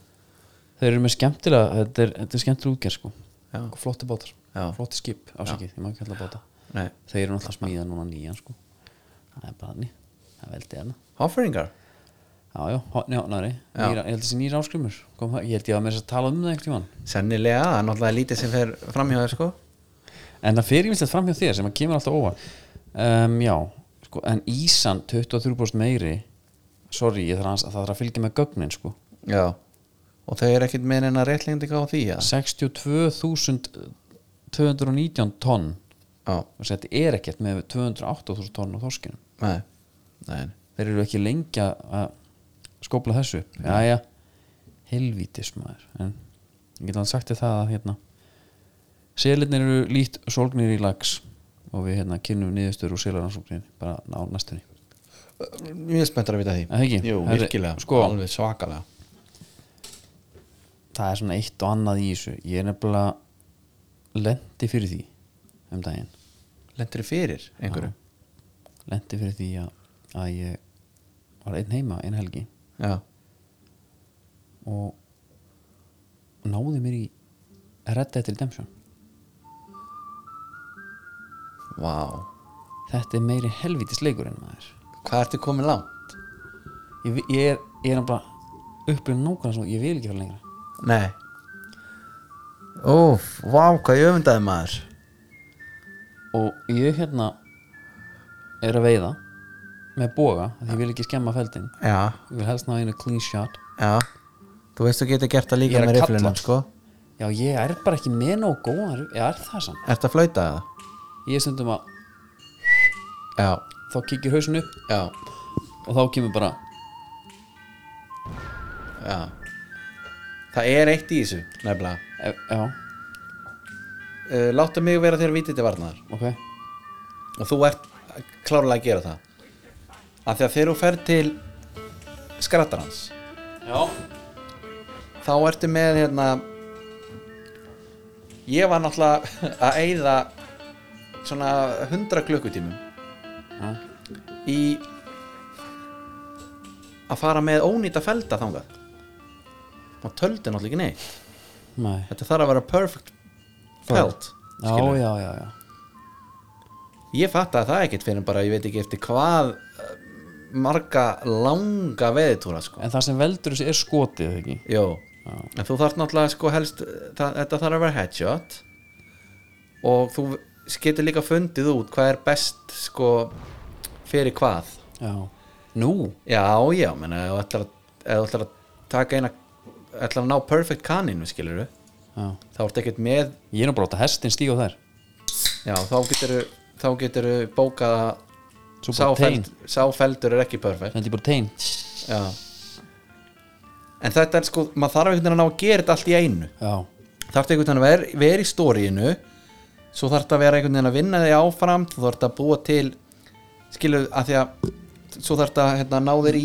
[SPEAKER 1] Þeir eru með skemmtilega Þetta er, þetta er skemmtilega útgerð sko
[SPEAKER 2] Já.
[SPEAKER 1] Og Flotti bátar
[SPEAKER 2] Já.
[SPEAKER 1] Flotti skip Ásakið, ég má ekki kalla báta
[SPEAKER 2] Nei,
[SPEAKER 1] Þeir eru náttúrulega að smíða núna nýjan sko Það er bara þannig Það er veldið hérna
[SPEAKER 2] Hofferingar
[SPEAKER 1] Já, já, hopni hopnaðri
[SPEAKER 2] Já.
[SPEAKER 1] Nýra, Ég held þessi nýra áskrimur Kom, það- Ég held ég að með þess að tala um það einhvern tímann
[SPEAKER 2] Sennilega, það er náttúrulega lítið sem fer fram hjá þér sko
[SPEAKER 1] En það fer yfirlega fram hjá þér sem að kemur alltaf óvar um, Já, sko, en Ísan 23% meiri Sorry, ég þarf að, það þarf að fylgja með gögnin sko.
[SPEAKER 2] Já Og þau eru ekkert með neina réttlendinga á því ja?
[SPEAKER 1] 62.219 tonn
[SPEAKER 2] Já,
[SPEAKER 1] og þetta er ekkert með 208.000 tonn á þorskinum
[SPEAKER 2] nei, nei
[SPEAKER 1] Þeir eru ekki lengi að skópla þessu upp Jæja, helvítis maður En ég get alveg sagt þér það að hérna Selinir eru lít sólgnir í lags og við hérna kynnum niðurstöður úr selaransóknin bara á næstunni
[SPEAKER 2] Mjög spenntur að vita því
[SPEAKER 1] Er það ekki?
[SPEAKER 2] Jú,
[SPEAKER 1] Herri,
[SPEAKER 2] virkilega,
[SPEAKER 1] sko.
[SPEAKER 2] alveg svakalega
[SPEAKER 1] það er svona eitt og annað í þessu ég er nefnilega lendi fyrir því um daginn
[SPEAKER 2] Lendur þið fyrir einhverju
[SPEAKER 1] lendi fyrir því að, að ég var einn heima einn helgi
[SPEAKER 2] Já,
[SPEAKER 1] og náði mér í Red Dead Redemption
[SPEAKER 2] vá
[SPEAKER 1] þetta er meiri helvítis leikur en maður
[SPEAKER 2] Hvað ertu komin langt?
[SPEAKER 1] ég, vi- ég er, ég er bara upplýðin nákvæmlega svo ég vil ekki fara lengra
[SPEAKER 2] Nei Óf, vá, hvað ég öfundaði maður
[SPEAKER 1] og ég hérna er að veiða með boga af því ég vil ekki skemma feldin
[SPEAKER 2] Já,
[SPEAKER 1] ég vil helst ná einu clean shot
[SPEAKER 2] já Þú veist þú getur gert
[SPEAKER 1] Ég
[SPEAKER 2] það líka
[SPEAKER 1] er að
[SPEAKER 2] með
[SPEAKER 1] kalla.
[SPEAKER 2] rifflinum sko
[SPEAKER 1] já ég er bara ekki með nóg góðan ég er það samt
[SPEAKER 2] Ertu að flauta það?
[SPEAKER 1] ég er stundum að
[SPEAKER 2] Já,
[SPEAKER 1] þá kikir hausin upp
[SPEAKER 2] já,
[SPEAKER 1] og þá kemur bara
[SPEAKER 2] já Það er eitt í þessu, nefnilega
[SPEAKER 1] e- já,
[SPEAKER 2] uh, Láttu mig vera þér vitið til varnar
[SPEAKER 1] ok
[SPEAKER 2] Og þú ert klárlega að gera það Af því að þegar þú ferð til skrattarans
[SPEAKER 1] já,
[SPEAKER 2] þá ertu með hérna ég var náttúrulega að eyða svona 100 klukkutímum
[SPEAKER 1] Já.
[SPEAKER 2] í að fara með ónýta felda þangað og töldi náttúrulega ekki neitt
[SPEAKER 1] nei
[SPEAKER 2] þetta þarf að vera perfect felt
[SPEAKER 1] já,
[SPEAKER 2] skilurðu.
[SPEAKER 1] já, já, já
[SPEAKER 2] ég fattaði það ekkert fyrir en bara ég veit ekki eftir hvað eh, marga langa veðitúra sko
[SPEAKER 1] en það sem veldur þessu er skotið eða ekki
[SPEAKER 2] Jó, en þú þarf náttúrulega sko helst það, þetta þarf að vera headshot og þú getur líka fundið út hvað er best sko fyrir hvað
[SPEAKER 1] já, nú
[SPEAKER 2] Já, já, menna ef þú ætlar að, ef þú ætlar að taka eina ætlar að ná perfect kaninu, skilur
[SPEAKER 1] já.
[SPEAKER 2] þá ertu ekkert með
[SPEAKER 1] ég er nú bara að láta hestin stíga á þær
[SPEAKER 2] Já, þá getur þá getur bókað
[SPEAKER 1] Svo
[SPEAKER 2] að
[SPEAKER 1] bara
[SPEAKER 2] sáfeld, sáfeldur er ekki perfect
[SPEAKER 1] Þetta er bara tein
[SPEAKER 2] Já En þetta er sko, maður þarf einhvern veginn að ná að gera þetta allt í einu
[SPEAKER 1] Já,
[SPEAKER 2] Þarf einhvern veginn að vera, vera í stóriinu Svo þarf þetta að vera einhvern veginn að vinna þig áfram Þú þarf þetta að búa til Skilur að því að Svo þarf þetta hérna, að ná þér í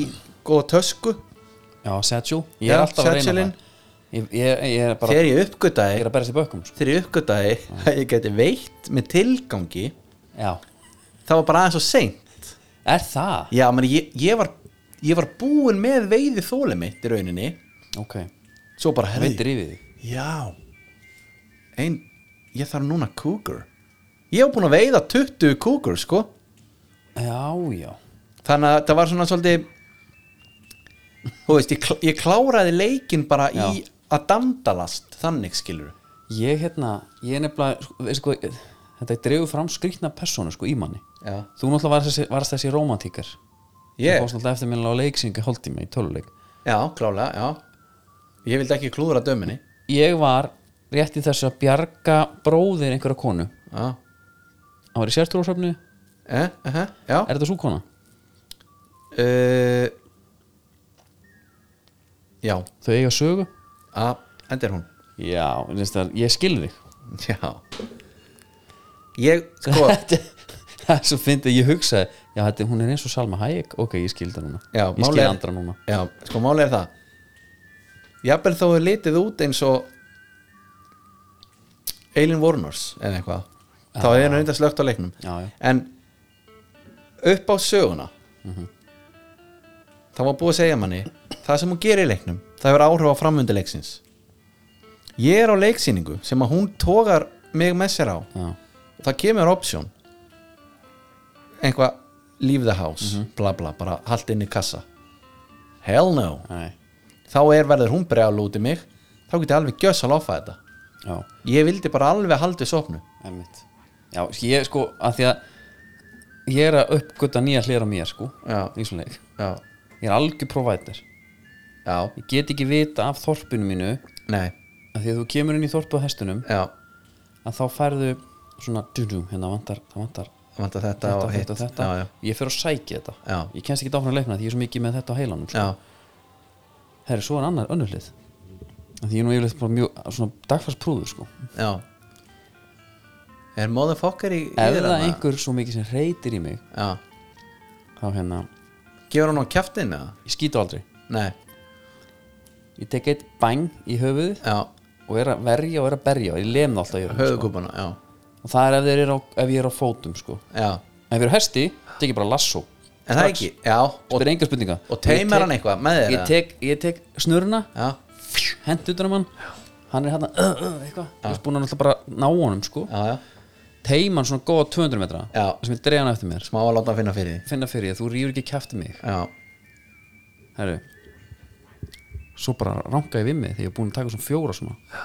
[SPEAKER 2] góða tösku
[SPEAKER 1] já, Satchel Ég
[SPEAKER 2] Já,
[SPEAKER 1] er alltaf að reyna
[SPEAKER 2] Satchelinn.
[SPEAKER 1] það Ég, ég, ég er bara
[SPEAKER 2] Þegar ég uppgötaði
[SPEAKER 1] Ég er að berja sér bökum sko.
[SPEAKER 2] Þegar ég uppgötaði að ég geti veitt með tilgangi
[SPEAKER 1] Já,
[SPEAKER 2] Það var bara aðeins og seint
[SPEAKER 1] er það?
[SPEAKER 2] Já, menn ég, ég var ég var búin með veiði þóli mitt í rauninni
[SPEAKER 1] Ok,
[SPEAKER 2] svo bara herði
[SPEAKER 1] veitir yfir því
[SPEAKER 2] Já Ein, ég þarf núna kúkur Ég var búin að veiða 20 kúkur sko
[SPEAKER 1] Já, já
[SPEAKER 2] Þannig að það var svona svolítið Þú veist, ég, klá, ég kláraði leikin bara í
[SPEAKER 1] Já.
[SPEAKER 2] að dandalast þannig skilur
[SPEAKER 1] Ég hérna, ég er nefnilega sko, veistu hvað, Þetta dregur fram skrýtna persónu sko, í manni
[SPEAKER 2] Já.
[SPEAKER 1] Þú náttúrulega varst þessi, varst þessi romantíkar Þú
[SPEAKER 2] ég,
[SPEAKER 1] fórst náttúrulega eftirminnilega á leiksýningu Hóltíma í töluleik
[SPEAKER 2] Já, klálega, já Ég vildi ekki klúðra döminni
[SPEAKER 1] Ég var rétt í þessu að bjarga bróðir einhverja konu
[SPEAKER 2] Já,
[SPEAKER 1] Hann var í sértrúarsöfnu Er
[SPEAKER 2] eh, uh já
[SPEAKER 1] þetta svo kona?
[SPEAKER 2] uh, Já,
[SPEAKER 1] Þau eiga sögu?
[SPEAKER 2] að enda er hún
[SPEAKER 1] Já, veist það, ég skil þig
[SPEAKER 2] Já Ég, sko
[SPEAKER 1] Það er svo fyndið, ég hugsaði Já, þetta, hún er eins og Salma Hayek Ok, ég skil það núna
[SPEAKER 2] já,
[SPEAKER 1] Ég
[SPEAKER 2] málið
[SPEAKER 1] skil
[SPEAKER 2] er-
[SPEAKER 1] andra núna
[SPEAKER 2] Já, sko máli er það Jafnvel þó er litið út eins og Alien Warners eða eitthvað Þá er hann reynda slögt á leiknum
[SPEAKER 1] Já, já.
[SPEAKER 2] En upp á söguna þá var búið að segja manni Það sem hún gerir í leiknum Það hefur áhrif á framvindu leiksins Ég er á leiksýningu sem að hún tógar mig með sér á
[SPEAKER 1] Já,
[SPEAKER 2] það kemur option einhvað leave the house, bla bla, bara hald inn í kassa hell no
[SPEAKER 1] nei,
[SPEAKER 2] þá er verður hún brjál út í mig þá geti alveg gjöss að lofa þetta
[SPEAKER 1] já,
[SPEAKER 2] ég vildi bara alveg haldið sopnu
[SPEAKER 1] emmitt Já, ég sko, að því að Ég er að uppgöta nýja hlera mér sko
[SPEAKER 2] Já.
[SPEAKER 1] Í svona leik
[SPEAKER 2] já,
[SPEAKER 1] Ég er algjör provider
[SPEAKER 2] já,
[SPEAKER 1] Ég get ekki vita af þorpinu mínu
[SPEAKER 2] nei
[SPEAKER 1] að Því að þú kemur inn í þorpu á hestunum
[SPEAKER 2] já,
[SPEAKER 1] Að þá færðu svona djúdjú, Hérna vantar, það vantar
[SPEAKER 2] vant að þetta
[SPEAKER 1] Þetta,
[SPEAKER 2] og hitt
[SPEAKER 1] þetta, þetta
[SPEAKER 2] já, já,
[SPEAKER 1] Ég fer að sækja þetta
[SPEAKER 2] Já.
[SPEAKER 1] Ég kennst ekki dáfram leikna því ég er svo mikið með þetta á heilanum sko.
[SPEAKER 2] já,
[SPEAKER 1] Herri, svo er annar önnur hlið Af Því ég er nú yfirleitt bara mjög svona dagfarsprúður sko
[SPEAKER 2] já. er motherfucker í, í
[SPEAKER 1] Ef
[SPEAKER 2] þér
[SPEAKER 1] það
[SPEAKER 2] þarna?
[SPEAKER 1] einhver svo mikið sem reytir í mig
[SPEAKER 2] já,
[SPEAKER 1] Þá hérna,
[SPEAKER 2] gefur hann á kjaftin eða?
[SPEAKER 1] ég skýtu aldrei
[SPEAKER 2] nei,
[SPEAKER 1] Ég tek eitt bæng í höfuðið
[SPEAKER 2] já,
[SPEAKER 1] Og er að verja og er að berja Ég lem það alltaf í höfuðið sko.
[SPEAKER 2] höfugúbana já,
[SPEAKER 1] Og það er ef, þeir eru á, ef ég er á fótum sko
[SPEAKER 2] já,
[SPEAKER 1] Ef ég er á hesti, tek ég bara lasso
[SPEAKER 2] en það ekki já, og,
[SPEAKER 1] Spyr enga spurninga
[SPEAKER 2] og teimar
[SPEAKER 1] Ég tek-
[SPEAKER 2] hann eitthvað með þér
[SPEAKER 1] Ég
[SPEAKER 2] eða?
[SPEAKER 1] tek, ég tek snurna
[SPEAKER 2] já,
[SPEAKER 1] Hent utan um hann Hann er hann að uh, uh, eitthvað Ég er búin að náttúrulega bara ná honum sko
[SPEAKER 2] já, já
[SPEAKER 1] Teima hann svona góða 200 metra
[SPEAKER 2] Já.
[SPEAKER 1] Sem ég dreig hann eftir mér
[SPEAKER 2] smá að láta hann finna fyrir því
[SPEAKER 1] Finna fyrir ég, þú rýfur ekki kæfti mig
[SPEAKER 2] já,
[SPEAKER 1] Herru Svo bara ranka ég við mig Þegar ég er búin að taka svona fjóra svona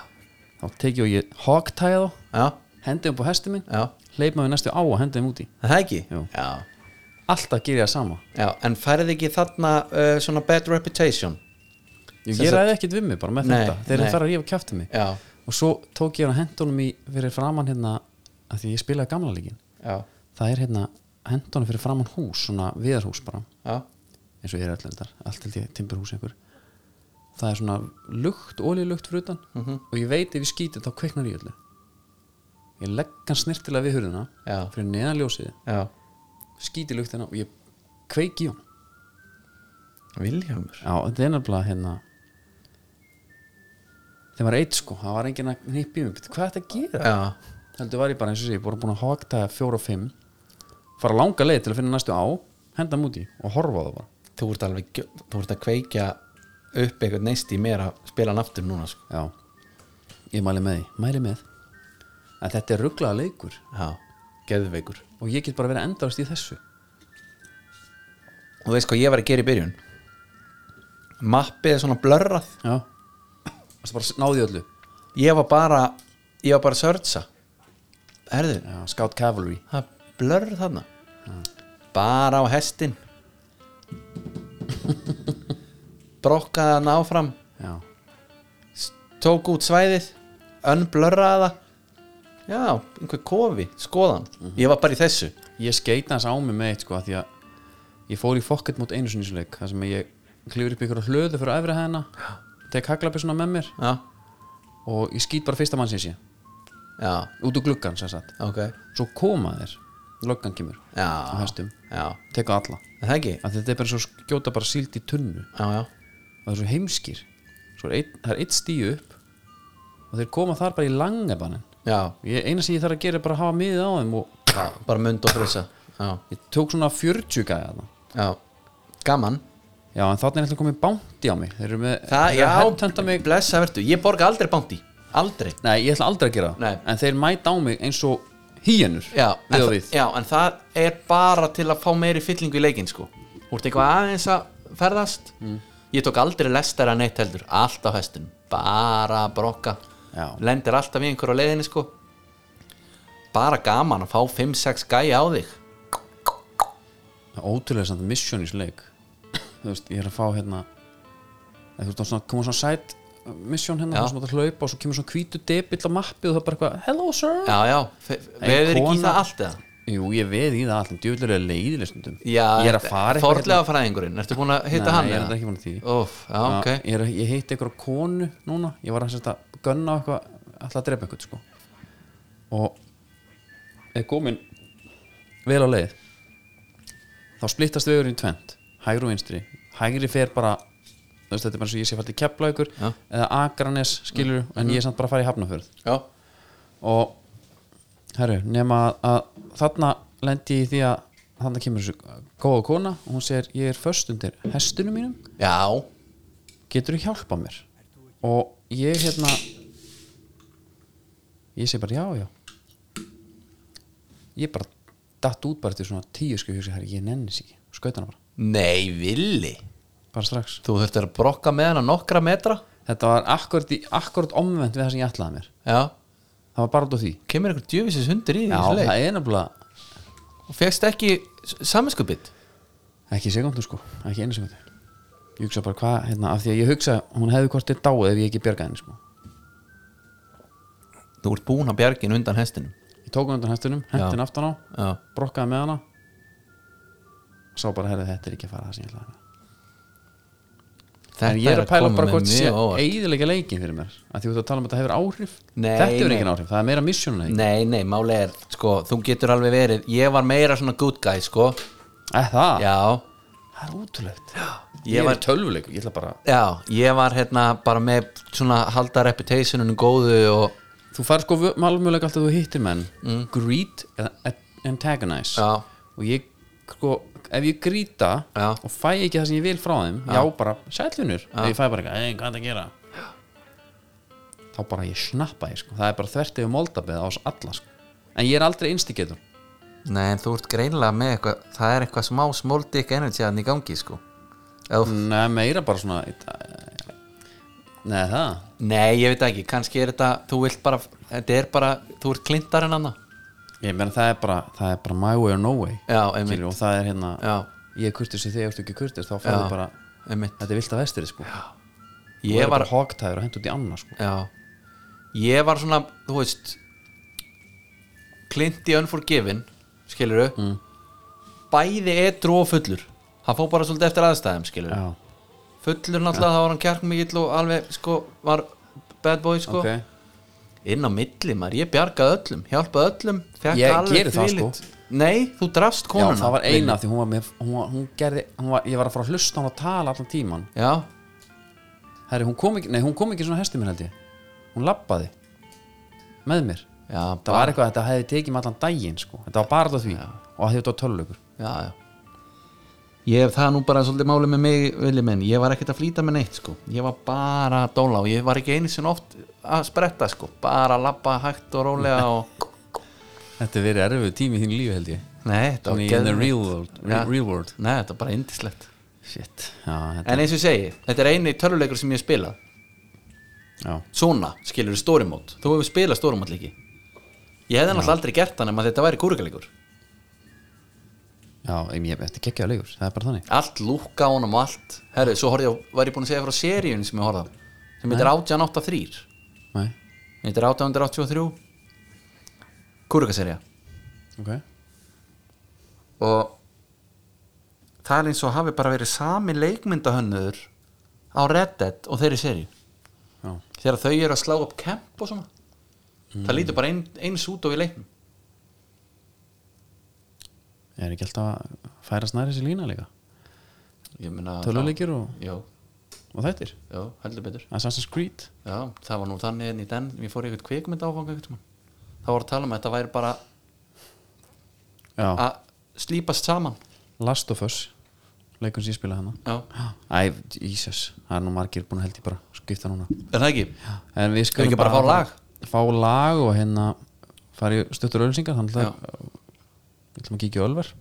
[SPEAKER 1] Þá teki ég og ég hogtæða þá
[SPEAKER 2] já,
[SPEAKER 1] Hendi um på hesti minn
[SPEAKER 2] já,
[SPEAKER 1] Leip maður næstu á og hendi um úti
[SPEAKER 2] Er það ekki
[SPEAKER 1] Jú.
[SPEAKER 2] já,
[SPEAKER 1] Alltaf ger ég það sama
[SPEAKER 2] já, en færið ekki þarna uh, svona bad reputation
[SPEAKER 1] Ég,
[SPEAKER 2] Sem
[SPEAKER 1] ég
[SPEAKER 2] sagt-
[SPEAKER 1] ræði ekkert við mig bara með
[SPEAKER 2] Nei,
[SPEAKER 1] þetta Þegar
[SPEAKER 2] nei.
[SPEAKER 1] það fer að rífa kjæfti mig
[SPEAKER 2] já,
[SPEAKER 1] Og svo tók ég hann hendunum í fyrir framann hérna að Því ég spilaði gamla líkin
[SPEAKER 2] já,
[SPEAKER 1] Það er hérna hendunum fyrir framann hús Svona viðarhús bara
[SPEAKER 2] já
[SPEAKER 1] eins og ég er öllendar, allt held ég timburhús einhver það er svona lukt, ólílukt fyrir utan
[SPEAKER 2] Mhm.
[SPEAKER 1] og ég veit ef ég skýti þá kveiknar í öllu ég legg hann snirtilega við hurðina
[SPEAKER 2] Já.
[SPEAKER 1] fyrir neðan ljósið,
[SPEAKER 2] já,
[SPEAKER 1] skýti luktina og ég kveiki í hann
[SPEAKER 2] Viljámur
[SPEAKER 1] já, þetta er nefnilega hérna þeim var eitt sko, það var enginn að hnippi í mig "Bíddu, hvað er þetta að gera?
[SPEAKER 2] já,
[SPEAKER 1] heldur var ég bara eins og sé, ég voru búin að hogta fjóra og fimm fara langa leið til að finna næstu á henda múti og horfa á það bara
[SPEAKER 2] þú ert alveg gjö- þú ert að kveikja upp eitthvað neist í mér að spila hann aftur núna sko.
[SPEAKER 1] Já, ég mæli með því Mæli með að Þetta er rugglaða leikur
[SPEAKER 2] já, geðveikur
[SPEAKER 1] og ég get bara verið endarast í þessu
[SPEAKER 2] og þú veist hvað ég var að gera í byrjun mappið er svona blörrað
[SPEAKER 1] Já Það bara náði öllu
[SPEAKER 2] ég var bara, ég var bara að searcha herðu,
[SPEAKER 1] Já, Scout Cavalry
[SPEAKER 2] það er blörr þarna bara á hestin brokkaði hann áfram
[SPEAKER 1] Já,
[SPEAKER 2] tók út svæðið önnblörraði það já, einhver kofi, skoðan
[SPEAKER 1] Mhm.
[SPEAKER 2] ég var bara í þessu
[SPEAKER 1] ég skeita hans á mig með eitt sko af því að ég fór í fokket mót einu sinni í þessum leik þar sem ég klifur upp ykkur hlöðu fyrir að efri hæðina tek haglabissuna með mér
[SPEAKER 2] já,
[SPEAKER 1] og ég skýt bara fyrsta mann sem sé
[SPEAKER 2] já,
[SPEAKER 1] út úr gluggan sem sagt
[SPEAKER 2] ok
[SPEAKER 1] svo koma þeir, löggan kemur
[SPEAKER 2] já,
[SPEAKER 1] á hestum,
[SPEAKER 2] já,
[SPEAKER 1] tek á alla
[SPEAKER 2] Er það ekki
[SPEAKER 1] að þetta er bara eins og skjóta bara síld í tunnu
[SPEAKER 2] já, já,
[SPEAKER 1] og það er svo heimskir svo er ein, það er eitt stíu upp og þeir koma þar bara í langabannin
[SPEAKER 2] já,
[SPEAKER 1] ég, eina sem ég þarf að gera er bara að hafa miðið á þeim og
[SPEAKER 2] bara mund og frissa já,
[SPEAKER 1] ég tók svona 40 gæði þarna
[SPEAKER 2] já, gaman
[SPEAKER 1] já en þannig er alltaf komið bánti á mig þeir eru með
[SPEAKER 2] það,
[SPEAKER 1] þeir eru að
[SPEAKER 2] já,
[SPEAKER 1] headhunta mig
[SPEAKER 2] blessa verður ég borga aldrei bánti, aldrei
[SPEAKER 1] nei ég ætla aldrei að gera það
[SPEAKER 2] Nei.
[SPEAKER 1] en þeir mæta á mig eins og hýjanur
[SPEAKER 2] já, en,
[SPEAKER 1] við og
[SPEAKER 2] það-
[SPEAKER 1] við
[SPEAKER 2] já, en það er bara til að fá meiri fyllingu í leikinn sko Þú ert eitthvað aðeins að ferðast
[SPEAKER 1] Mm.
[SPEAKER 2] Ég tók aldrei lestara neitt heldur Allt á hestum, bara að brokka
[SPEAKER 1] Já.
[SPEAKER 2] Lendir alltaf í einhverju á leiðinni sko Bara gaman að fá 5-6 gæja á þig
[SPEAKER 1] það er ótrúlega samt mission í sleik þú veist ég er að fá hérna eða þú veist þá koma svona side mission hérna
[SPEAKER 2] Já.
[SPEAKER 1] þar sem þú ert að hlaupa og svo kemur svona hvítu debill á mappi og það er bara eitthvað hello sir
[SPEAKER 2] Já, já, veður ekki í
[SPEAKER 1] kona-
[SPEAKER 2] það allt eða
[SPEAKER 1] Jú, ég veð í það allir, djúvilega leiðileg stundum
[SPEAKER 2] Já,
[SPEAKER 1] Ég er að fara eitthvað hérna.
[SPEAKER 2] Forlega fræðingurinn, ertu búin að hitta
[SPEAKER 1] Nei,
[SPEAKER 2] hann?
[SPEAKER 1] ég er
[SPEAKER 2] eða?
[SPEAKER 1] ekki búin að því.
[SPEAKER 2] Óf, já,
[SPEAKER 1] hérna.
[SPEAKER 2] ok
[SPEAKER 1] ég, er að- ég heitti eitthvað konu núna Ég var að, sérst, að gunna á eitthvað Alltaf að drepa eitthvað sko. Og Er komin Vel á leið Þá splittast vegurinn í tvent Hægri og vinstri Hægri fer bara þú veist, Þetta er bara eins og ég sé fælt í kepla ykkur
[SPEAKER 2] Já. Mhm.
[SPEAKER 1] Eða Akranes skilur En ég er samt bara að fara í Hafnafjörð
[SPEAKER 2] Já,
[SPEAKER 1] og herru, nema að, að þarna lendi ég í því að þarna kemur þessu góða kona og hún segir ég er först undir hestunum mínum
[SPEAKER 2] já,
[SPEAKER 1] getur þú hjálpa mér og ég hérna ég segi bara já já ég bara datt út bara til svona tíu sko hugsi herri ég nenni sér ekki skauta hana bara,
[SPEAKER 2] nei, villi
[SPEAKER 1] bara strax
[SPEAKER 2] Þú þurftir að brokka með hana nokkra metra
[SPEAKER 1] þetta var akkurat, í, akkurat omvend við það sem ég ætlaði mér
[SPEAKER 2] Já,
[SPEAKER 1] það var bara út á því
[SPEAKER 2] kemur einhver djöfisins hundur í
[SPEAKER 1] já,
[SPEAKER 2] þessu
[SPEAKER 1] það
[SPEAKER 2] leik
[SPEAKER 1] er nefnilega
[SPEAKER 2] og fegst ekki saminskupið
[SPEAKER 1] ekki segundu sko, ekki einu segundu ég hugsa bara hvað, hérna, af því að ég hugsa hún hefði hvort þið dáið ef ég ekki bjargaði henni sko
[SPEAKER 2] þú ert búin að bjargin undan hestinum
[SPEAKER 1] ég tók hún undan hestunum, hentin aftan á
[SPEAKER 2] já,
[SPEAKER 1] brokkaði með hana sá bara, herrið, þetta er ekki að fara það sem ég ætlaði að gera. en ég er að pæla bara hvort sé
[SPEAKER 2] óvart
[SPEAKER 1] eiginlega leikin fyrir mér, að því út að tala um að þetta hefur áhrif
[SPEAKER 2] Nei,
[SPEAKER 1] þetta hefur
[SPEAKER 2] nei.
[SPEAKER 1] ekki áhrif, það er meira misjónu eh,
[SPEAKER 2] nei, nei, máli er, sko, þú getur alveg verið ég var meira svona good guy, sko
[SPEAKER 1] það,
[SPEAKER 2] já,
[SPEAKER 1] það er útulegt
[SPEAKER 2] Ég
[SPEAKER 1] ég,
[SPEAKER 2] var-
[SPEAKER 1] er tölvuleik, ég ætla bara
[SPEAKER 2] já, ég var hérna bara með svona halda reputationinu góðu og,
[SPEAKER 1] þú fær sko malmjöleik alltaf þú hittir menn
[SPEAKER 2] Mm.
[SPEAKER 1] greet eða a- antagonize
[SPEAKER 2] Já.
[SPEAKER 1] og ég sko ef ég gríta
[SPEAKER 2] Já.
[SPEAKER 1] og fæ ekki það sem ég vil frá þeim já, bara sætlunur og ég fæ bara eitthvað, "Ey, hvað er það að gera þá bara ég snappa ég sko það er bara þvert yfir moldabið á oss alla sko. en ég er aldrei instigator
[SPEAKER 2] nei, en þú ert greinlega með eitthvað, það er eitthvað smá small dick energy hann í gangi, sko Ef þú
[SPEAKER 1] Nei, meira bara svona Nei, það
[SPEAKER 2] Nei, ég veit ekki, kannski er þetta þú vilt bara, þetta er bara þú ert klintar en annað
[SPEAKER 1] ég meina það er bara, það er bara my way or no way
[SPEAKER 2] Já, einmitt.
[SPEAKER 1] Skilur, og það er hérna
[SPEAKER 2] Já.
[SPEAKER 1] ég er kurtis þegar ég ertu ekki kurtis þá færðu bara,
[SPEAKER 2] einmitt.
[SPEAKER 1] þetta er vilt að vestir sko.
[SPEAKER 2] Ég var,
[SPEAKER 1] hogtæður og hendur út í annars sko.
[SPEAKER 2] já Ég var svona, þú veist Clint í Unforgiven skilurðu mm. bæði edru og fullur hann fór bara svolítið eftir aðstæðum skilurðu
[SPEAKER 1] já,
[SPEAKER 2] fullur náttúrulega, þá var hann kjarkmikill og alveg sko, var bad boy sko
[SPEAKER 1] ok
[SPEAKER 2] inn á milli maður, ég bjargaði öllum hjálpaði öllum, fekk
[SPEAKER 1] Ég
[SPEAKER 2] alveg
[SPEAKER 1] geri það, sko.
[SPEAKER 2] þvílíkt. Nei, þú drafst konuna
[SPEAKER 1] já, það var eina af því hún var með hún, var- hún gerði, hún var, ég var að fara að hlusta á hann að tala allan tíman
[SPEAKER 2] Já,
[SPEAKER 1] Herri, hún, kom ekki, nei, hún kom ekki svona hesti mér held ég hún labbaði með mér
[SPEAKER 2] já,
[SPEAKER 1] það var eitthvað að þetta hefði tekið með allan daginn sko. þetta var bara það því og að því þetta var tölugur
[SPEAKER 2] já, já ég hef það nú bara svolítið máli með mig vilji minn, ég var ekkert að flýta með neitt sko ég var bara að dóla og ég var ekki einu sinni oft að spretta sko bara að labba hægt og rólega og
[SPEAKER 1] þetta er verið erfið tími í þín lífi held ég
[SPEAKER 2] nei, þetta
[SPEAKER 1] Svona
[SPEAKER 2] var
[SPEAKER 1] í in the
[SPEAKER 2] geðveikt.
[SPEAKER 1] real world,
[SPEAKER 2] Já.
[SPEAKER 1] real, real world.
[SPEAKER 2] nei, þetta var bara indislegt
[SPEAKER 1] Shit. Já, þetta,
[SPEAKER 2] en eins og ég segi, þetta er eini töluleikur sem ég hef spilað
[SPEAKER 1] já.
[SPEAKER 2] svona, skilur þú stórimót þú hefur spilað stórimót líki ég hefði náttúrulega aldrei gert það nema þetta væri kúrikalegur
[SPEAKER 1] já em, ég, þetta er geggjaða leikur, það er bara þannig
[SPEAKER 2] allt lúkka á honum og allt herru, svo horfði ég, á- var ég búin að segja frá seríun sem ég horfði á, sem heitir 1883
[SPEAKER 1] Nei.
[SPEAKER 2] Þetta er 883 kúrukaserja
[SPEAKER 1] ok
[SPEAKER 2] og það er eins og hafi bara verið sami leikmyndahönnur á Red Dead og þeirri serju
[SPEAKER 1] já,
[SPEAKER 2] þegar þau eru að slá upp kemp og svona það lítur bara ein, eins út og í leiknum
[SPEAKER 1] er ekki alltaf að færa snæri sér lína líka
[SPEAKER 2] Ég meina-
[SPEAKER 1] Tölvuleikir og-
[SPEAKER 2] já,
[SPEAKER 1] og þættir,
[SPEAKER 2] já, heldur betur
[SPEAKER 1] Assassin's Creed
[SPEAKER 2] já, það var nú þannig enn í den við fórum í eitthvað kvikmynd áfanga það var að tala um að þetta væri bara
[SPEAKER 1] já,
[SPEAKER 2] að slípast saman
[SPEAKER 1] Last of Us leikum sem ég spila hana
[SPEAKER 2] já,
[SPEAKER 1] Æ, Jesus, það er nú margir búin að held ég bara skipta núna
[SPEAKER 2] er það ekki?
[SPEAKER 1] En við skulum
[SPEAKER 2] Ekki bara fá lag?
[SPEAKER 1] Fá lag og hérna fara í stuttur ölsingar Þannig
[SPEAKER 2] Já.
[SPEAKER 1] að við ætlum að kíkja á Ölver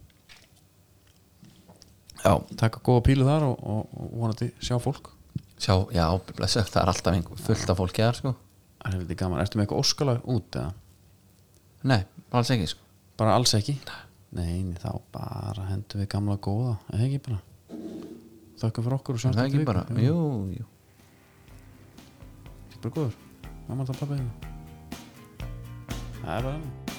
[SPEAKER 2] já,
[SPEAKER 1] Takka góða pílu þar og, og, og vonandi sjá fólk
[SPEAKER 2] sjá, já, blessa, það er alltaf einhver- fullt af fólki þar sko
[SPEAKER 1] Það er heldur gaman, ertu með eitthvað óskalag út eða?
[SPEAKER 2] nei, alls ekki sko
[SPEAKER 1] Bara alls ekki? Nei, nei, þá bara hendum við gamla góða Eða ekki bara Þakka fyrir okkur og
[SPEAKER 2] er
[SPEAKER 1] sjáum
[SPEAKER 2] það ekki bara, jú, jú
[SPEAKER 1] Bara góður, mamma það pappa hérna Það er bara hérna